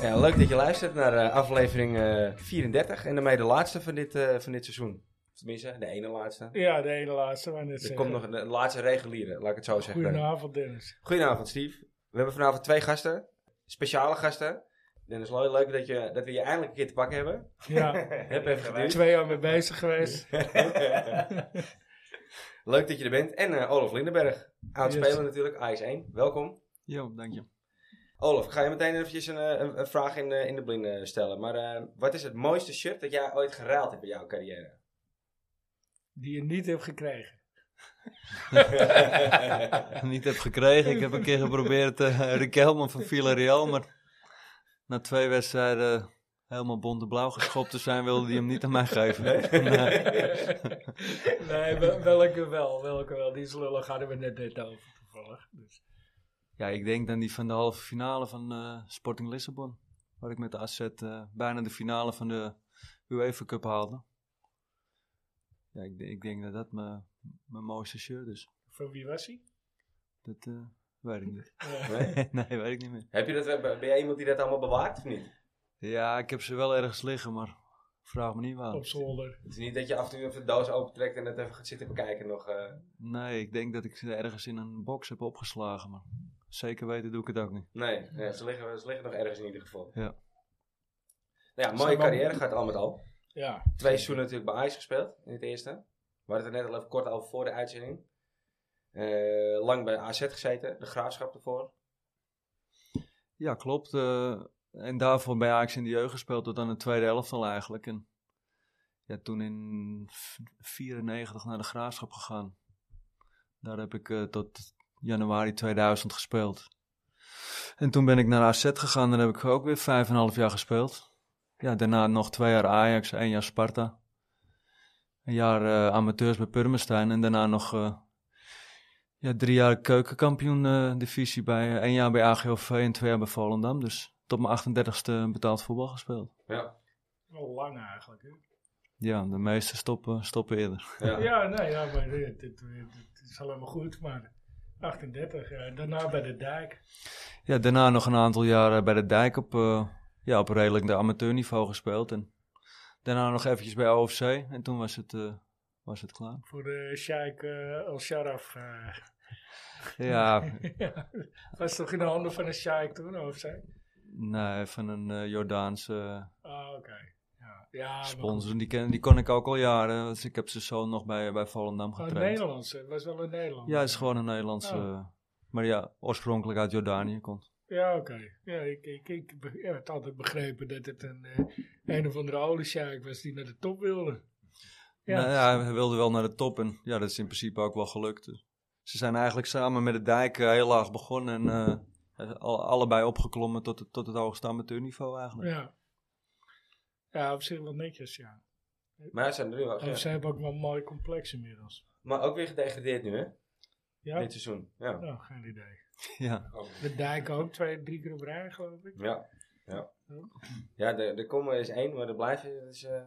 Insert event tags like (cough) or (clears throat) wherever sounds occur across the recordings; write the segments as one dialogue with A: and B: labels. A: Ja, leuk dat je luistert naar eh, aflevering eh, 34 en daarmee de laatste van dit, eh, van dit seizoen. Tenminste, de ene laatste.
B: Ja, de hele laatste. Maar net eh,
A: Er
B: zeggen.
A: komt nog een de laatste reguliere, laat ik het zo zeggen.
B: Goedenavond, Dennis.
A: Goedenavond, Steve. We hebben vanavond twee gasten, speciale gasten. Dennis, Looy, leuk dat, je, dat we je eindelijk een keer te pakken hebben. (laughs)
B: Ja,
A: Heb even geduurd.
B: twee jaar mee bezig geweest.
A: (laughs) leuk dat je er bent. En eh, Olaf Lindenberg, oud
B: Yes.
A: speler natuurlijk, AS1. Welkom.
C: Jo, dank je.
A: Olaf, ik ga je meteen eventjes een, eh, een, een vraag in, eh, in de blind eh, stellen. Maar eh, wat is het mooiste shirt dat jij ooit geraald hebt in jouw carrière?
B: Die je niet hebt
A: (laughs)
B: gekregen.
C: (laughs) Niet heb gekregen. Ik heb een keer geprobeerd eh (laughs) Riquelme van Villarreal, maar na twee wedstrijden helemaal bonte blauw geschopt te zijn, wilde die hem niet aan mij geven. (laughs) eh, Nee.
B: nee, wel- welke wel, welke wel. Die is lullig, hadden we net net over toevallig. Dus.
C: Ja, ik denk aan die van de halve finale van eh, Sporting Lissabon, waar ik met de AZ eh, bijna de finale van de UEFA Cup haalde. Ja, ik, ik denk dat dat mijn mijn mooiste shirt is.
B: Van wie was hij?
C: Dat eh, weet ik niet.
B: Ja.
A: Nee?
C: (laughs) (laughs) nee, weet ik niet meer.
A: (laughs) Heb je dat, eh, ben jij iemand die dat allemaal bewaart of niet?
C: Ja, ik heb ze wel ergens liggen, maar vraag me niet
A: Ah,
C: waar.
B: Op zolder.
A: Het is niet dat je af en toe even de doos opentrekt en het even gaat zitten bekijken nog. eh.
C: Nee, ik denk dat ik ze ergens in een box heb opgeslagen, maar zeker weten doe ik het ook niet.
A: nee, nee, ze, liggen, ze liggen nog ergens in ieder geval.
C: Ja.
A: Nou ja, mooie
B: Zijn we-
A: carrière gaat al met al.
B: Ja,
A: Twee seizoenen natuurlijk bij IJs gespeeld in het eerste. We hadden het er net al even kort over voor de uitzending. Eh, lang bij AZ gezeten, de graafschap ervoor.
C: Ja, klopt. eh, en daarvoor bij Ajax in de jeugd gespeeld tot aan de tweede helft al eigenlijk. En ja, toen in v- 94 naar de Graafschap gegaan. Daar heb ik eh, tot januari 2000 gespeeld. En toen ben ik naar AZ gegaan, daar heb ik ook weer 5,5 jaar gespeeld. Ja, daarna nog twee jaar Ajax, één jaar Sparta. Een jaar eh, amateurs bij Purmerstein en daarna nog eh, Ja, drie jaar keukenkampioen eh, divisie bij eh, één jaar bij AGOV en twee jaar bij Volendam. Dus tot mijn 38ste betaald voetbal gespeeld.
A: Ja,
B: wel lang eigenlijk. Hè?
C: Ja, de meeste stoppen, stoppen eerder.
A: ja.
B: Ja, nee, ja, maar eh, dit, dit, dit is allemaal goed, maar 38. ja. Daarna bij de dijk.
C: Ja, daarna nog een aantal jaren bij de Dijk op, eh, ja, op redelijk de amateurniveau gespeeld. En daarna nog eventjes bij OFC en toen was het, eh, was het klaar.
B: Voor de Sheikh eh El Sharaf. eh. (laughs)
C: Ja,
B: Ja, was toch in de handen van een Sheikh toen, of zij?
C: nee, van een eh, Jordaanse eh,
B: Ah, oké. Ja, ja maar
C: sponsor. Die, ken, die kon ik ook al jaren. Dus ik heb zijn zoon nog bij, bij Volendam
B: goed. Oh,
C: getraind.
B: Nederlands, het was wel een Nederlands.
C: Ja, het is gewoon een Nederlandse.
B: Oh.
C: Maar ja, oorspronkelijk uit Jordanië komt.
B: Ja, oké. Ja, ik, ik, ik be- ja, had altijd begrepen dat het een, eh, een of andere oliesjaak was die naar de top wilde. Ja,
C: Nou ja, hij wilde wel naar de top en ja, dat is in principe ook wel gelukt. Dus Ze zijn eigenlijk samen met de dijk eh, heel laag begonnen en eh, al- allebei opgeklommen tot, het- tot het hoogste amateurniveau eigenlijk.
B: ja. Ja, op zich wel netjes, ja.
A: Maar ja, ze zijn er nu wel.
B: Of
A: ja.
B: ze hebben ook wel een mooi complex inmiddels.
A: Maar ook weer gedegradeerd nu, hè?
B: Ja,
A: Dit seizoen. Ja.
B: nou, geen idee.
C: Ja.
B: De dijk ook, twee, drie keer op rij, geloof ik.
A: Ja, ja.
B: Ja.
A: Ja, de, de komen is één, maar de blijven is, eh,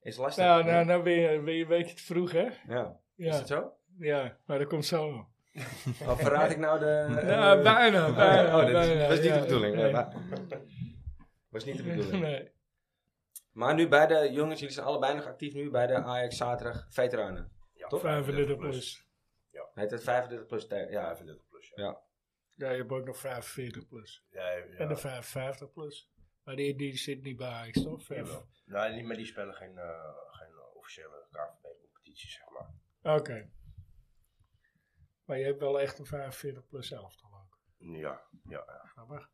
A: is lastig.
B: Nou, nou, nou ben je, ben je een beetje te vroeg, hè?
A: Ja. Is
B: Ja,
A: dat zo?
B: ja maar dat komt zo nog.
A: Of verraad ik nou de...
B: Ja,
A: eh, (laughs)
B: bijna,
A: oh,
B: bijna.
A: oh, dat is-
B: bijna,
A: was niet
B: ja.
A: de bedoeling.
B: Nee.
A: maar- was niet de (laughs) bedoeling.
B: Nee.
A: Maar nu bij de jongens, jullie zijn allebei nog actief nu bij de Ajax zaterdag veteranen. Toch?
B: 35 plus.
A: Heet het 35 plus? tijd? Ja,
D: 35 plus, ja.
B: Ja, je hebt ook nog 45 plus.
D: ja, ja.
B: En de 55 plus. Maar die, die zit niet bij Ajax, toch? Vijf-
D: Jawel. Nou, die, maar die spelen geen, eh, geen officiële KVB-competitie, zeg maar.
B: Oké. Maar je hebt wel echt een 45 plus elftal ook.
D: Ja, ja, ja.
B: Grappig.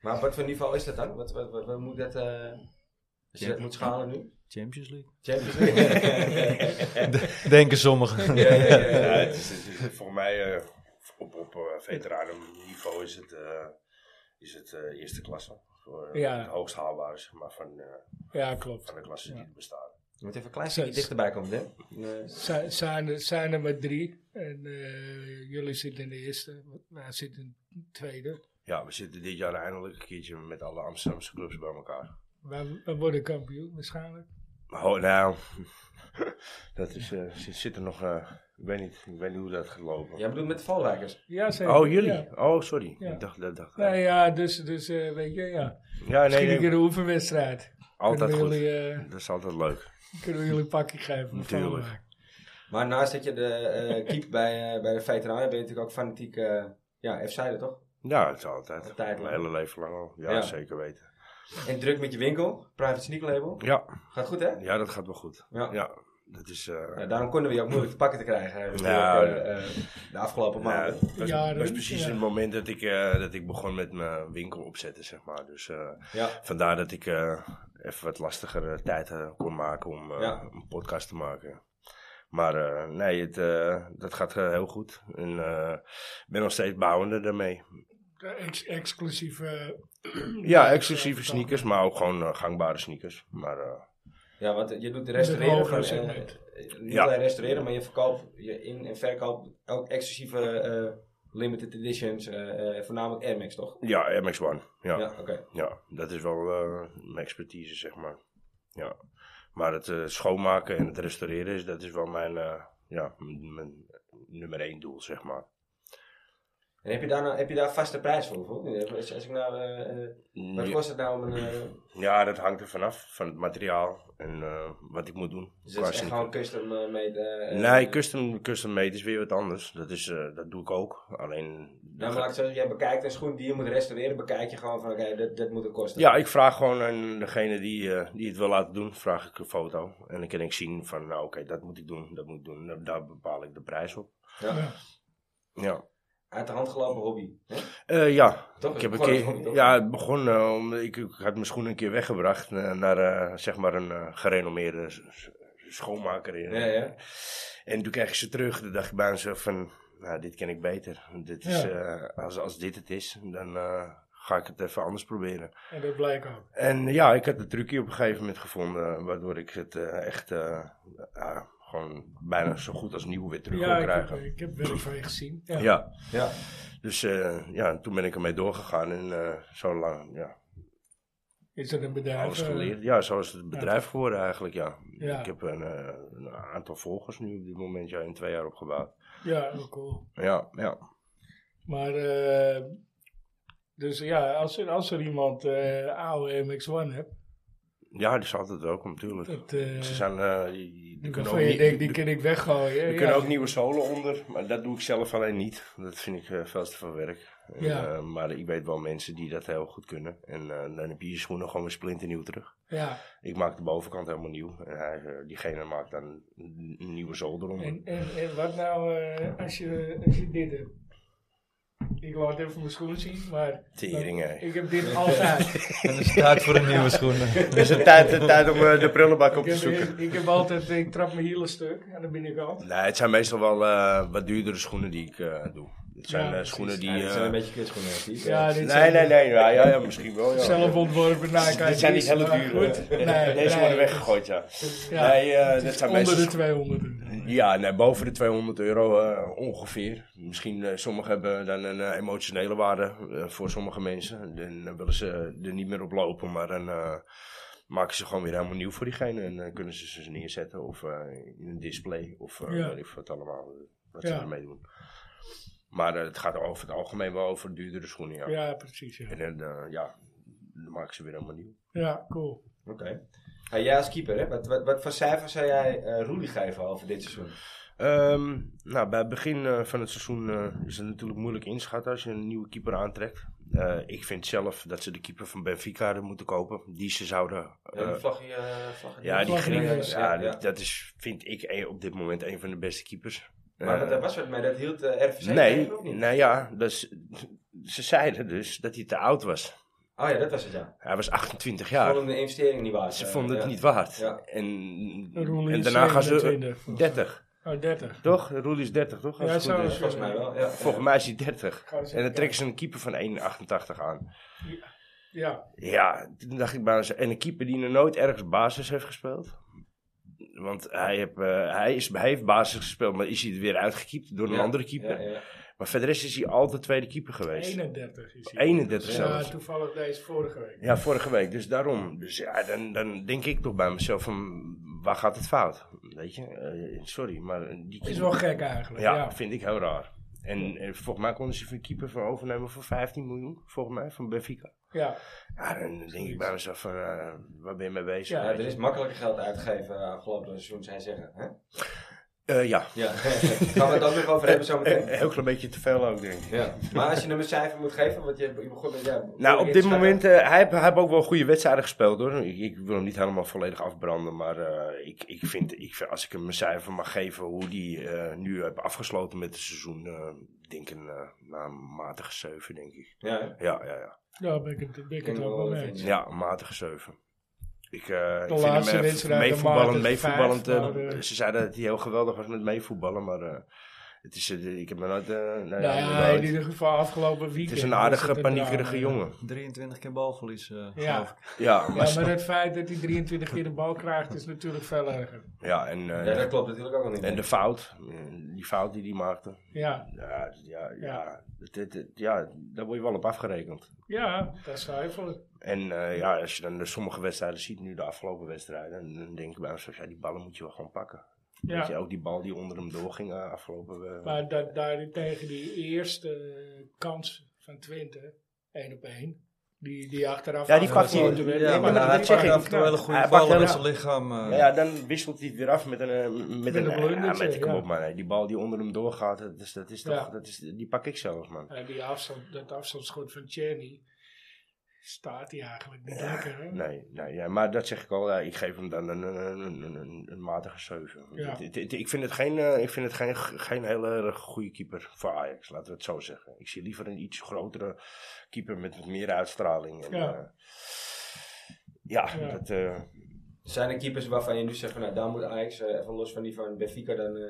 A: Maar op wat voor niveau is dat dan? Wat, wat, wat, wat moet dat... eh als je dat moet schalen nu?
C: Champions (laughs) League.
A: (laughs) Champions League?
C: Denken sommigen.
A: ja, ja, ja, ja.
D: (laughs) Ja, het is, het is- voor mij, eh, op, op eh, veteranenniveau is het, eh, is het eh, eerste klasse. Voor, eh,
B: Ja.
D: Het hoogst haalbare, zeg maar, van, eh,
B: Ja, klopt.
D: van de klassen
B: Ja.
D: die er bestaan.
A: Je moet even een klein stukje dichterbij komen, hè? Nee.
B: Zij- Zijn er, zijn er maar drie. En eh, jullie zitten in de eerste. Wij zitten in de tweede.
D: Ja, we zitten dit jaar eindelijk een keertje met alle Amsterdamse clubs bij elkaar.
B: Wij, wij worden kampioen waarschijnlijk.
D: Oh, nou, (laughs) dat is, eh, zit, zit er nog, eh, ik, weet niet, ik weet niet hoe dat gaat lopen.
A: Jij bedoelt met de valwijkers?
B: Ja, zeker.
D: Oh, jullie?
B: Ja.
D: Oh, sorry.
B: Ja.
D: Ik dacht, dat dacht
B: Nou ja, dus, dus eh, weet je, ja.
D: Ja, nee,
B: Misschien
D: nee,
B: een keer een oefenwedstrijd.
D: altijd
B: kunnen
D: goed.
B: we jullie, eh,
D: Dat is altijd leuk.
B: kunnen we jullie een pakje geven? van
D: Natuurlijk.
B: Valwijk?
A: Maar naast dat je de eh keep bij, eh, bij de veteranen, ben je natuurlijk ook fanatiek eh ja, f toch?
D: Ja, het is altijd.
A: Altijd,
D: Mijn
A: man.
D: hele leven lang al. Ja,
A: Ja.
D: zeker weten.
A: En druk met je winkel, private sneak label.
D: Ja,
A: Gaat goed, hè?
D: ja, dat gaat wel goed.
A: Ja.
D: Ja, dat is... eh,
A: Ja, daarom konden we je ook moeilijk te pakken te krijgen eigenlijk,
D: Ja.
A: eh, eh, de afgelopen
D: nou,
A: maanden.
D: dat was,
B: Jaren,
D: was precies
B: ja.
D: het moment dat ik, eh, dat ik begon met mijn winkel opzetten, zeg maar. Dus eh,
A: Ja.
D: vandaar dat ik eh, even wat lastigere tijd eh, kon maken om eh,
A: Ja.
D: een podcast te maken. Maar eh, nee, het, eh, dat gaat eh, heel goed. En eh, ik ben nog steeds bouwende daarmee.
B: Eh, Ex exclusieve... eh,
D: Ja, exclusieve sneakers, maar ook gewoon eh, gangbare sneakers. Maar eh,
A: ja, want je doet de
B: Het
A: restaureren van...
B: hogere
A: eh,
B: segment.
A: eh, niet
D: Ja.
A: alleen restaureren, maar je verkoopt je in- en verkoopt ook exclusieve eh, limited editions, eh, eh, voornamelijk Air Max, toch?
D: ja, Air Max One. Ja,
A: Ja,
D: ja.
A: oké.
D: dat is wel eh, mijn expertise, zeg maar. Ja. Maar het eh, schoonmaken en het restaureren, is, dat is wel mijn, eh, ja, m- mijn nummer één doel, zeg maar.
A: En heb je daar, nou, heb je daar vaste prijs voor? bijvoorbeeld? Als, als ik nou, eh, eh, wat kost het nou om een... eh,
D: Ja, dat hangt er vanaf, van het materiaal en eh, wat ik moet doen.
A: dus
D: qua
A: dat is echt
D: sneaker.
A: gewoon custom eh, made? eh,
D: Nee,
A: eh,
D: custom, custom made is weer wat anders. Dat, is, eh, dat doe ik ook. Alleen.
A: Ja, nou, maar laat ik zo zeggen, jij bekijkt een schoen die je moet restaureren, bekijk je gewoon van oké, dat, dat moet het kosten.
D: Ja, ik vraag gewoon aan degene die, eh, die het wil laten doen, vraag ik een foto. En dan kan ik zien van, nou oké, dat moet ik doen, dat moet ik doen. Daar- Daar bepaal ik de prijs op.
A: Ja.
B: Ja.
D: Ja,
A: Uit de hand gelopen hobby. hè?
D: Eh, ja.
A: Toch?
D: ik heb een
A: Gewoon een
D: keer,
A: hobby, toch?
D: ja, het begon, eh, om, ik, ik had mijn schoenen een keer weggebracht eh, naar eh, zeg maar een eh, gerenommeerde s- s- schoonmaker. in.
A: Ja, ja.
D: En toen kreeg ik ze terug, toen dacht ik bij mezelf van, nou dit ken ik beter. Dit is,
B: Ja.
D: eh, als, als dit het is, dan eh, ga ik het even anders proberen.
B: En dat blijkt ook.
D: En eh, ja, ik had een trucje op een gegeven moment gevonden, waardoor ik het eh, echt eh, ja, gewoon bijna zo goed als nieuw weer terug
B: Ja,
D: kon
B: ik heb,
D: krijgen.
B: ik heb werk van je gezien. Ja.
D: ja.
A: Ja.
D: dus eh, ja, toen ben ik ermee doorgegaan en eh, zo lang, ja,
B: Is dat een bedrijf?
D: alles
B: eh,
D: geleerd. Ja, zo is het bedrijf geworden eigenlijk, ja.
B: Ja.
D: Ik heb een, eh, een aantal volgers nu op dit moment, ja, in twee jaar opgebouwd.
B: Ja, ook cool.
D: Ja, ja.
B: Maar, eh, dus ja, als er, als er iemand eh oude MX-1 hebt,
D: Ja, die is altijd welkom, natuurlijk.
B: dat, eh
D: Ze zijn, eh, die, die
B: die
D: kunnen
B: waarvan je
D: ook niet...
B: denkt, die kan ik weggooien.
D: Er
B: ja.
D: kunnen ook nieuwe zolen onder, maar dat doe ik zelf alleen niet. Dat vind ik eh, veel te veel werk. En,
B: Ja.
D: eh, maar ik weet wel mensen die dat heel goed kunnen. En eh, dan heb je je schoenen gewoon weer splinternieuw terug.
B: Ja,
D: Ik maak de bovenkant helemaal nieuw. En hij, eh, diegene maakt dan een een nieuwe zool eronder.
B: en, en, en wat nou eh, als, je, als je dit hebt? Ik laat even mijn schoen zien, maar
D: Tering, hè.
B: ik heb dit altijd.
E: En is het tijd voor een nieuwe schoenen.
D: Dus Het is een tijd, een tijd om eh, de prullenbak op
B: ik,
D: te
B: heb,
D: zoeken.
B: ik, ik heb altijd, ik trap mijn hielen stuk aan de binnenkant.
D: Nee, het zijn meestal wel eh, wat duurdere schoenen die ik eh, doe. Het zijn
B: Ja,
D: eh,
B: precies.
D: schoenen die...
A: Ja, dit zijn
D: eh,
A: een beetje kutschoenen. zie ik.
B: Ja, dit
D: nee,
B: zijn-
D: nee, nee. Ja, ja, ja, misschien wel. Ja.
B: Zelf ontworpen Nou, Nike.
D: Dit zijn niet hele
B: maar
D: dure.
B: goed.
D: Deze
B: Nee, nee.
D: worden weggegooid, ja.
B: Ja,
D: Nee, eh, dit zijn
B: onder
D: meestal
B: de 200.
D: Ja, nee, boven de 200 euro eh, ongeveer. Misschien eh, sommigen hebben dan een eh, emotionele waarde eh, voor sommige mensen. Dan eh, willen ze er niet meer op lopen, maar dan eh, maken ze gewoon weer helemaal nieuw voor diegene. En dan kunnen ze ze neerzetten of eh, in een display of eh,
B: Ja.
D: weet ik wat allemaal. eh, Wat
B: Ja.
D: ze ermee doen. Maar eh, het gaat over het algemeen wel over duurdere schoenen, ja.
B: Ja, precies. Ja,
D: En dan, eh, ja, dan maken ze weer helemaal nieuw.
B: ja cool.
A: Oké. Nou, jij als keeper, hè? Wat, wat, wat voor cijfers zou jij eh Roelie geven over dit seizoen?
D: Ehm, nou, bij het begin eh, van het seizoen eh, is het natuurlijk moeilijk inschatten als je een nieuwe keeper aantrekt. Eh, ik vind zelf dat ze de keeper van Benfica hadden moeten kopen. Die ze zouden.
A: Ja, die
D: eh,
A: vlag hier, eh, vlag hier.
D: ja, die
B: vlag-
D: Grieken.
A: ja,
D: Ja,
A: ja.
D: dat- Dat is, vind ik, eh, op dit moment een van de beste keepers.
A: Maar dat,
D: Eh,
A: dat was wat mee, dat hield eh RVC
D: nee,
A: tegen, of niet?
D: nou ja, dus, ze zeiden dus dat hij te oud was.
A: Oh ja, dat was het, ja.
D: Hij was 28
A: Ze
D: jaar.
A: vonden de investering niet waard.
D: Ze
A: eh,
D: vonden het
A: ja.
D: niet waard.
A: Ja.
D: En,
B: Roelie
D: en
B: is
D: daarna gaan ze
B: 27 volgens mij.
D: 30,
B: Oh, 30.
D: toch? Roel is 30, toch? Als
B: Ja,
D: het goed
B: zo
D: is.
A: Ja, dus Volgens mij wel, ja.
D: Volgens mij is hij 30.
B: Gaan ze
D: En dan
B: even
D: trekken ze een keeper van 1,88 aan.
B: Ja,
D: Ja, toen dacht ik bijna zo. En een keeper die nog nooit ergens basis heeft gespeeld. Want hij, heb, eh, hij, is, hij heeft basis gespeeld, maar is hij er weer uitgekiept door een
A: Ja,
D: andere keeper.
A: Ja, ja.
D: Maar verder is hij altijd tweede keeper geweest.
B: 31 is hij.
D: 31
B: Ja,
D: zelfs.
B: toevallig deze vorige week.
D: Ja, vorige week. Dus daarom. Dus ja, dan, dan denk ik toch bij mezelf van, waar gaat het fout? Weet je, eh, sorry, maar die
B: Is wel gek eigenlijk.
D: Ja,
B: Ja,
D: vind ik heel raar. En eh, volgens mij konden ze een keeper van overnemen voor 15 miljoen, volgens mij, van Benfica.
B: ja.
D: Ja, dan denk ik bij mezelf van, eh, waar ben je mee bezig?
B: Ja,
A: Ja,
D: weet
A: er
D: je?
A: is makkelijker geld uitgeven eh, afgelopen seizoen, zij zeggen. Hè?
D: Eh, ja. Eh,
A: Ja. (laughs) Gaan we het ook nog over hebben
D: Een
A: zometeen?
D: (laughs) heel klein beetje te veel ook, denk ik.
A: Ja. Maar als je hem een cijfer moet geven, want je, je begon met... Ja,
D: Nou, op dit moment, eh, hij, heeft- hij heeft ook wel goede wedstrijden gespeeld hoor. Ik, ik wil hem niet helemaal volledig afbranden, maar eh, ik, ik, vind, ik vind, als ik hem een cijfer mag geven hoe die eh, nu heeft afgesloten met het seizoen, eh, ik denk een eh, nou, een matige 7, denk ik.
A: Ja, hè?
D: Ja, ja, ja.
B: daar ben ik het, ben ik het
A: Ken
B: ook
A: wel
B: wel
A: de
B: mee
A: vrienden.
B: eens.
D: Ja, een matige 7. Ik, eh ik vind
B: laatste
D: hem eh,
B: wedstrijd, een
D: meevoetballend,
B: matige
D: meevoetballend.
B: vijf,
D: eh,
B: maar, eh,
D: ze zeiden dat hij heel geweldig was met meevoetballen, maar eh, het is, eh, ik heb me nooit... eh, nou ja,
B: Nou ja,
D: nooit-
B: in ieder geval afgelopen weekend.
D: het is een
B: was
D: aardige,
B: het drama,
D: paniekerige
B: ja.
D: jongen.
E: 23 keer balverlies, eh
B: Ja.
E: geloof ik.
D: Ja, maar...
B: Ja, maar het feit dat hij 23 keer de bal krijgt is natuurlijk veel erger.
D: Ja, en, eh,
A: Ja, dat klopt natuurlijk ook al niet.
D: En de fout, eh, die fout die die maakte.
B: Ja,
D: Ja, ja, ja,
B: Ja.
D: Het- het- het- ja daar word je wel op afgerekend.
B: ja dat is zuiver.
D: En eh, ja, als je dan de sommige wedstrijden ziet, nu de afgelopen wedstrijden, dan denk ik bij mezelf, ja, die ballen moet je wel gewoon pakken. Weet je,
B: Ja.
D: ook die bal die onder hem doorging eh, afgelopen... eh,
B: Maar dat, daar tegen die eerste kans van Twente, één op één, die, die achteraf...
D: Ja, die
B: afgepakt
D: pakt hij
B: wordt.
D: in de-
B: Nee,
D: ja,
B: maar
D: maar
B: dat
D: hij
B: is
D: pakt
B: echt
D: af
E: af
B: niet
E: en toe hele
B: knap.
E: goede
D: Hij pakt
E: ballen met
D: heel-
E: zijn lichaam. eh.
D: Maar Nou ja, dan wisselt hij het weer af met een... eh, Met,
B: een
D: eh,
B: blundertje,
D: ja, met, kom
B: ja.
D: op man, hè. die bal die onder hem doorgaat, dat is, dat is toch...
B: Ja.
D: Dat is, die pak ik zelf man.
B: Ja, die afstand, dat afstandsschot van Tjerni staat hij eigenlijk niet lekker, hè?
D: Nee, nee ja, maar dat zeg ik al. ja, ik geef hem dan een, een, een, een- een, een matige 7.
B: Ja.
D: Het- het- het- ik vind het, geen, eh, ik vind het geen, geen hele erg goede keeper voor Ajax, laten we het zo zeggen. Ik zie liever een iets grotere keeper met wat meer uitstraling. En,
B: Ja.
D: ja. ja,
B: Ja.
D: dat... eh,
A: Zijn er keepers waarvan je nu zegt, van, nou, daar moet Ajax, eh, even los van die van Benfica, dan... eh,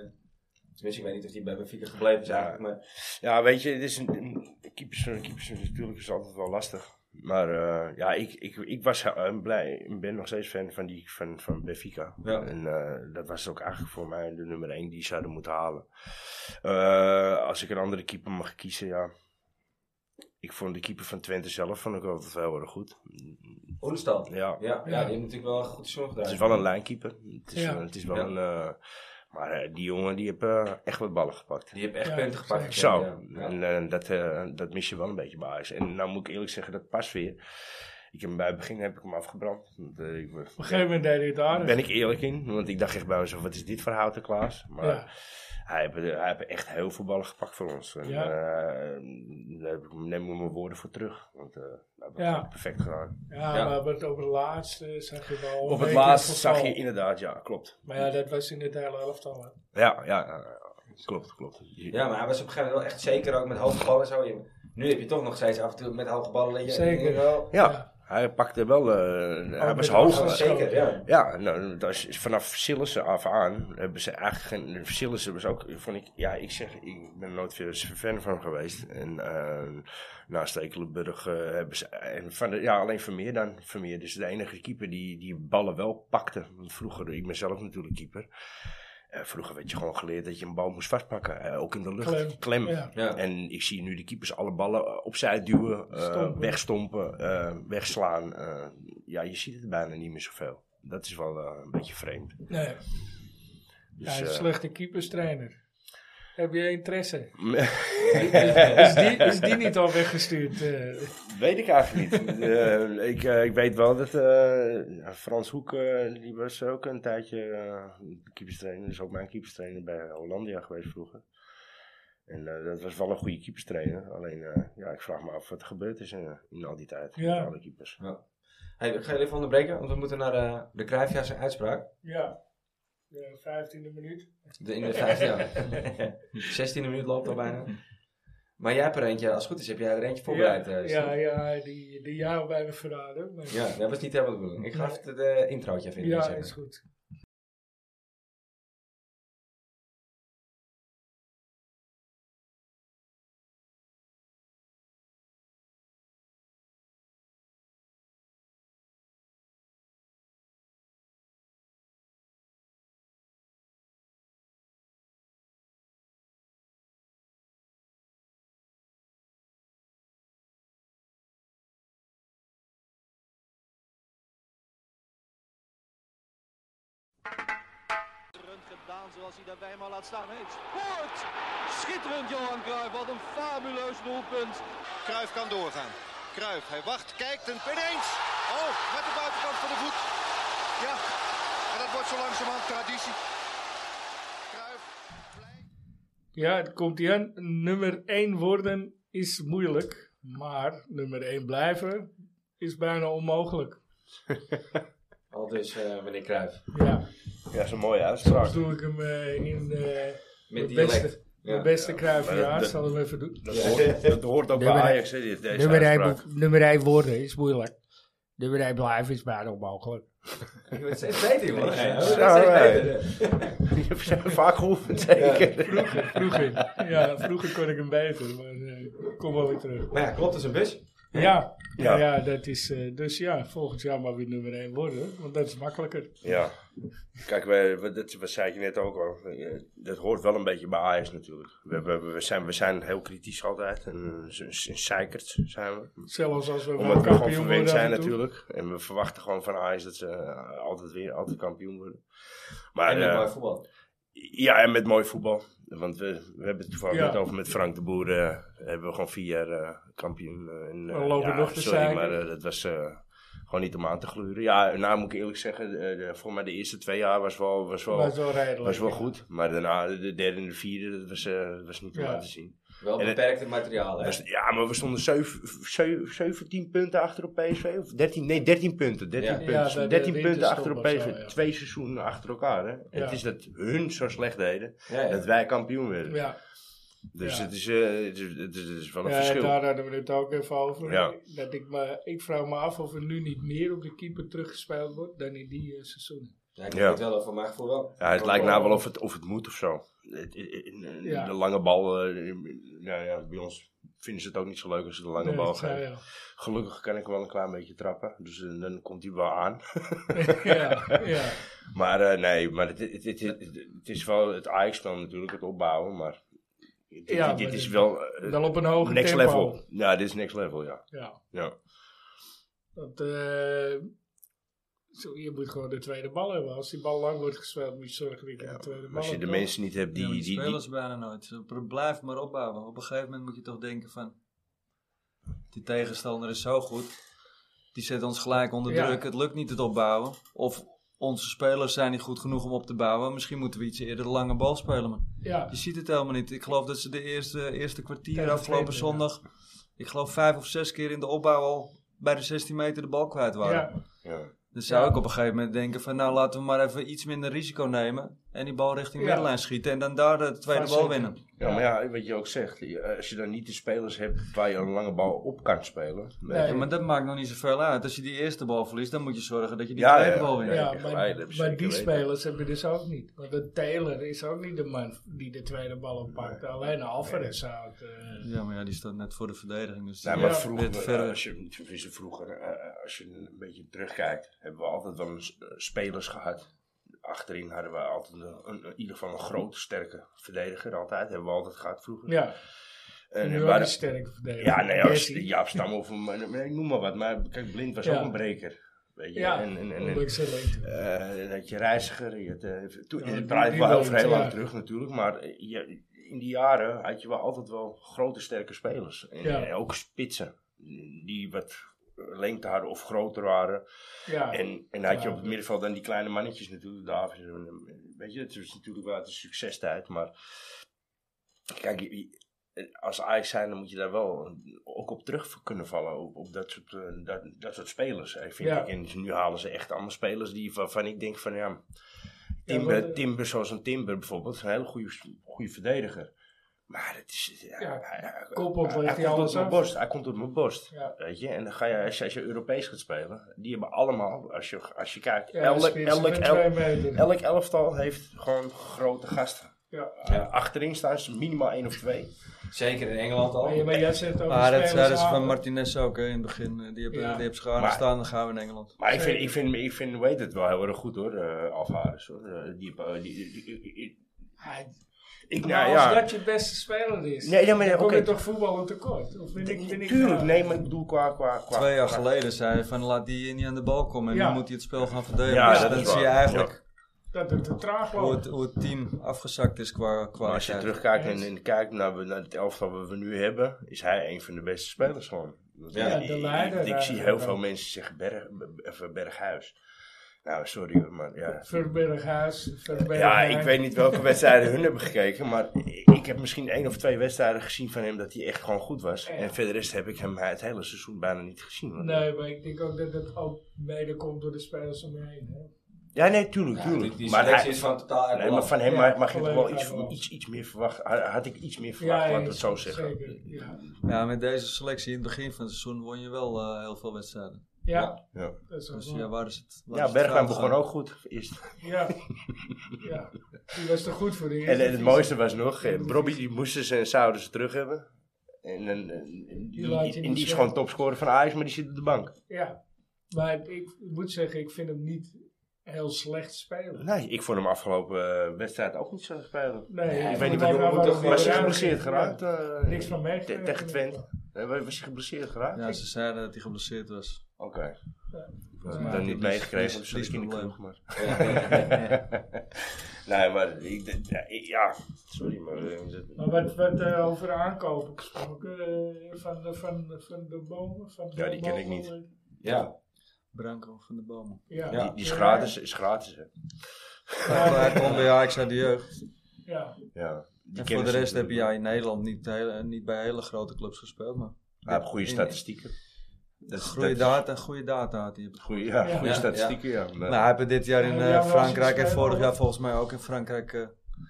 A: tenminste, ik weet niet of die bij Benfica gebleven is
D: Ja.
A: eigenlijk, maar...
D: Ja, weet je, het is een, een- keepers, keepers is natuurlijk is altijd wel lastig. Maar eh, ja, ik, ik, ik was eh, blij. Ik ben nog steeds fan van, die, van, van Benfica.
A: Ja.
D: En eh, dat was ook eigenlijk voor mij de nummer 1 die ze hadden moeten halen. Eh, als ik een andere keeper mag kiezen, ja. Ik vond de keeper van Twente zelf vond ik altijd heel erg goed.
A: Oenstal. Ja.
D: Ja,
A: Ja,
B: Ja.
A: die heeft natuurlijk wel een goed seizoen gedaan.
D: het is wel een lijnkeeper. Het is,
B: Ja.
D: het is wel
A: Ja.
D: een... eh, maar eh, die jongen die heeft eh, echt wat ballen gepakt.
A: Die heeft echt
B: Ja,
A: punten gepakt.
D: Zo,
A: Ja.
D: en eh, dat, eh, dat mis je wel een beetje bij Ajax. En nou moet ik eerlijk zeggen, dat pas weer. Ik heb hem bij het begin heb ik hem afgebrand. Want, eh, ik,
B: Op een gegeven moment deed hij het
D: daar
B: aardig.
D: ben ik eerlijk in, want ik dacht echt bij mezelf, wat is dit voor houten Klaas? Maar
B: Ja.
D: hij heeft eh, hij heeft echt heel veel ballen gepakt voor ons. En,
B: Ja.
D: eh, daar heb ik- neem ik mijn woorden voor terug, want eh dat heb ik
B: Ja.
D: gewoon perfect gedaan.
B: Ja,
A: Ja.
B: maar op het, op het laatst eh, zag je wel...
D: Op
B: een
D: het
B: beetje
D: laatst
B: verval.
D: zag je inderdaad, ja, klopt.
B: Maar ja, dat was in het hele elftal. hè.
D: Ja, ja, ja, ja, klopt, klopt.
A: Ja, maar hij was op een gegeven moment wel echt zeker ook met hoge ballen en zo. Je- Nu heb je toch nog steeds af en toe met hoge ballen. dat je-
B: Zeker.
A: Wel,
D: Ja, hij pakte wel, eh, hij
B: Oh, met
D: was
B: de
D: hoog.
B: afstand.
A: wel zeker, ja.
D: Ja, nou, dat is, vanaf Sillissen af aan hebben ze eigenlijk geen... Sillissen was ook, vond ik... Ja, ik zeg, ik ben er nooit veel fan van geweest. En eh, naast Stekelenburg eh, hebben ze... En van de, ja, alleen Vermeer dan. Vermeer is de enige keeper die, die ballen wel pakte. Want vroeger, ik ben zelf natuurlijk keeper. Eh, vroeger werd je gewoon geleerd dat je een bal moest vastpakken. eh, ook in de lucht.
B: Klem.
D: Klem.
B: Ja.
A: Ja.
D: En ik zie nu de keepers alle ballen eh, opzij duwen, eh,
B: Stompen.
D: wegstompen, eh, wegslaan. eh. ja, je ziet het bijna niet meer zoveel. Dat is wel eh, een beetje vreemd.
B: Nee,
D: Dus,
B: hij is een
D: eh,
B: slechte keeperstrainer. Heb
A: (laughs)
B: je interesse? Is
A: Ja.
B: die, is die niet al weggestuurd? eh?
D: weet ik eigenlijk niet. (laughs) Eh, ik, eh, ik weet wel dat eh, Frans Hoek, eh, die was ook een tijdje eh keeperstrainer. is ook mijn keeperstrainer bij Hollandia geweest vroeger. En eh, dat was wel een goede keeperstrainer. Alleen, eh, ja, ik vraag me af wat er gebeurd is eh, in al die tijd.
B: Ja.
D: Met alle keepers.
A: Hey, ik ga jullie even onderbreken, want we moeten naar eh, de Cruijffjaar zijn uitspraak.
B: ja, de 15e minuut.
A: De, in de vijfde jaar.
D: (laughs)
A: 16e minuut loopt al bijna. Maar jij hebt er eentje, als het goed is, heb jij er eentje voorbereid.
B: Ja,
A: eh,
B: ja,
A: Steve.
B: ja, die, die jou bij me verraden. maar-
A: ja, dat was niet helemaal de bedoeling. Ik ga even het eh, introotje even in.
B: ja
A: zeggen.
B: is goed.
F: gedaan zoals hij dat bij hem al laat staan heeft. Scoort! Schitterend Johan Cruijff, wat een fabuleus doelpunt.
G: Kruif kan doorgaan. Kruif, hij wacht, kijkt en ineens. Oh, met de buitenkant van de voet. Ja, en dat wordt zo langzamerhand traditie. Kruif.
B: Ja, het komt hier aan. Nummer 1 worden is moeilijk, maar nummer 1 blijven is bijna onmogelijk.
A: Al dus eh, meneer Cruijff.
B: Ja,
D: Ja, dat is een mooie uitspraak.
B: soms doe ik hem eh, in de,
A: Met
B: de
A: dialect.
B: beste, (laughs)
A: Ja.
B: de beste
D: maar
B: kruivenjaar.
D: dat-
B: Zal hem even doen.
D: Dat hoort, dat hoort ook bij
B: Nummer-
D: Ajax, hè, dit- deze
B: Nummer 1,
D: uitspraak.
B: worden is moeilijk. Nummer 1 blijven is bijna onmogelijk.
A: Ik word steeds beter, jongen.
D: Ja,
A: Ja, steeds beter.
D: Die heb je (laughs) vaak geoefend, zeker.
B: Vroeger,
D: (laughs)
B: vroeger. Ja, vroeger kon ik hem beter, maar eh, ik kom wel weer terug.
A: Maar ja, klopt, dat is een bus.
B: Ja, ja.
D: Ja.
B: ja dat is, eh, dus ja, volgend jaar maar weer nummer 1 worden, want dat is makkelijker.
D: Ja. Kijk, we, we, dat, we zei je net ook al. eh, Dat hoort wel een beetje bij Ajax natuurlijk. We, we, we, zijn, we zijn heel kritisch altijd. En eh, z- z- zeikerd zijn we.
B: Zelfs als we wel
D: Omdat we gewoon
B: kampioen worden
D: verwend
B: af
D: zijn
B: en toe.
D: natuurlijk. En we verwachten gewoon van Ajax dat ze eh, altijd weer altijd kampioen worden. Maar,
A: En met
D: eh,
A: mooi voetbal.
D: Ja, en met mooi voetbal. Want we, we hebben het toevallig
B: Ja.
D: net over met Frank de Boer. eh, hebben we gewoon vier jaar eh, kampioen. eh, en, eh,
B: We lopen
D: ja,
B: nog te
D: Sorry,
B: zeiken.
D: maar eh, dat was eh, gewoon niet om aan te gluren. Ja, nou moet ik eerlijk zeggen, eh, de- voor mij de eerste twee jaar was wel, was wel,
B: Maar
D: was
B: zo redelijk.
D: wel goed. Maar daarna de derde en de vierde, dat was, eh, was niet om
B: Ja.
D: aan te zien.
A: Wel
D: en het-
A: beperkte materiaal, hè.
D: Was- ja, maar we stonden zeven- zeven- 17 punten achter op PSV. Of 13, nee, 13 punten. 13
A: Ja.
D: punten,
B: Ja, de- de-
D: 13
B: de
D: punten
B: winterstop
D: achter op
B: of
D: PSV.
B: zo, ja.
D: Twee seizoenen achter elkaar. Hè? En
B: Ja.
D: Het is dat hun zo slecht deden.
A: Ja, ja.
D: Dat wij kampioen werden.
B: Ja,
D: Dus
B: Ja.
D: het, is, eh, het, is, het, is, het is wel een
B: Ja,
D: verschil.
B: daar hadden we het ook even over.
D: Ja.
B: Dat ik, me, ik vraag me af of er nu niet meer op de keeper teruggespeeld wordt dan in die eh, seizoenen.
A: Ja, ik
D: Ja.
A: weet wel, voor mijn gevoel wel.
D: Ja, het lijkt nou wel of het, of het moet of zo. Het- eh, eh, eh,
B: Oh. Ja.
D: De lange bal, eh, nou ja, bij ons vinden ze het ook niet zo leuk als ze de lange
B: Nee,
D: bal
B: dat
D: geven.
B: zei je al.
D: Gelukkig kan ik wel een klein beetje trappen, dus eh, dan komt hij wel aan.
B: ja,
D: (laughs)
B: ja.
D: Maar eh, nee, maar het, het, het, het- het is wel het Ajax-spel natuurlijk, het opbouwen, maar dit,
B: Ja,
D: dit- dit
B: maar
D: is
B: dit-
D: wel eh,
B: Dan op een hoger
D: next
B: tempo.
D: level. Ja, dit is next level, ja.
B: Ja.
D: ja.
B: Want, eh, zo, je moet gewoon de tweede bal hebben. Als die bal lang wordt gespeeld, moet je zorgen dat je de tweede bal
D: Als je de
B: hebt.
D: mensen niet hebt die...
E: Die,
D: die, die-
E: spelen ze bijna nooit. Ze pro- Blijf maar opbouwen. Op een gegeven moment moet je toch denken van... Die tegenstander is zo goed. Die zet ons gelijk onder
B: Ja.
E: druk. Het lukt niet het opbouwen. Of onze spelers zijn niet goed genoeg om op te bouwen. Misschien moeten we iets eerder de lange bal spelen. Maar
B: Ja,
E: je ziet het helemaal niet. Ik geloof dat ze de eerste, eerste kwartier
B: Tegen
E: afgelopen
B: Twente, ja.
E: zondag... Ik geloof vijf of zes keer in de opbouw al bij de 16 meter de bal kwijt waren.
B: ja,
D: ja.
E: Dan zou
B: Ja.
E: ik op een gegeven moment denken van nou laten we maar even iets minder risico nemen. En die bal richting
B: Ja.
E: middenlijn schieten en dan daar de tweede
B: Vastzetten.
E: bal winnen.
D: Ja, maar ja, wat je ook zegt, je- als je dan niet de spelers hebt waar je een lange bal op kan spelen.
B: Nee.
E: Ja, maar dat maakt nog niet zoveel uit. Als je die eerste bal verliest, dan moet je zorgen dat je die
D: Ja,
E: tweede
D: ja,
E: bal wint.
D: ja.
B: ja,
D: ik
B: maar,
D: gelijk, dat heb je
B: maar
D: zeker
B: die
D: weten.
B: spelers heb je dus ook niet. Want de Taylor is ook niet de man die de tweede bal oppakt. Alleen Alvarez zou het... eh,
E: Ja, maar ja, die staat net voor de verdediging. Dus
D: Nee,
E: ja,
D: maar
B: Ja.
E: Dit
D: vroeger, eh,
E: verder.
D: als je, tenminste vroeger, eh, als je een beetje terugkijkt, hebben we altijd wel eens eh, spelers gehad. Achterin hadden we altijd een, een- in ieder geval een grote, sterke verdediger. Altijd, hebben we altijd gehad vroeger.
B: ja,
D: En
B: nu
D: we
B: ook een
D: hadden-
B: sterke verdediger.
D: ja, nee, als
B: Bessie.
D: Jaap Stam of een- nee, noem maar wat. Maar kijk, Blind was
B: Ja.
D: ook een breker. Weet je?
B: Ja,
D: en, en, en,
B: omdat ik ze leuk vind.
D: Eh, en dat je reiziger, je had, eh, toen,
B: Ja,
D: en
B: die-
D: het draait
B: die
D: wel heel
B: wel,
D: vrij
B: ja.
D: lang terug natuurlijk, maar eh, je, in die jaren had je wel altijd wel grote sterke spelers. En,
B: Ja.
D: en ook spitsen, die wat lengte hadden of groter waren.
B: Ja,
D: En, en had je
B: Ja.
D: op het middenveld dan die kleine mannetjes natuurlijk, Davids. en, en, Weet je, het is natuurlijk wel uit de succestijd, maar kijk, je- je- als Ajax zijn, dan moet je daar wel ook op terug kunnen vallen, op, op dat, soort, eh, dat, dat soort spelers. eh, Vind
B: Ja.
D: ik. En nu halen ze echt allemaal spelers die, waarvan ik denk van, ja,
B: Ja,
D: Timber,
B: want, eh,
D: Timber zoals een Timber bijvoorbeeld, is een hele goede, goede verdediger. Maar het is... eh,
B: Ja,
D: hij- hij-
B: koppelt
D: hij-
B: ligt hij
D: hij komt
B: alles
D: op mijn
B: af.
D: borst. Hij komt op mijn borst.
B: Ja.
D: Weet je, en dan ga je, als je, als je Europees gaat spelen, die hebben allemaal, als je, als je kijkt,
B: ja,
D: elk,
B: spitsen
D: elk,
B: van
D: elk,
B: twee meter.
D: elk elftal heeft gewoon grote gasten. Eh,
B: Ja.
A: Ja.
D: Achterin staan ze minimaal één of twee.
A: Zeker in Engeland al.
B: Maar, je- maar jij zegt over
E: Maar dat zeiden
B: spelers
E: ze van
B: halen.
E: Martinez ook hè, in het begin. Eh, Die hebben,
B: Ja.
E: die hebben schade
D: Maar-
E: staan, dan gaan we in Engeland.
D: Maar ik vind,
B: Zeker.
D: ik vind, ik vind weet het wel heel erg goed hoor, eh Alvarez hoor. Eh, die, eh, die, die- die- die-
B: Hij-
D: ik,
B: maar
D: nou
B: als
D: ja.
B: dat je beste speler is,
D: Nee, nee, maar
B: dan
D: nee,
B: kom
D: oké.
B: je toch voetbal een tekort? Of vind ik, eh, vind ik
D: Tuurlijk,
B: raar?
D: nee, maar ik bedoel qua, qua, qua
E: Twee jaar
D: qua-
E: geleden zei hij van laat die niet aan de bal komen. En
B: Ja.
E: dan moet hij het spel gaan verdedigen.
D: Ja,
E: Dus
D: dat
E: dan
D: is
E: zie je
D: waar.
E: eigenlijk
B: Dat het te traag
C: Hoe het,
B: loopt.
C: hoe het team afgezakt is qua, qua
D: Maar als je
C: tijd.
D: terugkijkt en, en kijkt naar, we- naar het elftal wat we nu hebben, is hij een van de beste spelers gewoon. Want
A: Ja,
D: ik-
B: de
D: ik-
B: leider eh,
D: Ik, zie
B: eigenlijk
D: heel
B: wel.
D: veel mensen zeggen berg, even Berghuis. Nou, sorry hoor, maar ja.
B: Verberghuis,
D: Ja,
B: Verberghuis.
D: ik weet niet welke
B: (laughs)
D: wedstrijden hun hebben gekeken, maar ik- ik heb misschien één of twee wedstrijden gezien van hem dat hij echt gewoon goed was.
B: Ja.
D: En verder rest heb ik hem het hele seizoen bijna niet gezien. Want-
B: Nee, maar ik denk ook dat het ook mede komt door de spelers om je heen. Hè?
D: Ja, nee, tuurlijk,
A: Ja,
D: tuurlijk.
A: die, die
D: maar,
A: selectie
D: hij-
A: is van totaal uit
D: nee, maar
A: balans.
D: van hem
B: Ja,
D: mag- mag je toch
B: volledig
D: wel
B: uit
D: iets,
B: balans.
D: iets, iets meer verwachten. Had had ik iets meer verwacht, laat ik het zo zeggen.
B: Zeker, ja.
C: Ja, met deze selectie in het begin van het seizoen won je wel eh, heel veel wedstrijden.
B: Ja,
D: Ja.
B: dat is ook
C: Dus
B: waar.
C: ja, waar is het? waar is
D: Ja,
C: het
D: Bergwijn
C: fout
D: begon
C: gegaan?
D: ook goed. Eerst.
B: Ja. ja, die was er goed voor de
D: En,
B: eerste.
D: en het mooiste was nog, eh,
B: Ja,
D: Bobby die moesten ze en zouden ze terug hebben. En, en, en- en
B: Die
D: die,
B: laat je
D: en
B: niet
D: die is
B: zeggen.
D: gewoon topscorer van Ajax, maar die zit op de bank.
B: Ja, maar ik moet zeggen, ik vind hem niet heel slecht spelen.
D: Nee, ik vond hem afgelopen eh, wedstrijd ook niet zo spelen.
B: Nee, ik
D: ik
B: vond
D: weet niet
B: hem ook
D: wat jongen
B: wel
D: moet toch
B: weer
D: was hij
B: eruit.
D: geblesseerd
B: Ja.
D: geraakt. eh,
B: Niks van
D: te-
B: meegekregen.
D: tegen Twente. Eh, wa- Was hij geblesseerd geraakt?
C: Ja, ze zeiden dat hij geblesseerd was. Dus
D: Oké.
B: Ja.
D: Dat
B: maar-
D: heb ik niet
C: Die is-
D: meegekregen,
C: die is-
D: misschien
C: die is
D: in de
C: probleem.
D: kroeg, maar... (laughs) nee, maar... Ik, d- ja, ik- ja, sorry, maar... eh, dat-
B: Maar wat, wat eh, over aankopen gesproken, eh, van, de, van, van de bomen? Van
D: Ja, die ken ik niet.
A: Ja,
C: Branko van de Bomen.
B: eh, Ja.
A: Ja,
D: Die, die is gratis, is gratis, hè.
C: Hij kwam bij Ajax uit de jeugd.
B: Ja,
D: Ja, die
C: En voor
D: kennen
C: de
D: ze
C: rest heb
D: natuurlijk.
C: jij in Nederland niet, heel- niet bij hele grote clubs gespeeld. Maar
D: Hij heeft goede
C: In-
D: statistieken. Dat is-
C: goede
D: dat-
C: data, goede data had hij.
D: Goeie, ja,
B: Ja.
D: goede
A: Ja,
D: statistieken, ja. Maar-
C: Nou, hij heeft het dit jaar in
B: Ja,
C: eh,
B: ja, maar als je
C: Frankrijk en
B: speelt-
C: vorig jaar volgens mij ook in Frankrijk. eh,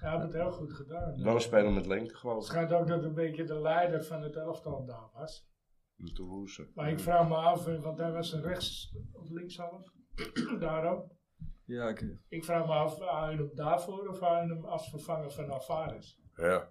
B: hij heeft het heel goed gedaan.
D: Wel een speler met lengte, geloof
B: Het
D: ik.
B: schijnt ook dat een beetje de leider van het elftal daar was.
D: Om te roezen.
B: Maar ik vraag me af, eh, want hij was een rechts- of linkshalf, (clears throat) daarom.
C: ja, ik-
B: Ik vraag me af, haal je hem daarvoor of haal je hem als vervanger van Alvarez?
D: Ja.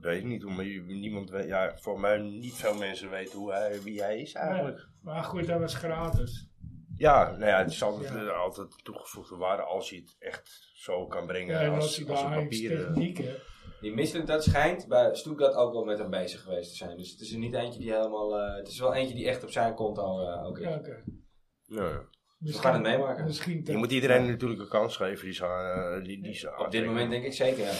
D: Weet ik niet, omdat je- niemand weet, ja, voor mij niet veel mensen weten hoe hij, wie hij is eigenlijk.
B: Maar goed, dat was gratis.
D: Ja, nou ja, het is altijd,
B: Ja.
D: eh, altijd toegevoegde waarde als je het echt zo kan brengen
B: en als
D: als,
B: hij
D: als,
B: de
D: een
B: Ajax
D: papier. eh.
B: techniek hebt.
A: die misselijk dat schijnt bij Stuttgart ook wel met hem bezig geweest te zijn. Dus het is er niet eentje die helemaal... eh, het is wel eentje die echt op zijn konto eh ook is.
B: Ja, oké.
D: Nou ja.
B: Misschien-
A: gaan het meemaken.
B: Misschien
D: Je moet iedereen natuurlijk een kans geven die ze, eh, die, die ze
A: Op dit moment denk ik zeker, ja.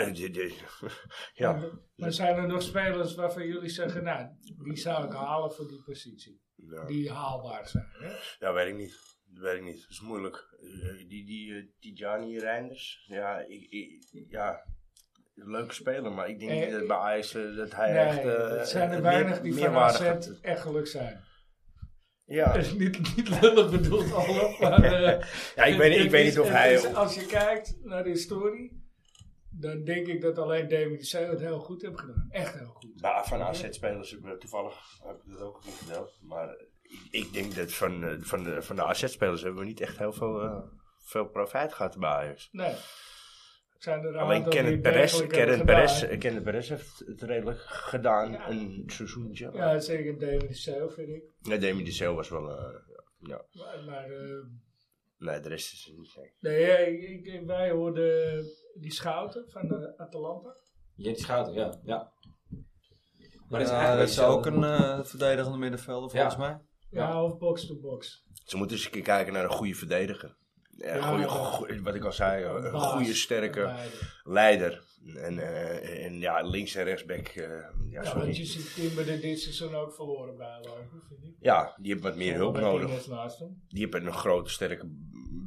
D: Ja, die- die- (laughs) ja.
B: Maar, maar zijn er nog spelers waarvan jullie zeggen, nou, die zou ik halen voor die positie?
D: ja.
B: Die haalbaar zijn, hè?
D: Ja, weet ik niet. Dat weet ik niet. Dat is moeilijk. Eh, Die, die eh, Tijani Reinders, ja, ik, ik- ja, leuke speler, maar ik denk
B: Eh,
D: niet dat bij Ajax eh, dat hij
B: Nee,
D: echt... eh,
B: het zijn er
D: meer-
B: weinig die van
D: meerwaarde
B: AZ
D: gaat-
B: echt gelukkig zijn. (laughs)
D: Ja.
B: niet, niet lullig bedoeld, Olaf, maar...
D: (laughs)
B: eh,
D: ja, ik weet, ik
B: het
D: weet
B: is-
D: niet of
B: het
D: hij...
B: is- als je kijkt naar de historie, dan denk ik dat alleen David de Zeeuw het heel goed heeft gedaan. Echt heel goed.
D: Maar van AZ-spelers, eh, toevallig heb ik dat ook niet verteld, maar ik, ik denk dat van, eh, van de, van de AZ-spelers hebben we niet echt heel veel, eh, veel profijt gehad bij Ajax.
B: Nee. Zijn er een
D: Alleen
B: aantal
D: Kenneth
B: die
D: Perez,
B: degelijk hebben
D: Kenneth
B: gedaan.
D: Perez, Kenneth Perez heeft het redelijk gedaan,
B: Ja.
D: een seizoentje.
B: Ja, zeker David de Zeeuw, vind ik.
D: Ja, Demi de Zeeuw was wel... eh, ja.
B: Maar, maar eh,
D: Nee, de rest is niet gek.
B: nee, ja, ik, ik- wij hoorden die schouten van de Atalanta.
A: Jetty Schouten, ja. ja. Maar het is
C: ja,
A: eigenlijk
C: dat is ook een eh, verdedigende middenvelder
A: Ja.
C: volgens mij.
B: Ja,
A: Ja.
B: of box-to-box.
D: Ze moeten eens een keer kijken naar een goede verdediger. Ja, een
B: Ja,
D: goede,
B: dat-
D: goe- wat ik al zei, een
B: Baas.
D: goede, sterke
B: Beide.
D: leider. En, eh, en ja, links en rechtsback. eh ja,
B: Ja, want je
D: sorry.
B: ziet Timber dit seizoen ook verloren bijlopen, vind ik.
D: ja, die heeft wat meer hulp
B: Met
D: nodig.
B: Ines naast hem.
D: Die heeft een grote, sterke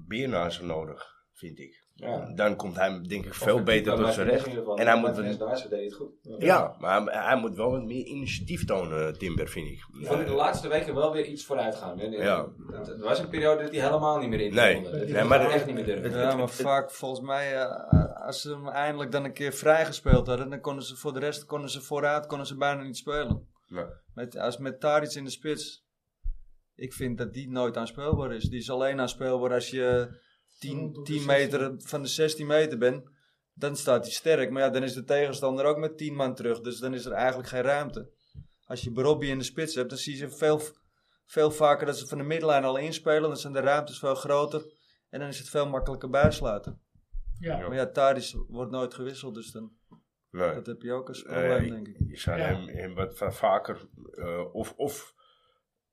D: beer naast hem nodig, vind ik.
A: Ja.
D: Dan komt hij, denk ik,
A: Of
D: veel
A: een
D: beter
A: keeper
D: tot zijn
A: Martinez
D: recht.
A: in ieder geval.
D: En hij
A: Ja,
D: moet
A: Martinez
D: wat-
A: daarnaast deed het goed.
D: Ja, maar hij, hij moet wel wat meer initiatief tonen, Timber, vind ik.
A: Ik vond de laatste weken wel weer iets vooruit gaan. hè.
D: Ja.
A: Het, het was een periode dat hij helemaal niet meer in
D: Nee.
A: wilde. Dat
B: Nee,
A: hij
D: maar
A: het
D: de-
A: echt niet meer durfde.
C: Ja, maar vaak volgens mij, eh, als ze hem eindelijk dan een keer vrijgespeeld hadden, dan konden ze voor de rest konden ze vooruit konden ze bijna niet spelen.
D: Nee.
C: Met, als met Taric in de spits, ik vind dat die nooit aanspeelbaar is. Die is alleen aanspeelbaar als je 10,
B: Rondom de
C: 10 meter van de 16 meter bent. Dan staat hij sterk, maar ja, dan is de tegenstander ook met 10 man terug. Dus dan is er eigenlijk geen ruimte. Als je Robbie in de spits hebt, dan zie je ze veel, veel vaker dat ze van de middenlijn al inspelen. Dan zijn de ruimtes veel groter. En dan is het veel makkelijker bijsluiten.
B: Ja.
D: Ja.
C: Maar ja, Tadis wordt nooit gewisseld, dus dan,
D: Nee.
C: dat heb je ook als
D: Eh,
C: probleem,
D: ik-
C: denk ik. (laughs)
D: Je zou
B: Ja.
D: hem, hem wat va- vaker eh, of, of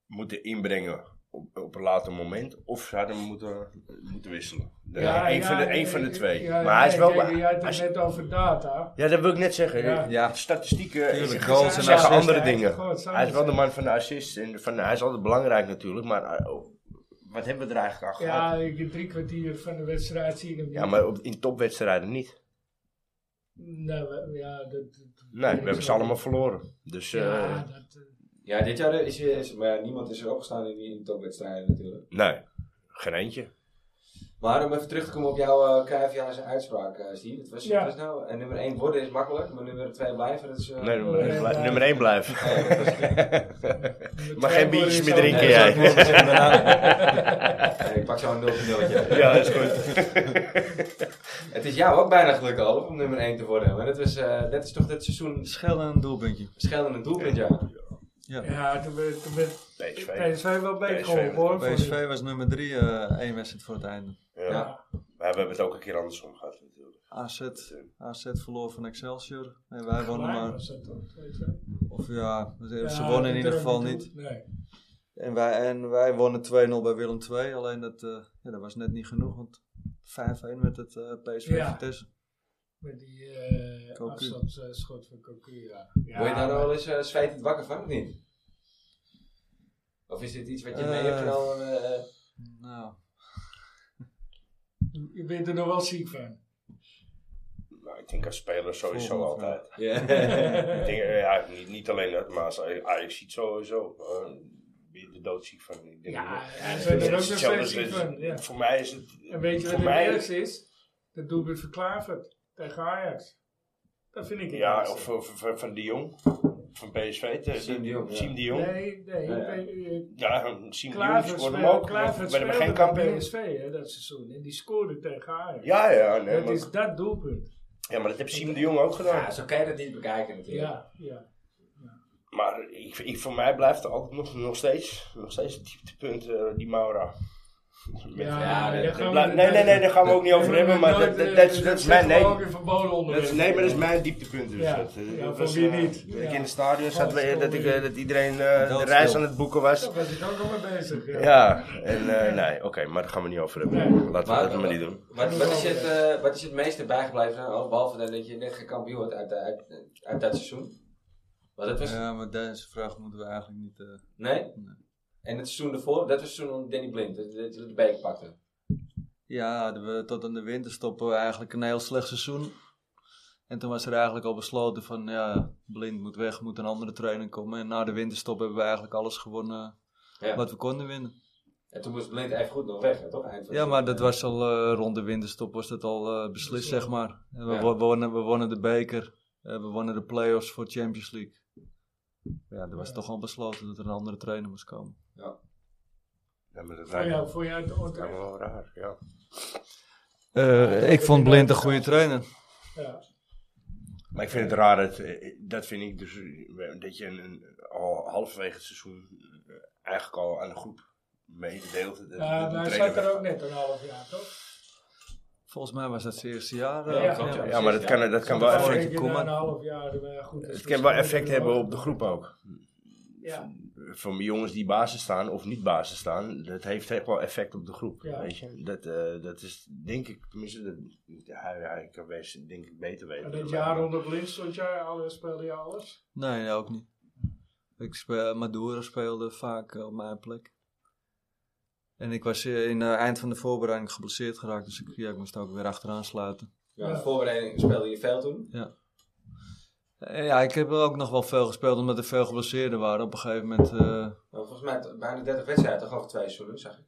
D: moeten inbrengen op, op een later moment, of ze hadden hem moeten, moeten wisselen. Ja, een, van de,
B: nee,
D: een van de
B: ik-
D: twee.
B: ja,
D: maar hij is
B: nee,
D: wel...
B: kijk, je had
D: hij
B: het
D: is-
B: net over data.
D: ja, dat wil ik net zeggen.
B: Ja.
C: Ja.
D: Statistieken
C: Tuurlijk,
D: zeggen-
C: goals en
D: zeggen
C: assists.
D: andere
B: Hij heeft
D: dingen.
B: gewoon samen
D: Hij is wel de
B: gezet.
D: man van de assists. En van, hij is altijd belangrijk natuurlijk. Maar eh, oh, wat hebben we er eigenlijk aan
B: Ja,
D: gehad?
B: ik heb drie kwartier van de wedstrijd zien hem
D: Ja,
B: niet.
D: maar op, in topwedstrijden niet.
B: Nee, we- ja, dat... dat-
D: Nee, we hebben ze allemaal verloren. Dus eh,
B: Ja, dat... eh,
A: Ja, dit jaar is, is maar niemand is er opgestaan in die topwedstrijden natuurlijk.
D: nee, geen eentje.
A: Maar om even terug te komen op jouw uh, uitspraak, eh Steve. Het was,
B: Ja.
A: het was nou, en nummer 1 worden is makkelijk, maar nummer 2 blijven, dat is... eh,
D: Nee, nummer
B: nummer
D: 1
B: één
D: blijven.
B: blijven.
D: Nummer één blijven. (laughs)
B: de
D: Maar
B: twee
D: geen biertjes
B: worden
D: meer
B: is al-
A: Nee,
D: drinken jij.
A: dat is ook wel- Nee, ik pak zo'n
D: (laughs)
A: 0
D: Ja, dat is goed.
A: Het is jou ook bijna gelukt, Olaf, om nummer 1 te worden. Maar dat, was, eh, dat is toch dit seizoen
C: Schelden een doelpuntje.
A: schelden een doelpunt, ja.
B: Ja, toen werd, toen werd
D: PSV.
B: PSV wel beter
D: PSV
B: geholpen hoor. vond ik.
C: PSV was nummer 3, één wedstrijd voor het einde.
D: Ja. Maar we hebben het ook een keer andersom gehad natuurlijk.
C: AZ, AZ verloor van Excelsior. En wij wonnen
B: Gelijk
C: maar.
B: was dat toch, weet je.
C: Of ja, ze
B: Ja,
C: wonnen in ieder
B: dat
C: geval
B: doet-
C: niet.
B: Nee.
C: En wij, en wij wonnen 2-0 bij Willem II. Alleen dat, eh, ja, dat was net niet genoeg. Want 5-1 werd het eh, PSV
B: Ja.
C: Vitesse.
B: Met die eh
C: Cocu.
B: afstandsschot van Cocu, ja. ja
A: Word je daar nou
B: maar-
A: wel eens eh, zwijtend wakker van, of niet? Of is dit iets wat je mee hebt
C: Eh.
A: genomen? eh,
C: Nou,
B: Je bent er nog wel ziek van.
D: Nou, ik denk als speler sowieso
C: Volgende
D: altijd.
A: ja.
D: Ik denk, eh, ja, niet, niet alleen dat, maar als Ajax ziet sowieso. eh, ben je er doodziek van. Ik denk,
B: Ja,
D: eh,
B: hij
D: het
B: werd
D: is
B: er ook nog
D: hetzelfde
B: steeds
D: als-
B: ziek van. Ja.
D: Voor mij is het...
B: En weet je
D: voor
B: wat het
D: mij,
B: ergste is? Dat doelpunt van Klavert tegen Ajax. Dat vind ik het
D: Ja,
B: ergste.
D: of eh, van- van- van de Jong. Van PSV. tegen-
A: Siem de Jong, ja.
D: Siem eh, de Jong.
B: Nee, nee.
A: Ja, ja.
B: eh,
D: Ja, Siem de Jong
B: Klavert
D: scoorde hem ook.
B: speelde,
D: maar We
B: Klavert speelde
D: hebben geen
B: bij
D: kampioen.
B: PSV hè, dat seizoen. En die scoorde tegen Ajax.
D: Ja, ja, nee,
B: dat
D: maar,
B: is dat doelpunt.
D: ja, maar dat heeft Siem de Jong ook gedaan.
A: (laughs) Ja, zo kan je dat niet bekijken natuurlijk.
B: Ja, ja.
D: Maar ik, ik, voor mij blijft er altijd nog, nog steeds, nog steeds het dieptepunt eh, die Maura. Met-
B: Ja,
A: ja,
B: daar
A: dat
B: gaan
D: Dat
B: we
D: blij-
B: het-
D: nee, nee, nee, daar gaan we ook niet
B: daar
D: over
B: gaan we
D: hebben.
B: het
D: Maar dat,
B: nooit,
D: dat,
B: eh,
D: dat, is- dat is mijn,
B: zetten
D: nee,
B: we ook in verboden
D: dat is,
B: onderwerp.
D: nee, maar dat is mijn dieptepunt. Dus
B: Ja.
D: dat,
B: Ja,
D: eh, dat
B: voor
D: was,
B: wie
D: eh,
B: niet?
D: Dat ik
B: Ja.
D: in het stadion zat,
B: Oh, dat
D: weer,
B: is
D: dat, ik, eh,
B: wel
D: dat iedereen eh, de
C: Doodstil.
D: reis aan het boeken was.
B: Daar was ik ook al mee bezig. Ja.
D: Ja, en eh, nee, oké, maar daar gaan we niet over hebben.
B: Nee.
D: Laten we dat maar niet doen.
A: Wat, wat, is het, eh, wat is het meeste bijgebleven, nou, al behalve dan dat je net geen kampioen wordt uit, eh, uit, uit dat seizoen? Want dat
B: Dus-
A: was,
C: ja, maar deze vraag moeten we eigenlijk niet... eh,
A: nee?
C: Nee.
A: En het seizoen ervoor, dat was het seizoen onder Danny Blind, dat dat je de beker pakte.
C: Ja, de- we, tot aan de winter stoppen we eigenlijk een heel slecht seizoen. En toen was er eigenlijk al besloten van, ja, blind moet weg, moet een andere trainer komen. En na de winterstop hebben we eigenlijk alles gewonnen
A: Ja.
C: wat we konden winnen.
A: En toen moest Blind even goed nog weg, hè, toch? Eind van
C: Ja,
A: het
C: maar dat
A: seizoen.
C: was al eh, rond de winterstop was dat al eh, beslist, zeg maar. En we,
A: Ja.
C: wo- wonnen, we wonnen de beker, eh, we wonnen de play-offs voor Champions League. Ja, er was toch al besloten dat er een andere trainer moest komen.
D: Ja, maar dat
B: Voor
D: lijkt
B: jou,
D: me
B: voor jou het
D: dat lijkt me
B: oordeel.
D: wel raar, ja.
C: Eh, ik vond Blind een goede trainer.
B: Ja.
D: Maar ik vind het raar, dat, eh, dat vind ik dus, eh, dat je een, een- al halverwege het seizoen eh, eigenlijk al aan de groep meedeelt. dat-
B: Ja,
D: dat
B: maar
D: de
B: Nou, hij
D: trainer
B: zat er
D: weg-
B: ook net een half jaar, toch?
C: Volgens mij was dat zijn eerste jaar. eh,
B: Ja,
C: of-
B: klopt,
A: ja.
D: Ja, maar dat kan, dat kan wel
B: Zat er
D: effect,
B: een keer
C: Koeman.
B: na Een half jaar, eh, goed,
D: het kan wel effect hebben op de groep ook.
B: Ja.
D: Van jongens die basis staan of niet basis staan, dat heeft echt wel effect op de groep.
B: Ja.
D: Weet je? Dat, eh, dat is denk ik, tenminste, dat, hij, hij kan wees, denk ik beter weten.
B: En dat
D: Maar-
B: jaar onder blind stond jij, alles, speelde je alles?
C: Nee, nee, ook niet. Ik speel, Maduro speelde vaak eh, op mijn plek. En ik was eh, in het eind van de voorbereiding geblesseerd geraakt, dus ik, ja, ik moest ook weer achteraan sluiten.
A: Ja, de voorbereiding speelde je veel toen.
C: Eh, ja, ik heb ook nog wel veel gespeeld omdat er veel geblesseerden waren. Op een gegeven moment, eh,
A: Nou, volgens mij t- bijna 30 wedstrijden, toch over twee seizoenen, zag ik.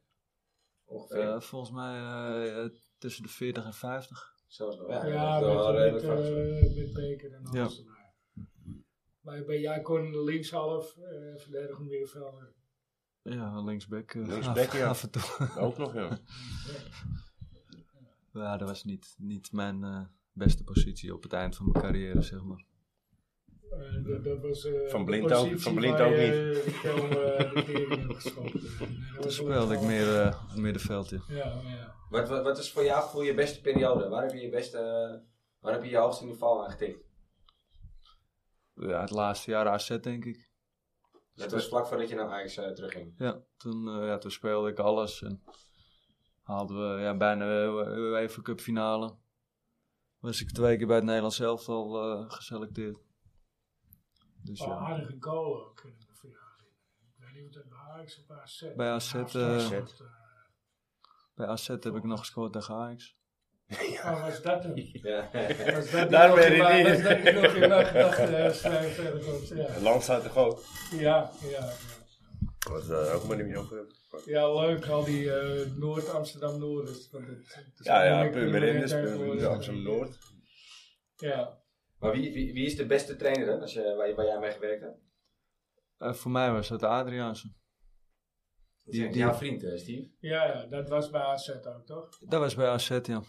A: Ongeveer.
C: eh, volgens mij eh, eh, tussen de 40 en 50.
A: Zelfs nog, ja.
B: Ja,
A: dat is wel
B: met, met,
A: redelijk vast.
B: eh, met beker en
C: Ja.
B: alles. erbij. Maar bij jij kon linkshalf, eh verdedigend middenvelder.
C: Ja, linksback. eh,
D: Linksback,
C: af,
D: ja.
C: (laughs) af en toe.
D: Ook nog, ja.
C: ja, dat was niet, niet mijn eh, beste positie op het eind van mijn carrière, zeg maar.
B: Eh, dat, dat was, eh,
D: Van
B: de
D: Blind ook-
B: positie
D: van Blind
B: waar
D: ook
B: je Veel, eh, de tering hebt
C: (laughs)
B: geschoten. En eh, dat
C: Toen
B: was
C: speelde ik
B: wel-
C: meer eh, op het middenveld, ja.
B: Ja, ja.
A: Wat, wat, wat is voor jou voor je beste periode? Waar heb je je beste, eh, waar heb je je hoogste niveau aan getikt?
C: ja. Het laatste jaar AZ, denk ik.
A: (laughs) Dat was vlak voordat je naar Ajax eh, terugging.
C: Ja, toen, eh, ja, toen speelde ik alles. En Haalden we ja, bijna eh, even Cup finale. Was ik twee keer bij het Nederlands elftal al geselecteerd. Dus
B: Wel
C: ja.
B: aardige goal ook in de finale. Ik weet niet of dat bij Ajax of bij AZ.
C: Bij AZ, eh,
B: Afstand,
C: Bij AZ heb ik nog gescoord tegen Ajax.
B: eh, oh, was dat hem?
A: Ja. (laughs)
B: Was dat
D: Daar ben je
B: je
D: niet.
B: Was dat die nog in mijn gedachten eh, strijd verder komt? Ja,
D: Land staat toch ook?
B: ja, ja.
D: Wat eh, ook maar niet meer op.
B: Ja, leuk, al die eh, Noord-Amsterdam-Noorders. want het- het is
D: Ja, ja,
B: moeilijk
D: Purmer
B: nummer één
D: Renders,
B: tegenwoordig.
D: Amsterdam Noord.
B: Ja,
A: Maar wie, wie, wie is de beste trainer dan, als je, waar, waar jij mee gewerkt hebt?
C: Eh, voor mij was dat Adriaanse.
A: Dat
C: Die-
A: is
C: die-
A: Jouw vriend, eh, Steve.
B: ja, ja, dat was bij AZ ook, toch?
C: Dat was bij AZ, ja.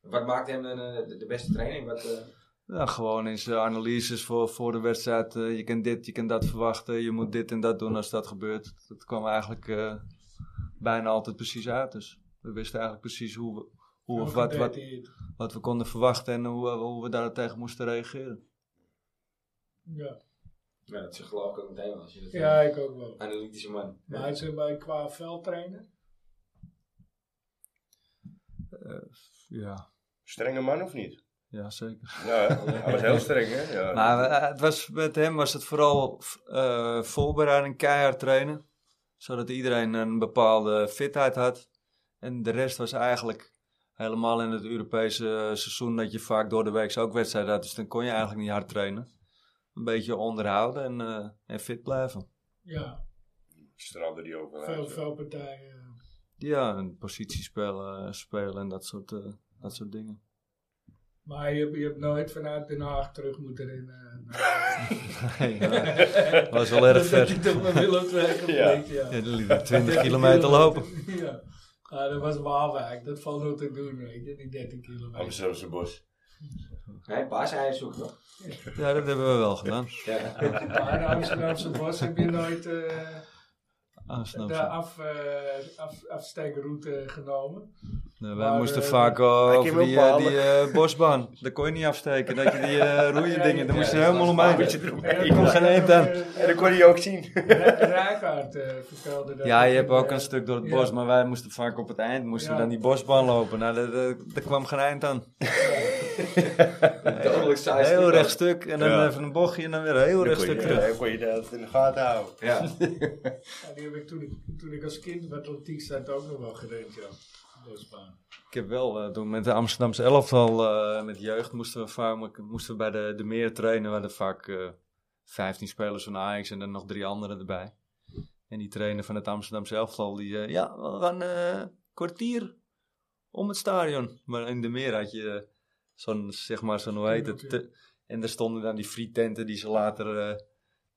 A: Wat maakt hem dan, eh, de- de beste training? Wat, eh,
C: Ja, gewoon in zijn analyses voor, voor de wedstrijd. eh, je kan dit, je kan dat verwachten. Je moet dit en dat doen als dat gebeurt. Dat kwam eigenlijk eh, bijna altijd precies uit. Dus we wisten eigenlijk precies hoe, we- hoe of wat, wat,
B: Gedeteerd.
C: wat we konden verwachten en hoe, eh, hoe we daar tegen moesten reageren.
B: Ja.
A: ja, dat is geloof ik ook meteen wel, als je dat eh,
B: ja, ik ook wel.
A: analytische man.
B: Maar hij zit bij qua veldtrainer.
C: Ja,
D: Strenge man of niet?
C: ja zeker.
D: Ja, hè? hij was heel streng hè. Ja.
C: Maar eh, het was, met hem was het vooral eh, voorbereiding, keihard trainen. Zodat iedereen een bepaalde fitheid had. En de rest was eigenlijk helemaal in het Europese eh, seizoen dat je vaak door de week ook wedstrijden had. Dus dan kon je eigenlijk niet hard trainen. Een beetje onderhouden en, eh, en fit blijven.
B: Ja,
D: Straalde die ook wel uit,
B: veel,
D: ja.
B: veel partijen.
C: Ja, en positiespel eh, spelen en dat soort, eh, dat soort dingen. (laughs)
B: Maar je, hebt- je hebt nooit vanuit Den Haag terug moeten in.
C: Nee, maar dat was wel
B: (laughs)
C: erg
B: Dat
C: ver.
B: je toch met Willem II
D: Ja.
B: ja. ja.
C: Ja, dan liep ik 20 kilometer lopen.
B: Ja. Ah, dat was Waalwijk, dat valt nog te doen, weet je, die 13 kilometer.
D: Amsterdamse bos.
A: Nee, paaseieren zoeken toch?
C: Ja, dat hebben we wel gedaan.
A: Ja.
B: Maar de Amsterdamse bos heb je nooit eh,
C: Ah, snap
B: de
C: je.
B: af, eh, af, afsteekroute genomen.
C: Nou, wij
B: Maar,
C: moesten
B: eh,
C: vaak al
D: kan
C: over
D: wel
C: die, eh,
D: balen.
C: die eh, bosbaan. Daar kon je niet afsteken. Dat je die eh roeien dingen, daar moest je
A: (laughs) Ja, dat
C: helemaal
A: was
C: omheen.
A: waar.
C: Er kon geen eind aan.
D: En dat kon hij ook zien.
B: Rijkaard eh, vertelde dat.
C: Ja, je
B: dat
C: hebt ook
B: eh,
C: een stuk door het
B: ja.
C: bos, maar wij moesten vaak op het eind moesten
B: Ja.
C: dan die bosbaan lopen. Nou, daar- daar- daar kwam geen eind aan.
A: (laughs) Dodelijk saai.
C: Heel
A: stuk,
C: recht stuk en dan
D: Ja.
C: even een bochtje en dan weer een heel
D: Dan
C: recht
D: kon je,
C: stuk terug.
D: dan kon je dat in de gaten houden.
A: man. Ja.
B: Ja, die heb ik toen, ik toen ik als kind bij atletiek zat ook nog wel gerend, ja. Bosbaan.
C: Ik heb wel eh, toen met de Amsterdamse elftal, eh met jeugd, moesten we, vaak, moesten we bij de, de meer trainen. We hadden vaak eh 15 spelers van Ajax en dan nog drie anderen erbij. En die trainer van het Amsterdamse elftal, die eh, ja, we gaan eh, kwartier om het stadion. Maar in de meer had je eh, zo'n, zeg maar, zo'n, hoe heet het? te- en daar stonden dan die frietenten die ze later... eh,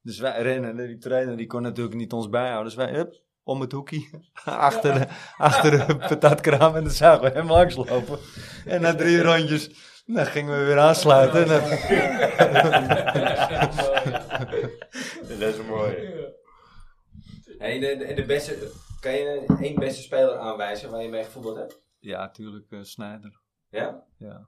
C: dus wij rennen, en die trainer die kon natuurlijk niet ons bijhouden. Dus wij, hup, om het hoekje, (laughs) achter, de- achter de patatkraam en dan zagen we hem langslopen. En na drie rondjes, dan gingen we weer aansluiten. En dan-
D: Dat is mooi.
B: Ja.
A: En de, de, en de beste, kan je één beste speler aanwijzen waar je mee gevoetbald hebt?
C: ja, natuurlijk, eh Snijder.
A: Ja?
C: Ja.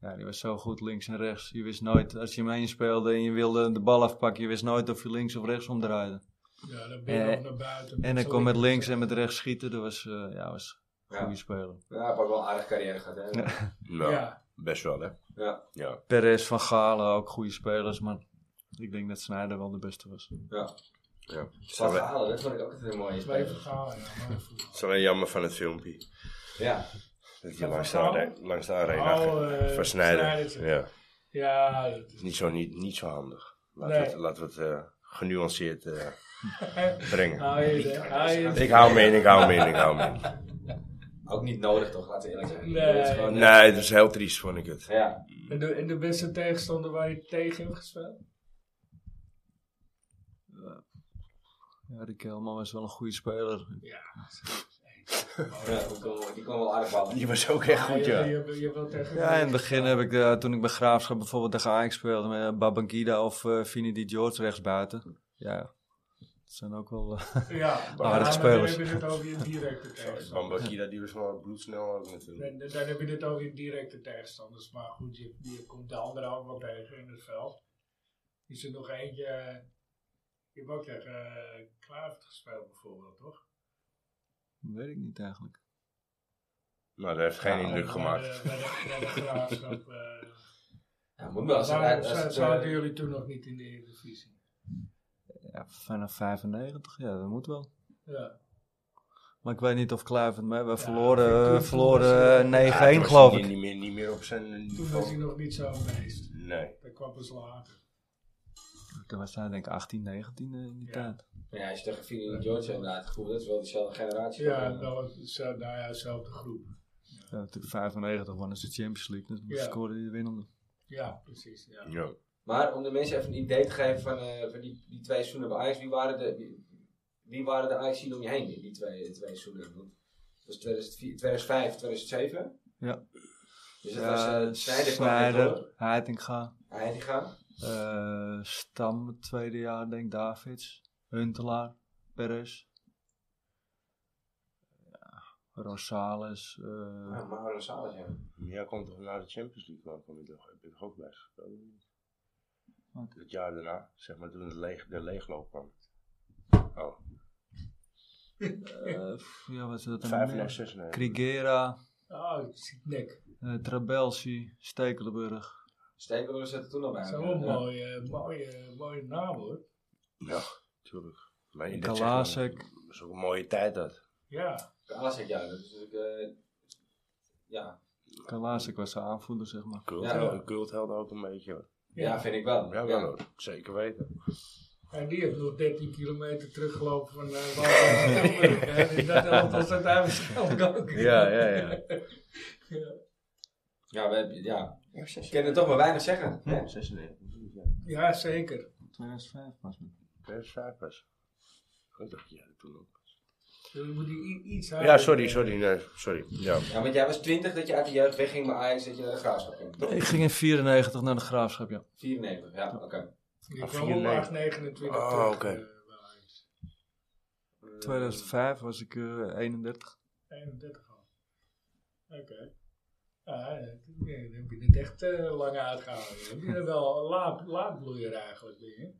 C: ja, die was zo goed links en rechts. Je wist nooit, als je hem heen speelde en je wilde de bal afpakken, je wist nooit of je links of rechts omdraaide.
B: Ja, dan ben je
C: Eh,
B: nog naar buiten.
C: En dan
B: Zo
C: kon met
B: ik-
C: links en met rechts schieten, dat was, eh, ja, was een goede
A: Ja.
C: speler.
A: Ja, hij heeft ook wel een aardige carrière gehad, hè?
C: Ja.
D: Nou,
B: Ja.
D: best wel hè.
A: Ja.
D: Ja.
C: Perez, Van Galen, ook goede spelers, maar ik denk dat Snijder wel de beste was.
D: ja.
A: Wat verhalen, dat vond ik ook altijd een mooie
B: Twee
A: speler.
B: verhalen, ja. maar vroeger.
D: Het is alleen jammer van het filmpje.
A: Ja.
D: Dat je
B: Van
D: langs de,
B: Gaal?
D: are- langs de arena
B: Oh,
D: gaat.
B: eh,
D: van Snijder.
B: Sneijder.
D: Ja.
B: Ja, dat
D: Is
B: is...
D: Niet zo, niet, niet zo handig. Laten we
B: Nee.
D: het, laten we het eh, genuanceerd eh, (laughs) brengen.
B: Hou je de- hou je de-
D: Ik hou me in, ik hou me in, ik hou me (laughs) in.
A: Ook niet nodig toch, laten we eerlijk zijn.
B: Nee.
A: Dat is gewoon, eh,
D: Nee, het is heel triest, vond ik het.
A: Ja.
B: En de, en de beste tegenstander waar je tegen hebt gespeeld?
C: Ja, Rick Helman was wel een goede speler.
A: Ja, die kon- Die kon wel aardig vallen.
D: Die was ook echt goed,
B: ja. Je,
D: ja.
B: je, je, hebt wel tegen
C: Ja, in het begin heb ik, eh, toen ik bij Graafschap bijvoorbeeld tegen Ajax speelde, met eh, Babangida of eh Finidi George rechtsbuiten. Ja, dat zijn ook
E: (laughs)
C: wel... eh,
B: Ja,
C: aardige
B: maar
C: spelers.
B: Dan heb je het over je directe tegenstander.
D: Bambakira, die was wel bloedsnel ook natuurlijk.
B: Dan, dan dan heb je het over je directe tegenstanders. Maar goed, je, je komt de anderen ook wel tegen in het veld. Is er nog eentje... eh, Je hebt ook tegen eh, Kluivert gespeeld bijvoorbeeld, toch?
C: weet ik niet eigenlijk.
D: Maar eh, dat heeft geen indruk gemaakt.
B: Bij de, bij de, bij de graafschap. eh.
A: Ja, moet wel. (laughs) Als het-
B: Waarom
A: als het,
B: za-
A: eh,
B: zaten jullie toen nog niet in de Eredivisie?
E: Ja, vanaf 95, ja, dat moet wel.
B: Ja.
E: Maar ik weet niet of Kluivert mee. We
B: toen-
E: verloren,
B: toen
E: eh,
B: was
E: verloren
B: het-
E: eh, 9-1,
D: Ja, toen was
E: geloof
D: hij
E: ik.
D: Niet meer, niet meer op zijn
B: Toen was hij
D: niveau.
B: nog niet zo geweest.
D: Nee.
B: Dat kwam pas later.
E: Toen was hij denk ik 18, 19 eh, in die
B: Ja.
E: tijd.
A: Ja, als je tegen Vinnie en George inderdaad gevoel, dat is wel dezelfde generatie.
B: Ja, dat was zo, nou ja, dezelfde groep.
E: Ja, natuurlijk 95 wonnen ze de Champions League. Dus
B: Ja.
E: scoorde hij de winnende.
B: Ja, precies. Ja.
D: Ja.
A: Maar om de mensen even een idee te geven van, eh, van die, die twee seizoenen bij Ajax, wie waren de, wie, wie waren de ajax om je heen in die twee, twee seizoenen? Want het was 2004, 2005, 2007.
E: Ja.
A: Dus dat was
E: Ja,
A: eh Snijder kwam net door.
E: Sneijder, Heitinga,
A: Hij die gaan.
E: eh, Stam het tweede jaar denk ik, Davids, Huntelaar, Perez. Ja, Rosales, eh,
A: Ja, Mauro Salas, ja.
D: Ja, komt toch na de Champions League wel, kom je toch, heb je toch ook bij gespeeld?
E: Wat?
D: Het jaar daarna, zeg maar toen de, leeg, de leegloop kwam. Oh,
E: eh, pff, ja, wat is dat dan?
D: 95, 96.
E: Krigera,
B: Oh, ik zie het nek.
E: eh, Trabelsi, Stekelenburg.
A: Stekelenburg zat er toen al bij. eh,
B: Dat is wel een mooie, mooie, mooie naam hoor.
D: Ja, tuurlijk. Maar
E: En
D: dat zeg maar,
E: Kalasek.
D: Dat is ook een mooie tijd dat.
B: Ja.
A: Kalasek, ja. Dat is natuurlijk, eh, ja.
E: Kalasik was zijn aanvoerder, zeg maar.
D: Kultheld
B: Ja.
D: Kultheld ook een beetje. hoor.
A: ja, vind ik wel.
D: Ja, wel hoor. Zeker weten.
B: En die heeft nog 13 kilometer teruggelopen van eh Waalwijk naar
D: (laughs)
B: Tilburg, hè. Dus Dat helpt ons uiteindelijk ook.
D: Ja, ja, ja. (laughs)
A: Ja, we hebben- ja. Ik kan er toch maar weinig zeggen.
D: Hm?
A: hè?
D: 96. Ja,
B: Ja, zeker.
E: 2005 was het.
D: 2005 was. Ik dacht, ja, toen ook.
B: Dus moet die i- iets
D: Ja,
B: harder,
D: sorry,
B: eh,
D: sorry, nee, sorry. Ja.
A: Ja, want jij was 20 dat je uit de jeugd wegging bij Ajax dat je naar de graafschap ging. toch?
E: Ik ging in 94 naar de graafschap, ja.
A: 94, ja, oké.
B: Die
D: Ah,
B: kwam op
D: 94.
B: 829
D: Ah,
B: terug.
D: oké.
B: eh, bij Ajax.
E: 2005 was ik eh, 31.
B: 31 al. Oké. Ja, eh, dan heb je dit echt eh, lang uitgehouden. Dan ben je wel een laat, laatbloeier eigenlijk, ben je?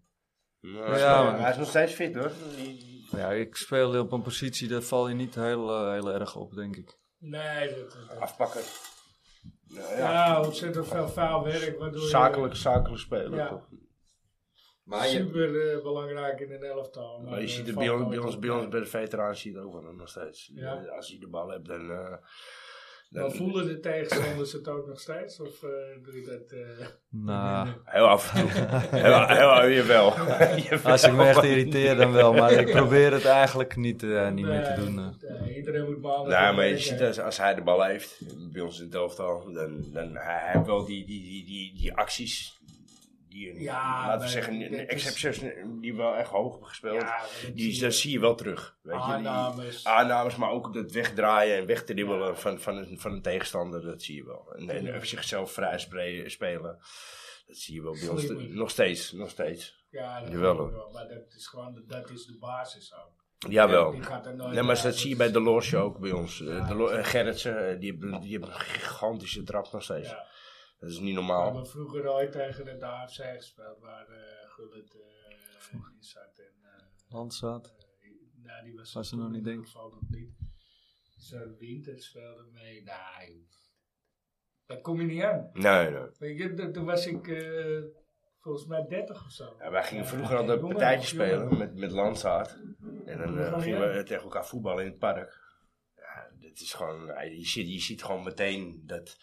D: Nou,
E: Ja,
D: hij is nog-
E: maar-
D: hij is nog steeds fit hoor. Die-
E: Ja, ik speelde op een positie, daar val je niet heel, eh, heel erg op, denk ik.
B: Nee, dat, dat-
D: Afpakken. Nou, ja.
B: ja, ontzettend veel vuil werk. Waardoor je-
D: Zakelijk, zakelijk spelen
B: Ja.
D: toch?
A: Maar je,
B: Super eh, belangrijk in een elftal.
D: Maar je
B: eh,
D: ziet het
B: valt
D: bij ons,
B: nooit
D: bij ons,
B: op.
D: bij ons bij de veteraan zie je het ook wel nog steeds.
B: Ja.
D: Eh, Als je de bal hebt, dan... eh,
B: Maar
D: dan
B: voelen de tegenstanders het ook nog steeds? Of eh, doe je dat... eh,
E: Nou,
D: Heel
B: (laughs)
D: af en toe. heel, heel, heel, jawel. Jawel.
E: als ik me echt irriteer dan wel, maar (laughs) ik probeer het eigenlijk niet, eh, niet meer te
B: nee,
E: doen. eh.
B: nee, iedereen moet maandag...
D: Nou, maar je
B: werken.
D: ziet als, als hij de bal heeft, bij ons in het elftal, dan, dan hij heeft wel die, die, die, die, die acties, die, een-
B: Ja,
D: laten we
B: maar
D: zeggen,
B: dat
D: een
B: is-
D: exception, die wel echt hoog hebben gespeeld.
B: Ja, dat
D: die,
B: zie
D: dat
B: je.
D: zie je wel terug. Weet je? Die-
B: Aannames.
D: aannames, maar ook het wegdraaien en wegdribbelen van, van, een, van een tegenstander, dat zie je wel. En, en op zichzelf vrij spre- spelen, dat zie je wel bij ons.
B: Slimmer.
D: Nog steeds, nog steeds.
B: Ja, dat
D: Jawel,
B: weet ik
D: hoor.
B: wel, Maar dat is gewoon, de- dat is de basis ook.
D: Jawel.
B: Die gaat er nooit eh,
D: Nee, maar
B: uit,
D: dat
B: want-
D: zie je bij de Lorsje ook bij ons. Eh, De Lo- eh, Gerritsen, eh, die hebben, die hebben een gigantische trap nog steeds.
B: Ja.
D: Dat is niet
B: We
D: normaal.
B: hebben vroeger ooit tegen het AFC gespeeld, waar eh Gullit eh in zat. En, eh,
E: Landzaat.
B: nou, die was,
E: Was er nog
B: toen
E: niet,
B: in
E: denk ik.
B: ieder geval nog niet. Zo'n winter speelde mee. Nou, joh. daar kom je niet aan.
D: Nee, nee.
B: Weet je, toen- toen was ik eh, volgens mij 30 of zo.
D: Ja, wij gingen
B: Ja,
D: vroeger altijd
B: jongen,
D: partijtjes
B: jongen.
D: spelen met, met Landsaat. En dan eh,
B: Oh,
D: gingen
B: ja.
D: we tegen elkaar voetballen in het park. Ja, dit is gewoon, eh, je, ziet, je ziet gewoon meteen dat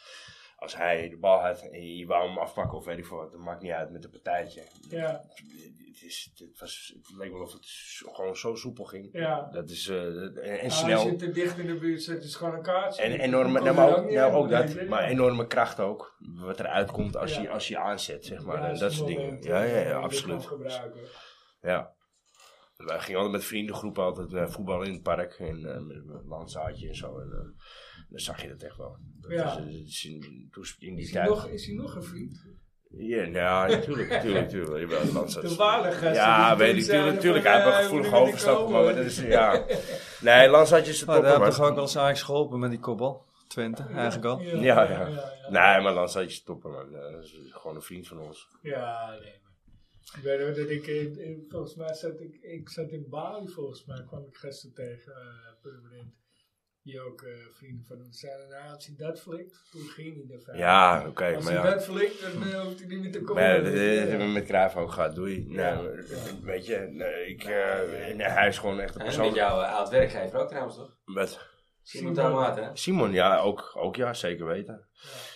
D: als hij de bal had en je wou hem afpakken of weet ik veel wat, dat maakt niet uit met een partijtje.
B: Ja,
D: Het, is, het, was, het leek wel of het zo- gewoon zo soepel ging.
B: ja.
D: Dat is, eh, dat- en, en
B: Ah,
D: snel.
B: Als je te dicht in de buurt zit, is het gewoon een kaartje.
D: En
B: Je
D: enorme,
B: komt er
D: nou, maar
B: lang
D: ook,
B: niet
D: nou,
B: aan.
D: ook dat,
B: Oh, Nee,
D: maar
B: nee.
D: enorme kracht ook. Wat eruit komt als,
B: Ja.
D: je, als je aanzet, zeg
B: Ja,
D: maar. en
B: is
D: dat
B: een
D: soort dingen.
B: moment,
D: Ja,
B: eh,
D: ja,
B: dat je
D: ja,
B: dit
D: absoluut.
B: kan gebruiken.
D: Ja. Wij gingen altijd met vriendengroepen altijd eh, voetballen in het park. En eh, met een landzaadje en zo. En, eh, dan zag je dat echt wel. Dat
B: Ja.
D: is, eh, dat is in, toen is- in die
B: Is hij,
D: tijd.
B: nog, is hij nog een vriend?
D: Ja, nou,
B: (laughs)
D: natuurlijk, natuurlijk, natuurlijk. Jawel, het landzaad
B: De
D: is-
B: waardige.
D: Ja, weet ik, tuurlijk, tuurlijk. Hij
B: eh,
D: heeft een gevoelige overstap gemaakt. maar Dat is, ja.
B: (laughs)
D: Nee, landzaadje is de
E: Oh, daar
D: topper,
E: heb ik toch ook
D: man.
E: wel eens aan geholpen met die kopbal. Twente, eigenlijk al.
D: Ja, ja. Nee, maar landzaadje is de topper, man. Eh, Dat is gewoon een vriend van ons.
B: Ja, nee, maar. Ik weet ook dat ik, eh, eh, volgens mij zat ik, ik zat in Bali volgens mij, kwam ik gisteren tegen, eh, permanent. die ook eh, vrienden van ons zijn. Nou, als hij dat flikt, toen ging hij ervan.
D: Ja, oké,
B: als
D: maar
B: hij
D: ja.
B: dat flikt, dan eh, hoeft hij niet meer te komen.
D: Maar eh, ja, dat, dat hebben we met Cruijff ook gehad. Doei.
B: Ja.
D: Nou, Weet je, nee, ik, eh, nee, hij is gewoon echt een
A: En met
D: persoon.
A: jouw eh, oud-werkgever ook trouwens, toch?
D: Met
A: Simon Taumaat, hè?
D: Simon, ja, ook, ook ja, zeker weten.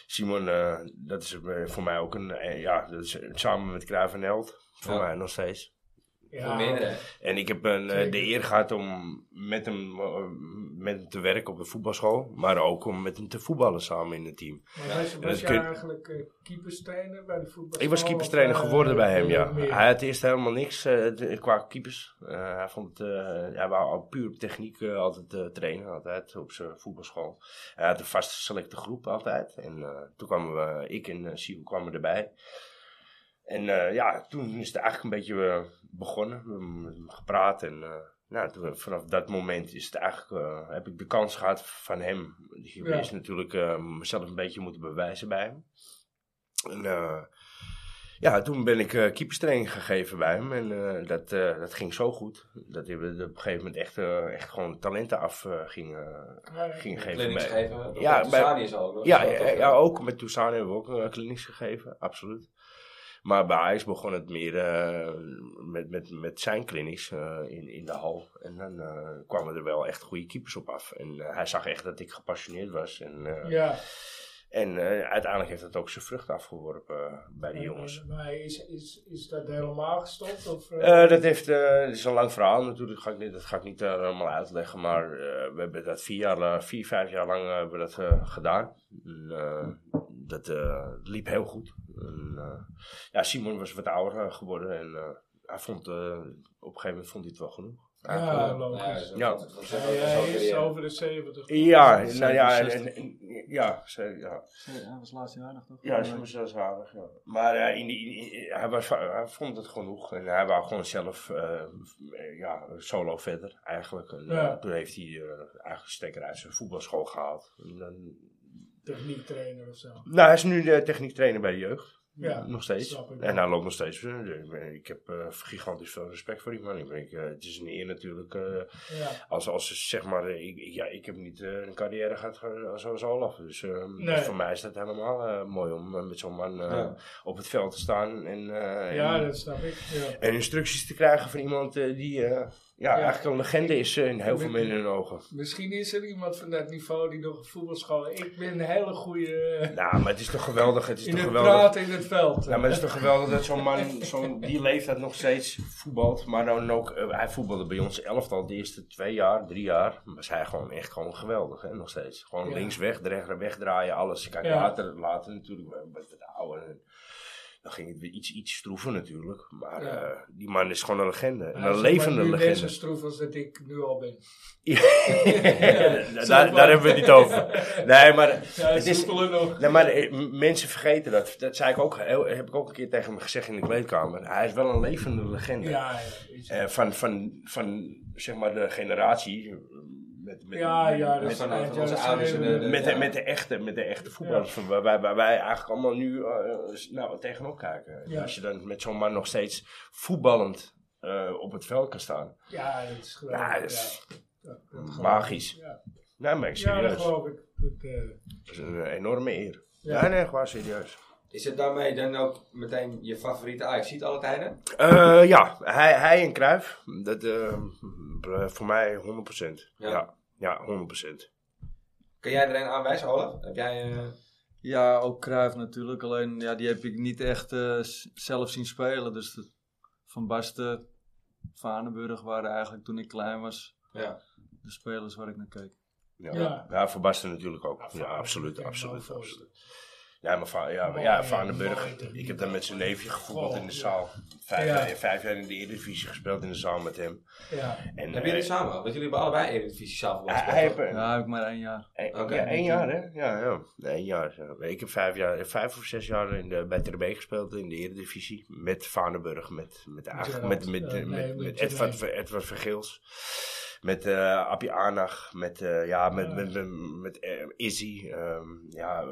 D: Simon, eh, dat is eh, voor mij ook een, eh, ja, dat is samen met Cruijff een held. Voor
A: Ja.
D: mij nog steeds.
B: Ja,
A: Voor meerdere.
D: En ik heb een, eh,
B: Zeker.
D: de eer gehad om met hem, eh, met hem te werken op de voetbalschool. Maar ook om met hem te voetballen samen in het team.
B: Maar was, was
D: dat
B: je
D: kun-
B: eigenlijk eh, keeperstrainer bij de voetbal?
D: Ik was keeperstrainer
B: Of, eh,
D: geworden bij hem, ja.
B: nog meer?
D: Hij had eerst helemaal niks eh, d- qua keepers. Eh, hij, vond, eh, hij wou al puur op techniek eh, altijd eh, trainen, altijd op zijn voetbalschool. Hij had een vaste selecte groep altijd. En eh, toen kwamen we, ik en eh Siel kwamen erbij. En eh, ja, toen is het eigenlijk een beetje eh, begonnen. We hebben met hem gepraat en eh, nou, toen- vanaf dat moment is het eigenlijk, eh, heb ik de kans gehad van hem. Ik
B: Ja.
D: is natuurlijk eh, mezelf een beetje moeten bewijzen bij hem. En, eh, ja, toen ben ik eh keeperstraining gegeven bij hem. En eh, dat, eh, dat ging zo goed. Dat hij we op een gegeven moment echt, eh, echt gewoon talenten af eh, ging, eh,
B: Ja, ja.
D: ging geven.
A: Clinics
D: bij-
A: geven.
D: Ja,
A: Ja,
D: bij-
A: bij is eh, al.
D: ja, ja, ja, ook met Toussaint hebben we ook een klinisch gegeven, absoluut. Maar bij Ajax begon het meer eh, met, met, met zijn klinisch eh, in, in de hal. En dan eh, kwamen er wel echt goede keepers op af. En eh, hij zag echt dat ik gepassioneerd was. En, eh,
B: Ja,
D: en eh, uiteindelijk heeft dat ook zijn vrucht afgeworpen eh, bij de
B: en-
D: jongens.
B: en- Maar is, is, is dat helemaal gestopt? Of, eh,
D: Eh, dat heeft, eh, het is een lang verhaal natuurlijk, ga ik niet, dat ga ik niet eh, allemaal uitleggen. Maar eh, we hebben dat vier, jaar, eh, vier vijf jaar lang eh, hebben we dat eh, gedaan. En, eh, dat eh, liep heel goed. En, eh, ja, Simon was wat ouder eh, geworden en eh, hij vond, eh, op een gegeven moment vond hij het wel genoeg. Eigenlijk,
B: ja, logisch.
A: Ja,
D: Ja.
A: dat- dat- dat-
B: Ja,
A: dat-
B: hij is
A: dat-
B: over de 70.
D: eh, ja,
E: Zeven-
D: nou ja, en,
E: zevenenzestig.
D: en- en- ja, ze- ja.
E: Hij was laatst jaar nog, toch?
D: Ja, dat is zelfs aardig, ja. Maar eh, in, die- in- in- hij, was, hij vond het genoeg en hij wou gewoon zelf eh, eh, ja, solo verder eigenlijk. En, eh,
B: Ja.
D: toen heeft hij eh, eigenlijk een stekker uit zijn voetbalschool gehaald. En dan-
B: Techniek trainer of zo.
D: nou, hij is nu de techniek trainer bij de jeugd,
B: Ja,
D: nog steeds.
B: snap ik.
D: En hij loopt nog steeds. Eh, Ik heb eh, gigantisch veel respect voor die man. Ik denk, eh, het is een eer natuurlijk. eh,
B: Ja.
D: als, als zeg maar, eh, ik, ik- ja, ik heb niet eh, een carrière gehad eh, zoals Olaf. Dus eh,
B: Nee.
D: voor mij is dat helemaal eh, mooi om eh, met zo'n man eh,
A: Ja.
D: op het veld te staan. En, eh,
B: ja,
D: en,
B: dat snap ik. Ja.
D: en instructies te krijgen van iemand eh, die eh, ja, eigenlijk een legende is eh, in heel veel mensen hun ogen.
B: Misschien is er iemand van dat niveau die nog een voetbalschool... Ik ben een hele goede eh,
D: Nou, maar het is toch geweldig. Het is
B: in
D: toch
B: het
D: geweldig.
B: praten in het veld.
D: Ja, maar het is toch geweldig dat zo'n man, zo'n die leeftijd nog steeds voetbalt. Maar dan ook, eh, hij voetbalde bij ons elftal de eerste twee jaar, drie jaar. Was hij gewoon echt gewoon geweldig, hè, nog steeds. Gewoon
B: Ja.
D: links weg, rechts wegdraaien, alles. Kijk,
B: Ja.
D: later, later natuurlijk, eh, wat wat ouder. en Dan ging het weer iets, iets stroeven natuurlijk. Maar
B: Ja.
D: eh, die man is gewoon een legende.
B: Hij
D: Een
B: is maar
D: levende
B: nu net zo
D: legende.
B: stroef als dat ik nu al ben.
D: (laughs) Ja, daar,
B: Snap
D: daar
B: je?
D: hebben we het niet over. Nee, maar
B: (laughs) Ja,
D: het is,
B: soepeler nog.
D: Nee, maar eh, m- mensen vergeten dat. Dat zei ik ook, heel- heb ik ook een keer tegen hem gezegd in de kleedkamer. Hij is wel een levende legende.
B: Ja, ja. is-
D: Eh, van, van, van, zeg maar, de generatie. eh, Met, met,
B: Ja, ja, dat
A: Met
B: is eh,
A: van
B: waar.
A: van
B: Ja,
A: onze
B: dat
A: ouders en
B: zijn
A: de-
B: we-
A: de-
D: met,
A: ja.
D: de, met, de echte, met de echte voetballers, van waar, waar, waar wij eigenlijk allemaal nu eh, s- nou, tegenop kijken. En
B: Ja.
D: Als je dan met zo'n man nog steeds voetballend eh, op het veld kan staan.
B: Ja, dat is geweldig.
D: Ja,
B: Ja,
D: dat is
B: Dat- dat geloof ik.
D: magisch.
B: Ja,
D: Nou, maar ik
B: ja dat
D: serieus.
B: geloof ik. Dat, eh,
D: dat is een enorme eer.
B: Ja.
D: Ja, nee, gewoon serieus.
A: Is het daarmee dan ook meteen je favoriete Ajax ziet alle tijden?
D: Eh, ja, hij, hij en Cruijff. Dat, eh, b- voor mij 100%.
A: Ja.
D: Ja, ja, 100%.
A: Kun jij er een aanwijzen, Olaf? Heb jij... eh,
E: Ja, ook Cruijff natuurlijk. Alleen ja, die heb ik niet echt eh, s- zelf zien spelen. Dus de- Van Basten, Vanenburg waren eigenlijk toen ik klein was
A: Ja.
E: de spelers waar ik naar keek.
D: Ja.
B: Ja.
D: Ja. voor Basten natuurlijk ook. Ja, absoluut,
B: Ja,
D: absoluut.
B: Van-
D: absoluut. Ja, maar Va- ja, maar
B: Mooi,
D: ja, Vaandenburg.
B: mooi,
D: Ik heb daar met zijn neefje gevoetbald
B: Goh,
D: in de
B: ja.
D: zaal. Vijf,
B: Ja.
D: jaar- vijf jaar in de Eredivisie gespeeld in de zaal met hem.
B: Ja,
D: En,
A: Hebben jullie
D: eh,
A: samen? Want jullie hebben allebei Eredivisie zelf
D: hij, hij
A: (laughs)
D: heeft, eh,
E: Ja, heb ik maar één jaar.
D: eh,
A: Oké.
D: ja, één jaar hè? Ja, ja. één jaar. ja. Ik heb vijf, jaar, eh, vijf of zes jaar in de, bij Terbe gespeeld in de Eredivisie. Met Vaandenburg, met, met, eigenlijk-
B: Gerard,
D: met, met,
B: eh,
D: eh,
B: nee,
D: met,
B: met
D: met
B: Jermaine.
D: Edward, Ver- Edward Vergeels. Met eh Appie Aanag, met, eh, ja, met, met, met, met, eh, Izzy. ehm, ja, eh,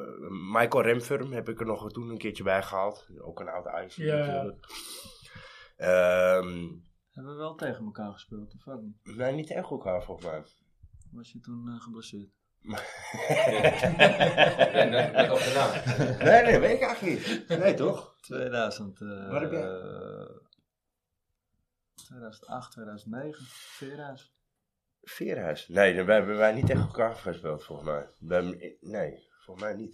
D: Michael Remfurm heb ik er nog toen een keertje bij gehaald. Ook een oud ijs
B: Ja.
D: natuurlijk. Ehm,
E: Hebben we wel tegen elkaar gespeeld, of ook niet?
D: nee, niet echt elkaar volgens mij.
E: was je toen eh, geblesseerd?
A: En dat, dat op de naam.
D: Nee, nee, weet ik eigenlijk niet. Nee, toch?
E: 2000. eh,
D: Waar heb jij-
E: eh, 2008, 2009, Vera's.
D: Veerhuis. Nee, dan hebben wij niet tegen elkaar gespeeld, volgens mij. We hebben- nee, volgens mij niet.